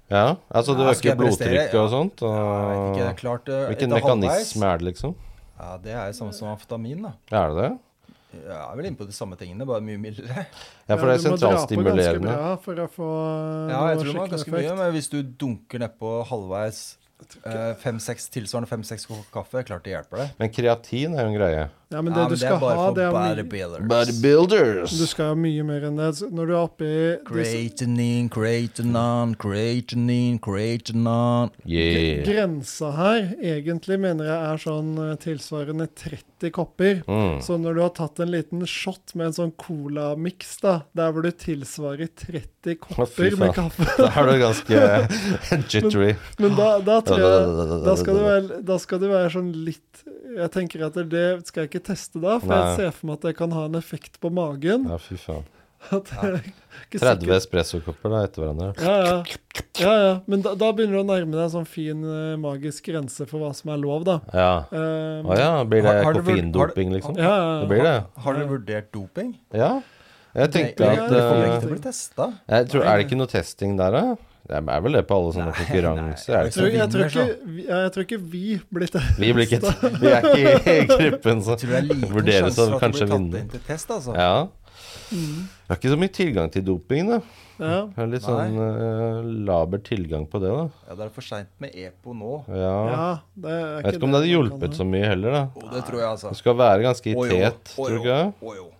Speaker 2: Ja, altså du
Speaker 3: Ja, skal
Speaker 2: øker
Speaker 3: jeg prestere?
Speaker 2: blodtrykket og sånt. Og...
Speaker 3: Ja, jeg vet ikke, det er klart eh,
Speaker 2: Ah. Hvilken
Speaker 3: etter
Speaker 2: mekanisme
Speaker 3: halvveis-
Speaker 2: er det, liksom?
Speaker 3: Ja, Det er jo samme som amfetamin. da.
Speaker 2: Er det det?
Speaker 3: Jeg er vel inne på de samme tingene, bare mye mildere.
Speaker 2: Ja, for det er
Speaker 1: du må dra på ganske
Speaker 2: sentralstimulerende.
Speaker 1: bra For å få eh,
Speaker 3: Ja, jeg
Speaker 1: noe
Speaker 3: tror det var
Speaker 1: skikkelig
Speaker 3: ganske mye,
Speaker 1: effekt.
Speaker 3: men hvis du dunker nedpå halvveis eh, fem-seks tilsvarende fem-seks kopper kaffe, klart det hjelper det.
Speaker 2: Men kreatin er jo en greie.
Speaker 1: Ja, men
Speaker 3: ja,
Speaker 1: det du skal
Speaker 3: er bare
Speaker 1: ha,
Speaker 3: for
Speaker 1: det er mye-
Speaker 3: bodybuilders.
Speaker 2: Bodybuilders!
Speaker 1: Du skal ha mye mer enn det. Så Når du er oppi disse
Speaker 3: Creatinine, creatinine, creatinine, creatinine.
Speaker 2: Yeah.
Speaker 1: Grensa her egentlig mener jeg er sånn eh, tilsvarende 30 kopper.
Speaker 3: [laughs]
Speaker 2: Mm.
Speaker 1: Så når du har tatt en liten shot med en sånn colamiks, da, der hvor du tilsvarer 30 kopper
Speaker 2: faen.
Speaker 1: med kaffe
Speaker 2: Da er du
Speaker 3: [laughs]
Speaker 2: ganske jittery.
Speaker 1: Men da, da tror jeg da skal, du være, da skal du være sånn litt Jeg tenker at det skal jeg ikke teste da, for
Speaker 2: Nei.
Speaker 1: jeg ser for meg at det kan ha en effekt på magen.
Speaker 2: Ja, fy faen.
Speaker 1: [laughs] At jeg er ikke sikker
Speaker 2: 30 espressokopper da, etter hverandre.
Speaker 1: Ja, ja. ja, ja. Men da, da begynner du å nærme deg en sånn fin eh, magisk grense for hva som er lov, da.
Speaker 2: Ja.
Speaker 1: Eh,
Speaker 2: Å ja, blir det
Speaker 3: Har- har du vurd-
Speaker 2: koffeindoping,
Speaker 3: har du-
Speaker 2: liksom?
Speaker 1: ja,
Speaker 2: Det
Speaker 1: ja,
Speaker 2: blir det.
Speaker 3: Har, har dere vurdert doping?
Speaker 2: Ja. Jeg tenkte
Speaker 1: Nei,
Speaker 2: at
Speaker 1: det
Speaker 3: Det kommer
Speaker 2: eh,
Speaker 3: ikke til å bli testa.
Speaker 2: jeg tror, Er det ikke noe testing der, da? Det er vel det på alle sånne konkurranser? er
Speaker 1: Jeg tror,
Speaker 2: det ikke?
Speaker 3: [laughs]
Speaker 1: jeg, tror ikke, vi- ja, jeg tror ikke vi blir det.
Speaker 2: Vi
Speaker 1: [laughs]
Speaker 2: blir ikke Vi er ikke i gruppen, så
Speaker 3: Jeg tror det er liten
Speaker 2: Vurderes
Speaker 3: sjanse
Speaker 2: å
Speaker 3: for at det
Speaker 2: kanskje
Speaker 3: blir tatt
Speaker 2: vinne.
Speaker 3: inn Mm. til test, altså.
Speaker 2: Ja. Jeg har ikke så mye tilgang til doping, da.
Speaker 1: Ja.
Speaker 2: Jeg har litt sånn eh, laber tilgang på det, da.
Speaker 3: Ja, det er for seint med EPO nå.
Speaker 2: Ja.
Speaker 1: ja det er
Speaker 2: jeg vet ikke om det hadde hjulpet så mye heller, da.
Speaker 3: Og det tror jeg, altså.
Speaker 2: Du skal være ganske i
Speaker 3: Å, jo.
Speaker 2: tet,
Speaker 3: Å,
Speaker 2: tror du
Speaker 3: jo.
Speaker 2: ikke? det?
Speaker 3: Å, jo.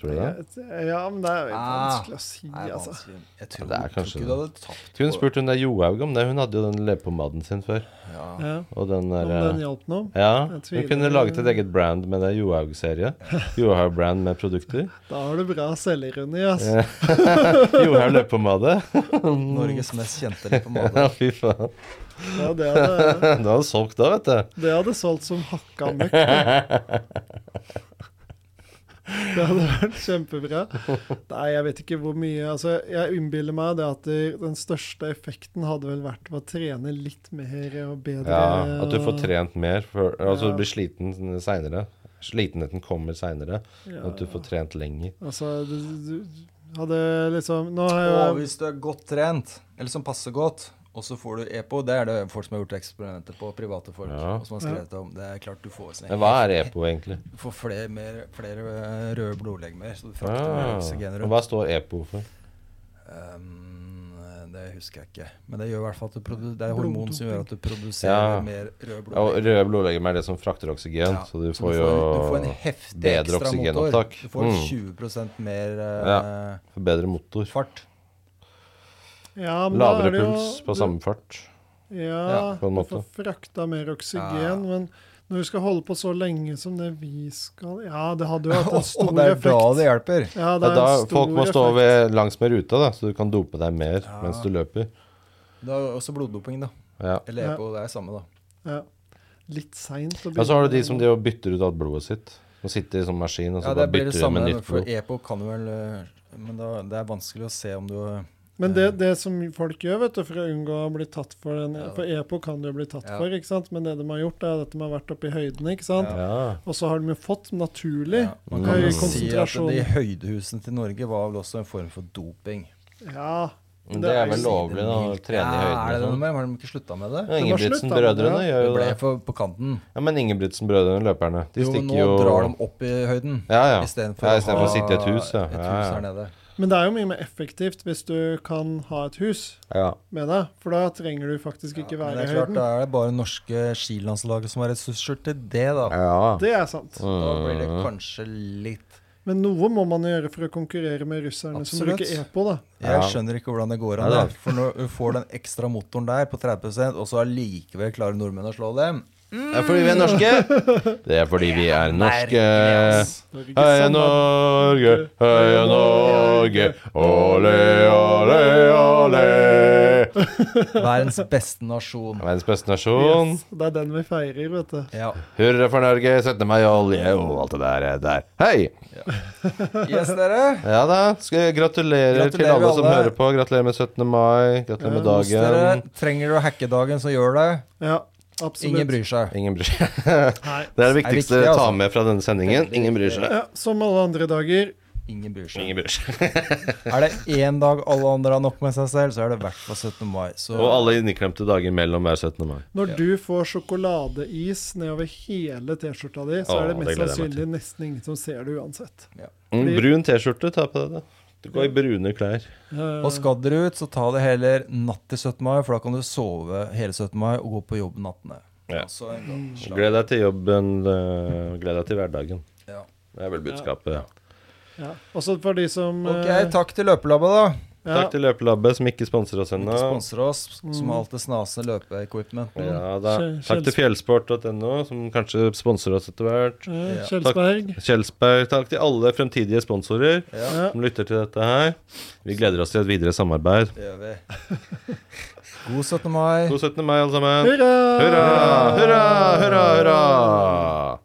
Speaker 2: Tror du det?
Speaker 1: Ja, men det er jo litt
Speaker 3: Ah,
Speaker 1: vanskelig å si,
Speaker 3: Nei,
Speaker 1: altså.
Speaker 3: vanskelig. Jeg tror,
Speaker 2: det er
Speaker 3: tror
Speaker 2: kanskje
Speaker 3: ikke du hadde tapt
Speaker 2: Skulle hun spurt hun der Johaug om det? Hun hadde jo den leppepommaden sin før.
Speaker 3: ja.
Speaker 1: Ja,
Speaker 2: Og den
Speaker 1: om
Speaker 2: der
Speaker 1: den
Speaker 2: eh,
Speaker 1: hjalp noe?
Speaker 2: Ja.
Speaker 1: Jeg
Speaker 2: Hun
Speaker 1: tviler.
Speaker 2: kunne laget et eget brand med det.
Speaker 1: [laughs]
Speaker 2: Johaug-serie. Johaug-brand med produkter.
Speaker 1: Da har du bra
Speaker 2: [laughs]
Speaker 1: selvironi, altså.
Speaker 2: Eh, Johaug leppepomade. [laughs]
Speaker 3: Norges mest kjente leppepomade.
Speaker 2: Ja, fy faen.
Speaker 1: Ja, det, hadde,
Speaker 2: Det hadde solgt da, vet du.
Speaker 1: det hadde solgt som hakka møkk. Det hadde vært kjempebra. Nei, jeg vet ikke hvor mye altså, Jeg innbiller meg det at det, den største effekten hadde vel vært å trene litt mer og bedre.
Speaker 2: Ja, At du får trent mer. For,
Speaker 1: Ja.
Speaker 2: altså du blir sliten seinere. Slitenheten kommer seinere.
Speaker 1: Ja.
Speaker 2: At du får trent lenger.
Speaker 1: Altså, du, du, du hadde liksom Nå har
Speaker 3: Og
Speaker 1: jeg
Speaker 3: hvis du er godt trent, eller som passer godt, og så får du EPO Det er det folk som har gjort eksperimenter på, private folk.
Speaker 2: Ja.
Speaker 3: Og som har skrevet om. Det er klart du får sånn-
Speaker 2: Men hva er EPO, egentlig?
Speaker 3: Du får flere, mer, flere eh, røde blodlegemer, så du frakter mer
Speaker 2: Ah,
Speaker 3: oksygen
Speaker 2: og
Speaker 3: rundt.
Speaker 2: hva står EPO for?
Speaker 3: Ehm, det husker jeg ikke. Men det gjør i hvert fall at du produ det er
Speaker 1: Bloddoping.
Speaker 3: hormon som gjør at du produserer
Speaker 2: Ja.
Speaker 3: mer røde
Speaker 2: Ja, og
Speaker 3: blodlegemer.
Speaker 2: røde blodlegemer er det som frakter oksygen,
Speaker 3: Ja,
Speaker 2: så du
Speaker 3: så
Speaker 2: får
Speaker 3: du
Speaker 2: jo
Speaker 3: får, du får en heftig
Speaker 2: bedre
Speaker 3: ekstra motor.
Speaker 2: oksygenopptak.
Speaker 3: Du får
Speaker 2: Mm.
Speaker 3: 20 mer eh,
Speaker 2: bedre motor.
Speaker 3: fart.
Speaker 1: ja, men da
Speaker 2: Lavere
Speaker 1: er det jo-
Speaker 2: puls
Speaker 1: du-
Speaker 2: på samme fart.
Speaker 1: Ja,
Speaker 2: på en
Speaker 1: du
Speaker 2: måte.
Speaker 1: får frakta mer
Speaker 3: Ja.
Speaker 1: oksygen, men når du skal holde på så lenge som det vi skal Ja, det
Speaker 3: [laughs]
Speaker 1: hadde jo hatt en stor
Speaker 3: Og det er
Speaker 1: effekt.
Speaker 3: da det hjelper.
Speaker 1: Ja,
Speaker 2: Ja,
Speaker 1: det er
Speaker 2: da,
Speaker 1: en stor
Speaker 2: folk må stå
Speaker 1: effekt.
Speaker 2: ved, langs med ruta, da, så du kan dope deg mer
Speaker 3: Ja.
Speaker 2: mens du løper.
Speaker 3: Det er også bloddoping, da.
Speaker 2: Ja.
Speaker 3: Eller
Speaker 1: Ja.
Speaker 3: EPO, det er samme, da.
Speaker 1: Ja. Litt seint å
Speaker 2: Og så har du de som driver og bytter ut alt blodet sitt. Og sitter i sånn maskin og så
Speaker 3: Ja, det
Speaker 2: bare
Speaker 3: blir
Speaker 2: bytter
Speaker 3: det
Speaker 2: de
Speaker 3: samme,
Speaker 2: med nytt
Speaker 3: for
Speaker 2: blod.
Speaker 3: EPO kan du vel eh, Men da, det er vanskelig å se om du eh,
Speaker 1: Men det, det som folk gjør vet du, for å unngå å bli tatt for den
Speaker 3: Ja.
Speaker 1: For EPO kan du jo bli tatt
Speaker 3: Ja.
Speaker 1: for, ikke sant? men det de har gjort, er at de har vært oppe i høydene. ikke sant?
Speaker 2: Ja.
Speaker 1: Og så har de jo fått naturlig
Speaker 3: ja, Man kan
Speaker 1: høy
Speaker 3: jo
Speaker 2: Mm.
Speaker 3: si at
Speaker 1: konsentrasjon.
Speaker 3: de
Speaker 1: Ja,
Speaker 3: høydehusene til Norge var vel også en form for doping.
Speaker 2: Men Det
Speaker 1: Det er
Speaker 2: er vel
Speaker 1: jo
Speaker 2: lovlig da, å trene i
Speaker 3: Ja, er det det
Speaker 2: høyden. og sånn.
Speaker 3: med? Har de ikke slutta med det?
Speaker 2: Ja,
Speaker 1: Det var slutt, da,
Speaker 2: Ingebrigtsen-brødrene
Speaker 1: men
Speaker 2: gjør
Speaker 3: Det
Speaker 2: jo
Speaker 3: ble
Speaker 2: det.
Speaker 3: for på kanten.
Speaker 2: Ja, Men Ingebrigtsen-brødrene, løperne, de
Speaker 3: Jo, men
Speaker 2: stikker
Speaker 3: nå
Speaker 2: jo
Speaker 3: drar de opp i høyden.
Speaker 2: Ja, ja.
Speaker 3: Istedenfor
Speaker 2: Ja,
Speaker 3: å,
Speaker 2: istedenfor å
Speaker 3: ha
Speaker 2: sitte i et hus, ja.
Speaker 3: et
Speaker 2: Ja,
Speaker 3: hus
Speaker 2: ja.
Speaker 3: her nede.
Speaker 1: Men det er jo mye mer effektivt hvis du kan ha et hus
Speaker 2: ja.
Speaker 1: med deg, for da trenger du faktisk ikke
Speaker 3: Men
Speaker 1: være
Speaker 3: det
Speaker 1: i
Speaker 3: er klart,
Speaker 1: høyden.
Speaker 3: da er det bare norske skilandslaget som har ressurser til det, da.
Speaker 2: ja.
Speaker 1: Det er sant.
Speaker 3: Da blir det
Speaker 2: Mm.
Speaker 3: kanskje litt
Speaker 1: Men noe må man gjøre for å konkurrere med russerne
Speaker 3: Absolutt.
Speaker 1: som bruker EPO, da.
Speaker 2: Ja.
Speaker 3: Jeg skjønner ikke hvordan det går
Speaker 2: Nei
Speaker 3: an.
Speaker 2: da.
Speaker 3: det. For når du får den ekstra motoren der på 30 og så allikevel klarer nordmenn å slå dem
Speaker 2: Det er fordi vi er norske. Det er fordi vi er norske. eh,
Speaker 1: Norge
Speaker 2: Heia
Speaker 1: som land.
Speaker 2: Norge, heia Norge. Ole, ole, ole.
Speaker 3: Verdens beste nasjon.
Speaker 2: Verdens beste nasjon.
Speaker 1: Yes, det er den vi feirer, vet du.
Speaker 3: Ja.
Speaker 2: Hurra for Norge, 17. mai og olje og alt det der. eh, der. Hei!
Speaker 3: Yes, dere.
Speaker 2: Ja da, skal jeg gratulerer til
Speaker 3: Gratulerer
Speaker 2: alle som
Speaker 3: alle.
Speaker 2: hører på. Gratulerer med 17. mai. Gratulerer med
Speaker 3: Hvis dere
Speaker 2: dagen.
Speaker 3: trenger du å hacke dagen, så gjør det.
Speaker 1: Ja, absolutt.
Speaker 3: Ingen bryr seg.
Speaker 2: Ingen bryr seg. [laughs]
Speaker 1: Nei.
Speaker 2: Det er det
Speaker 3: viktig,
Speaker 2: viktigste å ta
Speaker 3: altså.
Speaker 2: med fra denne sendingen. Ingen bryr seg.
Speaker 1: Ja, som alle andre dager.
Speaker 3: Ingen bryr seg.
Speaker 2: Ingen bryr seg. [laughs]
Speaker 3: Er det én dag alle andre har nok med seg selv, så er det i hvert fall 17. mai. Så
Speaker 2: Og alle inneklemte dager mellom hver 17. mai.
Speaker 1: Når
Speaker 3: Ja.
Speaker 1: du får sjokoladeis nedover hele T-skjorta di, så
Speaker 2: Åh,
Speaker 1: er det mest
Speaker 2: det gleder jeg meg
Speaker 1: sannsynlig nesten ingen som ser det uansett.
Speaker 2: Mm,
Speaker 1: Blir-
Speaker 2: brun T-skjorte, ta på deg det. Du går i brune klær.
Speaker 1: Eh,
Speaker 3: Og skal dere ut, så ta det heller natt til 17. mai, for da kan du sove hele 17. mai og gå på jobb nattene.
Speaker 2: Ja.
Speaker 3: Og så en gang slapp.
Speaker 2: Gled deg til jobben, eh, gled deg til hverdagen.
Speaker 3: Ja.
Speaker 2: Det er vel budskapet.
Speaker 1: ja. Også for de som
Speaker 3: Ok,
Speaker 1: eh,
Speaker 3: takk til Løpelabba, da.
Speaker 1: ja,
Speaker 2: Takk til Løpelabbet, som ikke sponser oss
Speaker 3: Som
Speaker 2: ennå.
Speaker 3: ikke sponser oss, som
Speaker 1: Mm.
Speaker 3: har alt det snasende løpeequipment.
Speaker 2: Ja, da.
Speaker 1: Kjell-
Speaker 2: Takk til fjellsport.no, som kanskje sponser oss etter hvert.
Speaker 1: eh,
Speaker 3: Ja.
Speaker 1: Kjelsberg.
Speaker 2: Kjelsberg. Takk til alle fremtidige sponsorer
Speaker 3: Ja,
Speaker 1: Ja.
Speaker 2: som lytter til dette her. Vi gleder oss til et videre samarbeid.
Speaker 3: det gjør vi. God 17. mai.
Speaker 2: God 17. mai, alle sammen.
Speaker 1: Hurra!
Speaker 2: Hurra! Hurra, hurra, hurra!